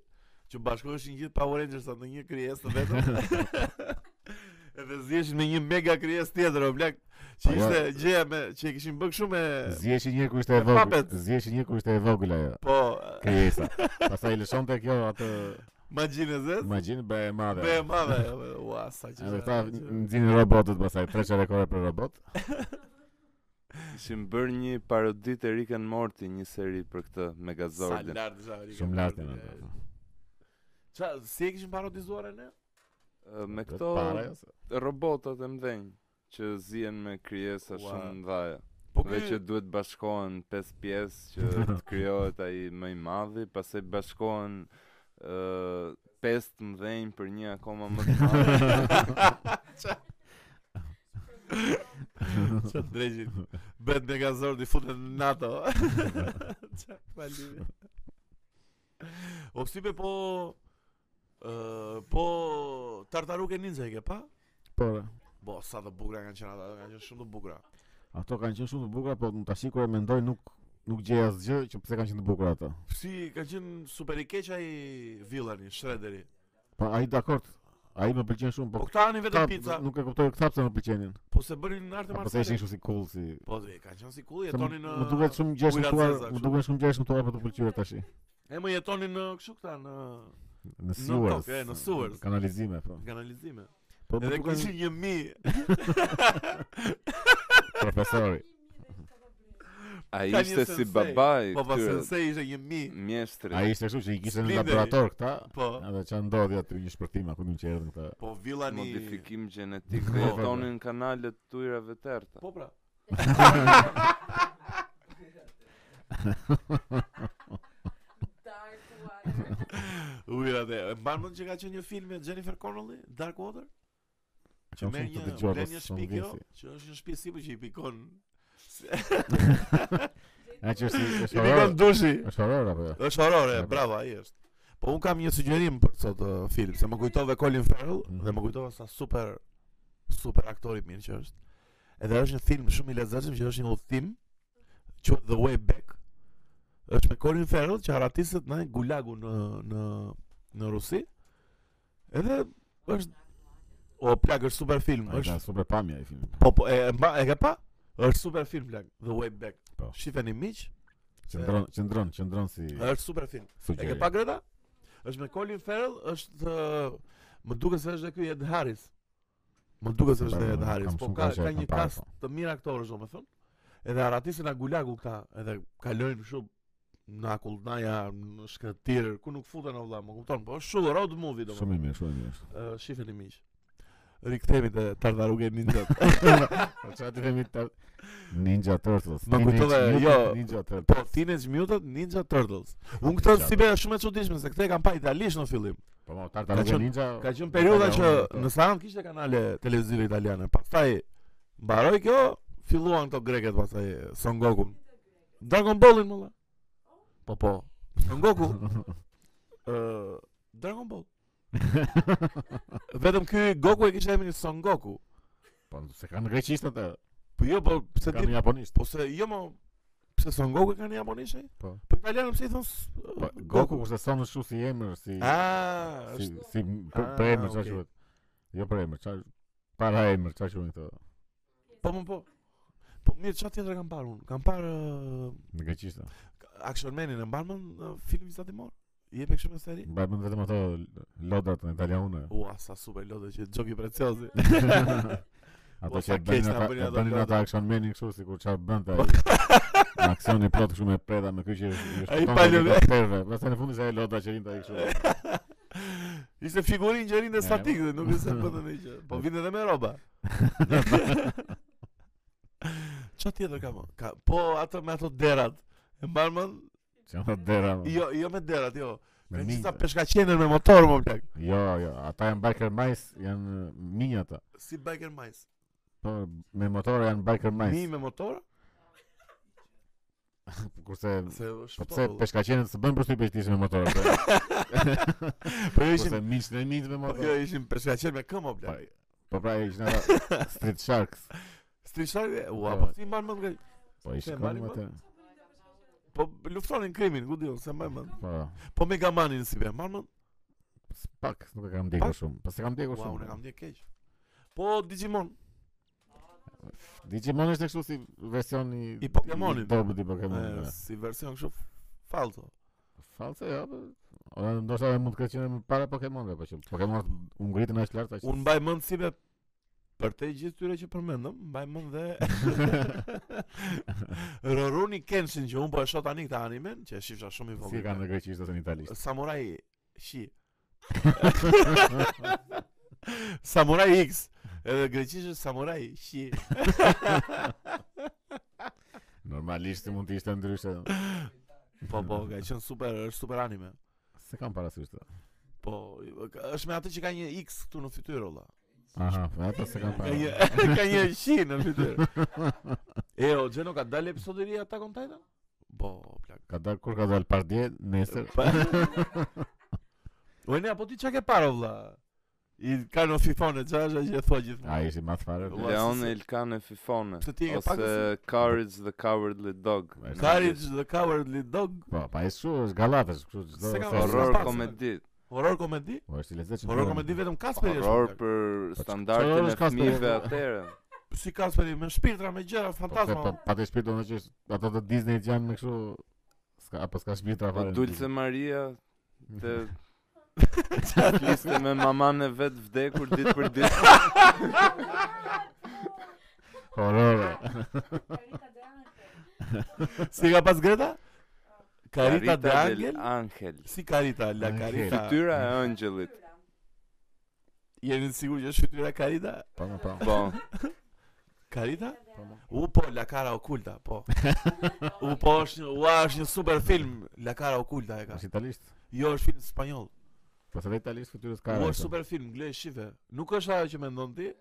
B: që bashkoheshin gjithë Power Rangers në një krijesë të vetëm. Edhe zjeshin me një mega krijesë tjetër o plak, që
A: Ajo-
B: ishte gjëja me që e kishin bërë kështu me
A: Zjeshi një kur ishte e
B: E
A: vogël.
B: papet.
A: Zjeshi një kur ishte e vogël ajo.
B: po
A: Krijesa. Pastaj lëshonte kjo atë
B: magjinë e zezë.
A: imagjin be e madhe.
B: Be e madhe, ua sa që.
A: Edhe
B: sa-
A: ta
B: që-
A: nxinin robotët pastaj, treçë rekorde për robot.
C: Ishim bërë një parodi të Rick and Morty, një seri për këtë Megazordin.
B: lart isha Amerika.
A: Shumë lart janë
B: Qa,
A: ato.
B: Qa, si e kishin parodizuar e ne?
C: Ë, Me
A: Dhe
C: këto
A: para, jo, se-
C: robotat e mdhenj që zihen me krijesa
B: Ua.
C: shumë mëdha.
B: Po
C: Dhe që
B: ky,
C: duhet bashkohen 5 pjesë që të krijohet ai më i madhi, pastaj bashkohen ë pesë të mdhenj për një akoma më të madh.
B: qa drejgjit, bet me gazor di futet në NATO. qa, falimi. O psipe po... Uh, po tartaruke ninja e ke pa?
A: Po. re.
B: Bo, sa të bukra kanë qenë ata, kanë qenë shumë të bukra.
A: Ato kanë qenë shumë të bukura, po tash kur e mendoj nuk nuk gjej asgjë që pse kanë qenë të bukura ato.
B: Si ka qenë super i keq ai villani, Shrederi.
A: Po ai dakord. Ai më pëlqen shumë,
B: Po
A: po
B: këta anin vetëm
A: këta
B: pizza,
A: nuk e kuptoj këta pse më pëlqenin.
B: po se bënin në artë
A: Apo pse
B: marsiale.
A: ishin kështu si cool si.
B: Po dhe, ka qenë si kulli,
A: Se
B: jetonin uh, në...
A: Më më duket shumë gjë
B: ujra
A: shtuar,
B: zeza,
A: më
B: kështu.
A: duket shumë gjë shtuar për të pëlqyer tash.
B: E më jetonin në kështu këta, në
A: Në sewers.
B: tokë, e, në sewers.
A: Kanalizime po.
B: kanalizime.
A: Po më
B: Edhe
A: duken
B: kishin një mi.
A: profesori.
C: Ai
B: Ka një
C: ishte si
B: sensei.
C: babai
B: Po pa
C: këtyre
B: sensei ishte një mi.
C: mjeshtrit.
A: Ai ishte kështu që i kishte në
B: Splinderi.
A: laborator këta.
B: Po,
A: Edhe ç'a ndodhi aty një shpërtim, a ku diun që erdhën këta.
B: po villani...
C: modifikim gjenetik dhe
A: Po.
C: jetonin kanalet të ujrave të errta.
B: Po pra. Ujra dhe, e mban mund që ka qenë një film me Jennifer Connelly, Dark Water? Që
A: Kam
B: merr
A: shumë të
B: një,
A: dëgjuar,
B: blen
A: po
B: një
A: s'm
B: shtëpi
A: vjen
B: kjo,
A: si.
B: që është një shtëpi sipër që i pikon.
A: A që është
B: I
A: është
B: pikon
A: horror?
B: dushi.
A: Është horror apo jo?
B: Është horore,
A: Apo-
B: bravo ai është. Po un kam një sugjerim për sot uh, film, se më kujtove Colin Farrell
A: Mhm.
B: dhe më kujtove sa super super aktor i mirë që është. Edhe është një film shumë i lezetshëm që është një udhtim, quhet The Way Back. Është me Colin Farrell që haratiset në Gulagu në në në Rusi. Edhe është o plak është super film,
A: Ai ka
B: është
A: super pamja i filmi.
B: po po e e mba- e ke pa? Është super film plak, The Way Back.
A: Po.
B: Shifeni miq,
A: Qëndron, qëndron, qëndron si
B: është super film. E
A: sugjeri.
B: ke pa Greta? Është me Colin Farrell, është ë, më duket se është dhe ky Ed Harris. Më duket se është dhe
A: Kam-
B: Ed Harris,
A: kam
B: po
A: shumë
B: ka
A: kaqe
B: ka
A: e
B: një
A: kam parë, po.
B: kast të mirë aktorësh domethënë. Edhe haratisin Agulagu këta, edhe kalojnë shumë në Akullnaja, në Shkretir, ku nuk futen o vëlla, më kupton, po është shumë road movie domethënë.
A: Shumë i mirë, shumë i mirë.
B: Ë, Shifeni miq. Rikthehemi te Tartaruga Ninja.
A: Po çfarë të themi ta Ninja Turtles.
B: Më
A: Teenage
B: kujtove,
A: Mutant
B: jo,
A: Ninja Turtles.
B: Po Teenage Mutant Ninja Turtles. Unë këtë si bëra shumë e çuditshme se këta e kanë pa italisht në fillim.
A: Po mo, Tartaruga
B: qenë-
A: Ninja.
B: Po, Ka qenë periudha që
A: Tartaruga,
B: në Sarand kishte kanale televizive italiane. Pastaj mbaroi kjo, filluan këto greket pastaj Son Goku. Dragon Ballin më valla. Po po. Son Goku. Ë Dragon Ball. Vetëm ky Goku e kishte emrin Son Goku.
A: Po se kanë greqisht atë.
B: Po jo, po pse
A: Kanë
B: ti
A: japonisht.
B: po se jo më pse Son Goku e kanë japonisht? ai?
A: Po.
B: Po italianë pse i thon s-
A: Po Goku kurse son është kështu si emër, si
B: Ah,
A: si
B: është
A: si për
B: Ah,
A: për emër çfarë
B: okay.
A: quhet? Jo për emër, çfarë para emër, çfarë quhen këto?
B: po më po. Po mirë, çfarë tjetër kam parë unë? Kam parë ë,
A: Në greqisht.
B: Action Manin e mban mend uh, filmi zatimor? I jep kështu me seri?
A: Mbaj mend vetëm ato lodrat në italiane.
B: Ua, sa super lodhe që Gjoki Preciosi.
A: Ato
B: Po,
A: që
B: sa
A: e
B: keq
A: bënin
B: na
A: ata,
B: bënin
A: e
B: ato Po.
A: bënin
B: lodra.
A: ata action meni kështu sikur çfarë bënte ai. Në aksion i plot kështu me preda me ky që
B: Ai palë-
A: perve. Pastaj në fund sa e lodra që rinte ai kështu.
B: Ishte figurin që rinë
A: E,
B: statik dhe nuk e se bëndë në që. Po vinte edhe me roba. Qa tjetër ka më? Ka, po ato me ato derat. E mban mend?
A: Që janë të dera. mo.
B: Jo, jo me derat, jo.
A: Po. Me
B: Me
A: minjë.
B: qësa peshka qener me motor, më plak.
A: Jo, jo, ata janë biker mice, janë minja ata.
B: Si biker mice.
A: Po me motor janë biker
B: Mi
A: mice.
B: me motor?
A: Kurse
B: Se
A: Po pse
B: shpëto.
A: peshkaqenët s'bën përshtypje që ishin me motor apo?
B: Po jo
A: Kurse
B: ishin,
A: miq në miq me
B: po
A: motor.
B: jo ishin peshka qener me këmë, o plak.
A: Po pra ishin ata Street Sharks.
B: Strishari, ua,
A: Po.
B: po si mban mend nga
A: Po i
B: Se e
A: shkon
B: mbani
A: atë.
B: Po luftonin krimin, ku diun, se më mend.
A: Po.
B: Po Megamanin si be, mban mend.
A: s- Pak nuk e kam djegur
B: Pak?
A: shumë. Po se kam djegur
B: Ua, unë e
A: shumë.
B: kam ndjer keq. Po Digimon,
A: Digimon është kështu si versioni
B: I Pokemonit.
A: i Dobët i
B: e,
A: Pokemonit.
B: si version kështu falso.
A: False jo. po. Ora ndoshta edhe mund të ketë qenë më para Pokemonëve, po që Pokemonët u ngritën aq lart aq.
B: Unë mbaj mend si be për të gjithë tyre që përmendëm, mbaj mend dhe Roruni Kenshin që unë po e shoh tani këtë animen, që e shifsha shumë i
A: si e kanë në
B: vogël.
A: greqisht ose në italisht.
B: Samurai Shi. Samurai X. Edhe greqisht është Samurai Shi.
A: Normalisht mund të ishte ndryshe.
B: Po po, ka qenë super, është super anime.
A: Se kam parasysh këtë.
B: Po, i- ka- është me atë që ka një X këtu në fytyrë olla.
A: Aha, ata se kam
B: Ka
A: parë.
B: një ka një shi në fytyrë. e o Gjeno ka dalë episodi i ri Attack on Titan? Po, plak.
A: Ka dal kur ka dal pardje nesër.
B: O ne apo ti çka ke parë vlla? I ka në fifone çfarë është ajo që e thua
A: Ai
B: gjithmonë.
A: ishi më fare.
B: Ua,
C: Leon
B: se-
C: e Ilkan e Fifone.
B: Pse ti e ke pak
C: Ose Courage the Cowardly Dog.
A: Vazhdo.
B: Courage the Cowardly Dog,
A: Po, pa e shu, është gallatesh, kështu çdo.
B: Se kam
A: se-
B: horror.
C: Horror
B: Pas-
C: komedi.
B: horror komedi?
A: Po, është i lezetshëm.
B: Horror komedi vetëm Kasperi është.
C: Horror
B: plak.
C: për
A: Po,
C: standartin
A: çfarë
C: e
A: është Kasperi?
C: fëmijëve atëre.
B: Si Kasperi me shpirtra me gjëra
A: Po, se
B: fantazma.
A: pa- Pa të shpirt domethënë që është- ato të Disney janë me kështu ska apo ska shpirtra
C: Po
A: fare.
C: Dulce Maria të
A: po.
C: fliste me maman e vet vdekur ditë për ditë.
A: Horror.
B: Si ka pas Greta? Carita de
C: Carita
B: Angel.
C: Angel.
B: Si Carita, la
A: Angel.
B: Carita.
C: Fytyra e ëngjëllit.
B: Jeni të sigurt që është fytyra Carita?
A: Po, po, po.
C: Po,
B: Carita?
A: Po, po.
B: U po, La Cara Oculta, po. U po, është një, ua, është një super film, La Cara Oculta e ka.
A: Është italisht.
B: Jo, është film spanjoll.
A: Po se dhe italisht fytyrës ka.
B: U
A: ai,
B: është
A: po.
B: super film, gle shive. Nuk është ajo që mendon ti.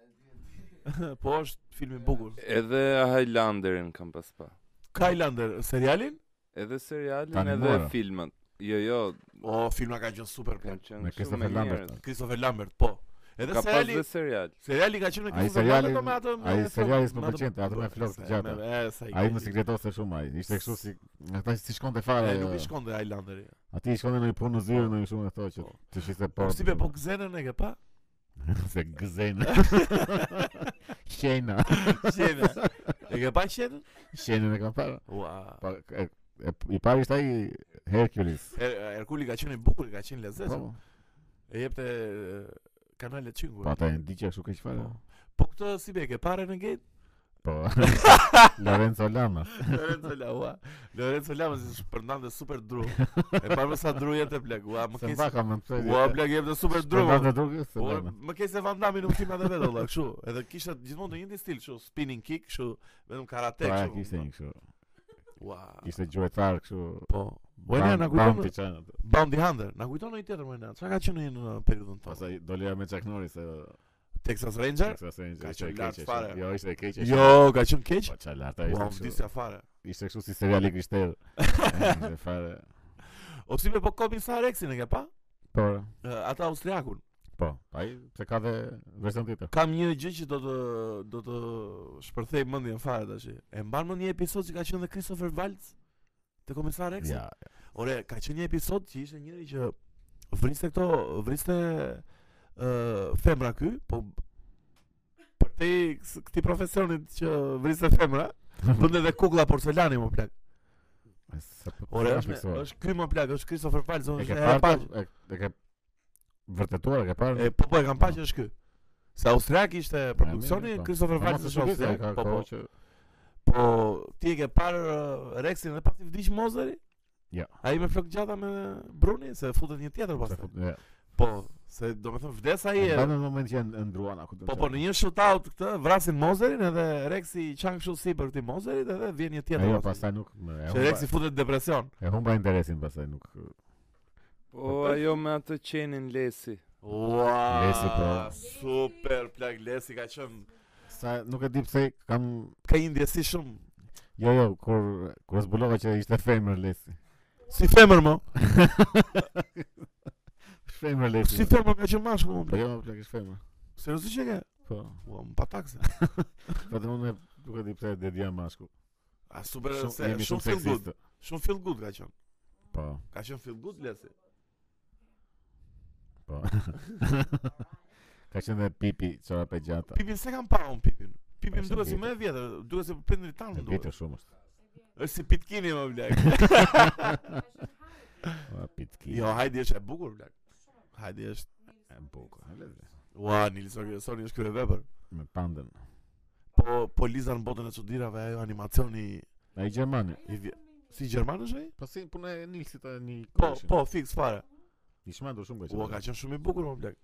B: po është film i bukur.
C: edhe Highlanderin kam pas pa.
B: Kylander, serialin?
C: Edhe serialin
A: Tani
C: edhe
A: mora.
C: filmat. Jo, jo,
B: O, filma ka qenë super
C: kam
B: plan.
A: Me
C: qenë shumë
A: Christopher
C: e
A: Lambert.
C: mirë.
A: atë.
B: Christopher Lambert, po. Edhe
C: Ka pas
B: seriali,
C: dhe serial.
B: seriali ka qenë në
A: Ai
B: krizë
A: seriali-
B: domate, po, me atë me
A: ai
B: flok-
A: seriali s'më
B: me atë-
A: pëlqente, atë me flok të
B: Se,
A: gjata.
B: me- e, sa i
A: Ai
B: ka
A: më
B: gjithë.
A: sekretose shumë ai. Ishte kështu si ata si shkonte
B: Ai
A: fare.
B: nuk i shkonte Highlanderi.
A: Aty i shkonte në një punë në zyrë në një shumë e thotë që
B: Po.
A: të shiste
B: Po
A: po.
B: si be po gzenën e ke pa?
A: se gëzen. Shena.
B: Qenë. E ke pa qenë?
A: Shenën e kam parë.
B: Ua.
A: Pa, e, e, i pari ishte ai Hercules.
B: Er- Erkuli ka qenë i bukur, ka qenë lezetshëm.
A: Po,
B: E jepte e, kanale çingu.
A: po ata e ndiqja kështu keq fare.
B: Po këtë si be e ke parë në gate?
A: Po. Lorenzo Lama.
B: Lorenzo Lava. Lorenzo Lava si shpërndante super dru. E pa më sa dru jepte plak. Ua, më
A: Se
B: ke.
A: mba kam më pse.
B: Ua, Po, plak jepte super dru.
A: Drogë, drogë, se
B: Por
A: bëna.
B: më ke se Van Damme nuk kima dhe vetë valla, kështu. Edhe kishte gjithmonë të njëjtin stil, kështu spinning kick, kështu vetëm karate
A: Po, ai
B: kështu.
A: kishte një kështu.
B: Ua.
A: Kishte gjuetar kështu.
B: Po. Bueno, na kujton
A: çana.
B: Bounty Hunter, na kujton një tjetër më na. Çka ka qenë në periudhën tonë?
A: Pastaj dolera me Chuck Norris se
B: Texas Ranger?
A: Texas Rangers.
B: Ka
A: ishte
B: qenë
A: e
B: lart
A: keqe,
B: fare.
A: ishte- Jo, ishte e keqe. ishte-
B: Jo, ka qenë keq.
A: Po çalart,
B: Ua,
A: ishte
B: më
A: kështu.
B: disja fare.
A: Ishte kështu si seriali krishter. Ishte fare.
B: O si me po komisar Rexin e ke pa?
A: Po.
B: E, Ata austriakun.
A: Po, ai pse ka dhe version tjetër.
B: Kam një gjë që do të do të shpërthej mendjen fare tash. E mban mend një episod që ka qenë dhe Christopher Waltz te komisar Rexin.
A: Ja.
B: Ore, ka qenë një episod që ishte njëri që vriste këto, vriste ë femra ky, po për te këti profesionit që vriste femra, bënte edhe kukulla porcelani më plak.
A: Sa po.
B: Ore,
A: sa
B: është,
A: fiksuar.
B: është ky më plak, është Christopher Waltz,
A: E
B: është
A: ke
B: e
A: parë?
B: parë.
A: të- e- E ke vërtetuar, e ke parë?
B: E, po po e kam pa që është ky. Se austriak ishte produksioni,
A: mirë, po.
B: Christopher
A: Po, mos
B: Waltz
A: e
B: është
A: shqipis, e
B: austriak. Po
A: ka- ka
B: po.
A: që
B: Po ti e ke parë uh, Rexin dhe pasi vdiq Mozeri?
A: Jo.
B: Ai me flok gjata me Bruni se futet një tjetër
A: se
B: pastaj.
A: fut- ja.
B: Po, se domethënë vdes ai
A: E
B: e
A: pa në moment që janë ndruan aku.
B: Po po në një shootout këtë vrasin Mozerin edhe Rexi i çan kështu sipër këtij Mozerit edhe vjen një tjetër.
A: Ajo
B: pastaj.
A: pastaj nuk më e
B: Që Rexi
A: humba-
B: futet depresion.
A: e humba interesin pastaj nuk.
C: Po ajo me atë qenin Lesi.
B: Ua,
A: Lesi, po.
B: super plak Lesi ka qenë
A: Sa nuk e di pse kam
B: ka një ndjesi shumë
A: Jo, jo, kur kur zbulova që ishte femër Lesi.
B: si femër më.
A: Femër Lesi.
B: Si femër ka qenë mashkull më
A: Po
B: plak.
A: jo, plak është femër.
B: Seriozisht që ke?
A: Po.
B: Ua, më pa takse.
A: Po të unë nuk e di pse e dia mashkull.
B: A super
A: Shumë-
B: se
A: jemi
B: shumë feel good. Shumë feel good ka qenë.
A: Po,
B: Ka qenë feel good Lesi.
A: po. Ka qenë dhe pipi çora pe gjata.
B: Pipin se kam pa un Pipin. Pipin
A: Po,
B: më
A: se
B: duhet si
A: vjetër.
B: më e vjetër, duhet si prindrit tan
A: E
B: më
A: bitë
B: duhet.
A: shumë është.
B: Është si pitkini më plak.
A: O, pitki.
B: Jo, hajde është e bukur plak. Hajde është
A: e bukur. Hele, dhe.
B: Ua, Nils Orgesoni është krye vepër.
A: Me pandën.
B: Po, po Liza në botën e çuditërave ajo animacioni
A: Ai Gjermani.
B: i vje... si gjerman është ai?
A: Po si punë e Nilsit të një
B: Po, po, fiks fare.
A: Ishme ndur shumë ka
B: Ua, ka qenë shumë i bukur më blek.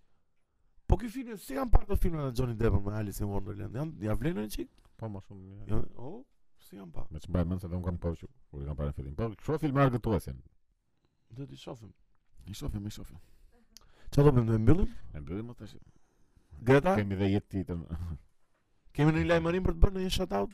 B: Po ky film, si kanë parë të filmin e Johnny Depp me Alice in Wonderland? Jan ja vlen një çik?
A: Po më shumë. ja.
B: Jo, oh, si kanë parë?
A: Me që mbaj mend se dhe unë kam kohë që kur i kam parë në fillim. Po, kështu filmar gëtues janë.
B: Do t'i shohim.
A: I shohim, i shohim.
B: Çfarë do bëjmë do e mbyllim?
A: E mbyllim atë. tash.
B: Greta,
A: Kemi dhe jetë tjetër.
B: kemi një lajmërim për të bërë një shout out?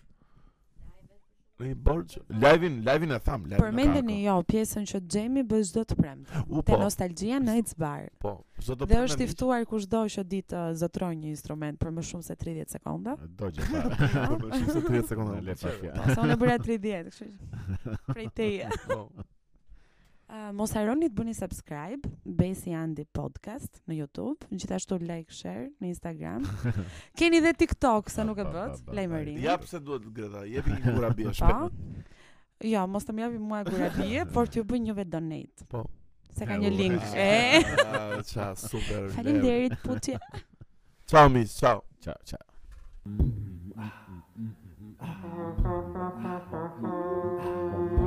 B: Në një borxh, live-in, live-in e tham, live-in. e tham.
D: Përmendeni jo pjesën që Xhemi bën çdo të premte.
B: U
D: Te
B: po,
D: nostalgjia në It's Bar.
B: po. Çdo të
D: Dhe është i ftuar kushdo që ditë uh, zotroj një instrument për më shumë se 30 sekonda.
A: Dogje para.
B: Për më shumë se 30 sekonda.
A: Në le pa fja.
D: Sa unë e bëra 30, kështu që prej teje.
B: Po.
D: Uh, mos harroni të bëni subscribe Besi Andi Podcast në YouTube, gjithashtu like, share në Instagram. Keni dhe TikTok, sa nuk e
A: Ba, ba,
D: bët,
A: ba, ba.
D: lajmërini.
A: Ja.
B: Jap se duhet Greta, jepi një kura bie
D: Po.
B: shpejt.
D: Jo, mos të më japi mua gurabie, por t'ju bëj njëve donate.
B: Po.
D: Se
A: E,
D: ka një
A: u,
D: link.
A: e,
D: E.
B: Ah, Qa, super.
D: Faleminderit Puti.
B: Ciao, miq, ciao.
A: Ciao, ciao.
F: Thank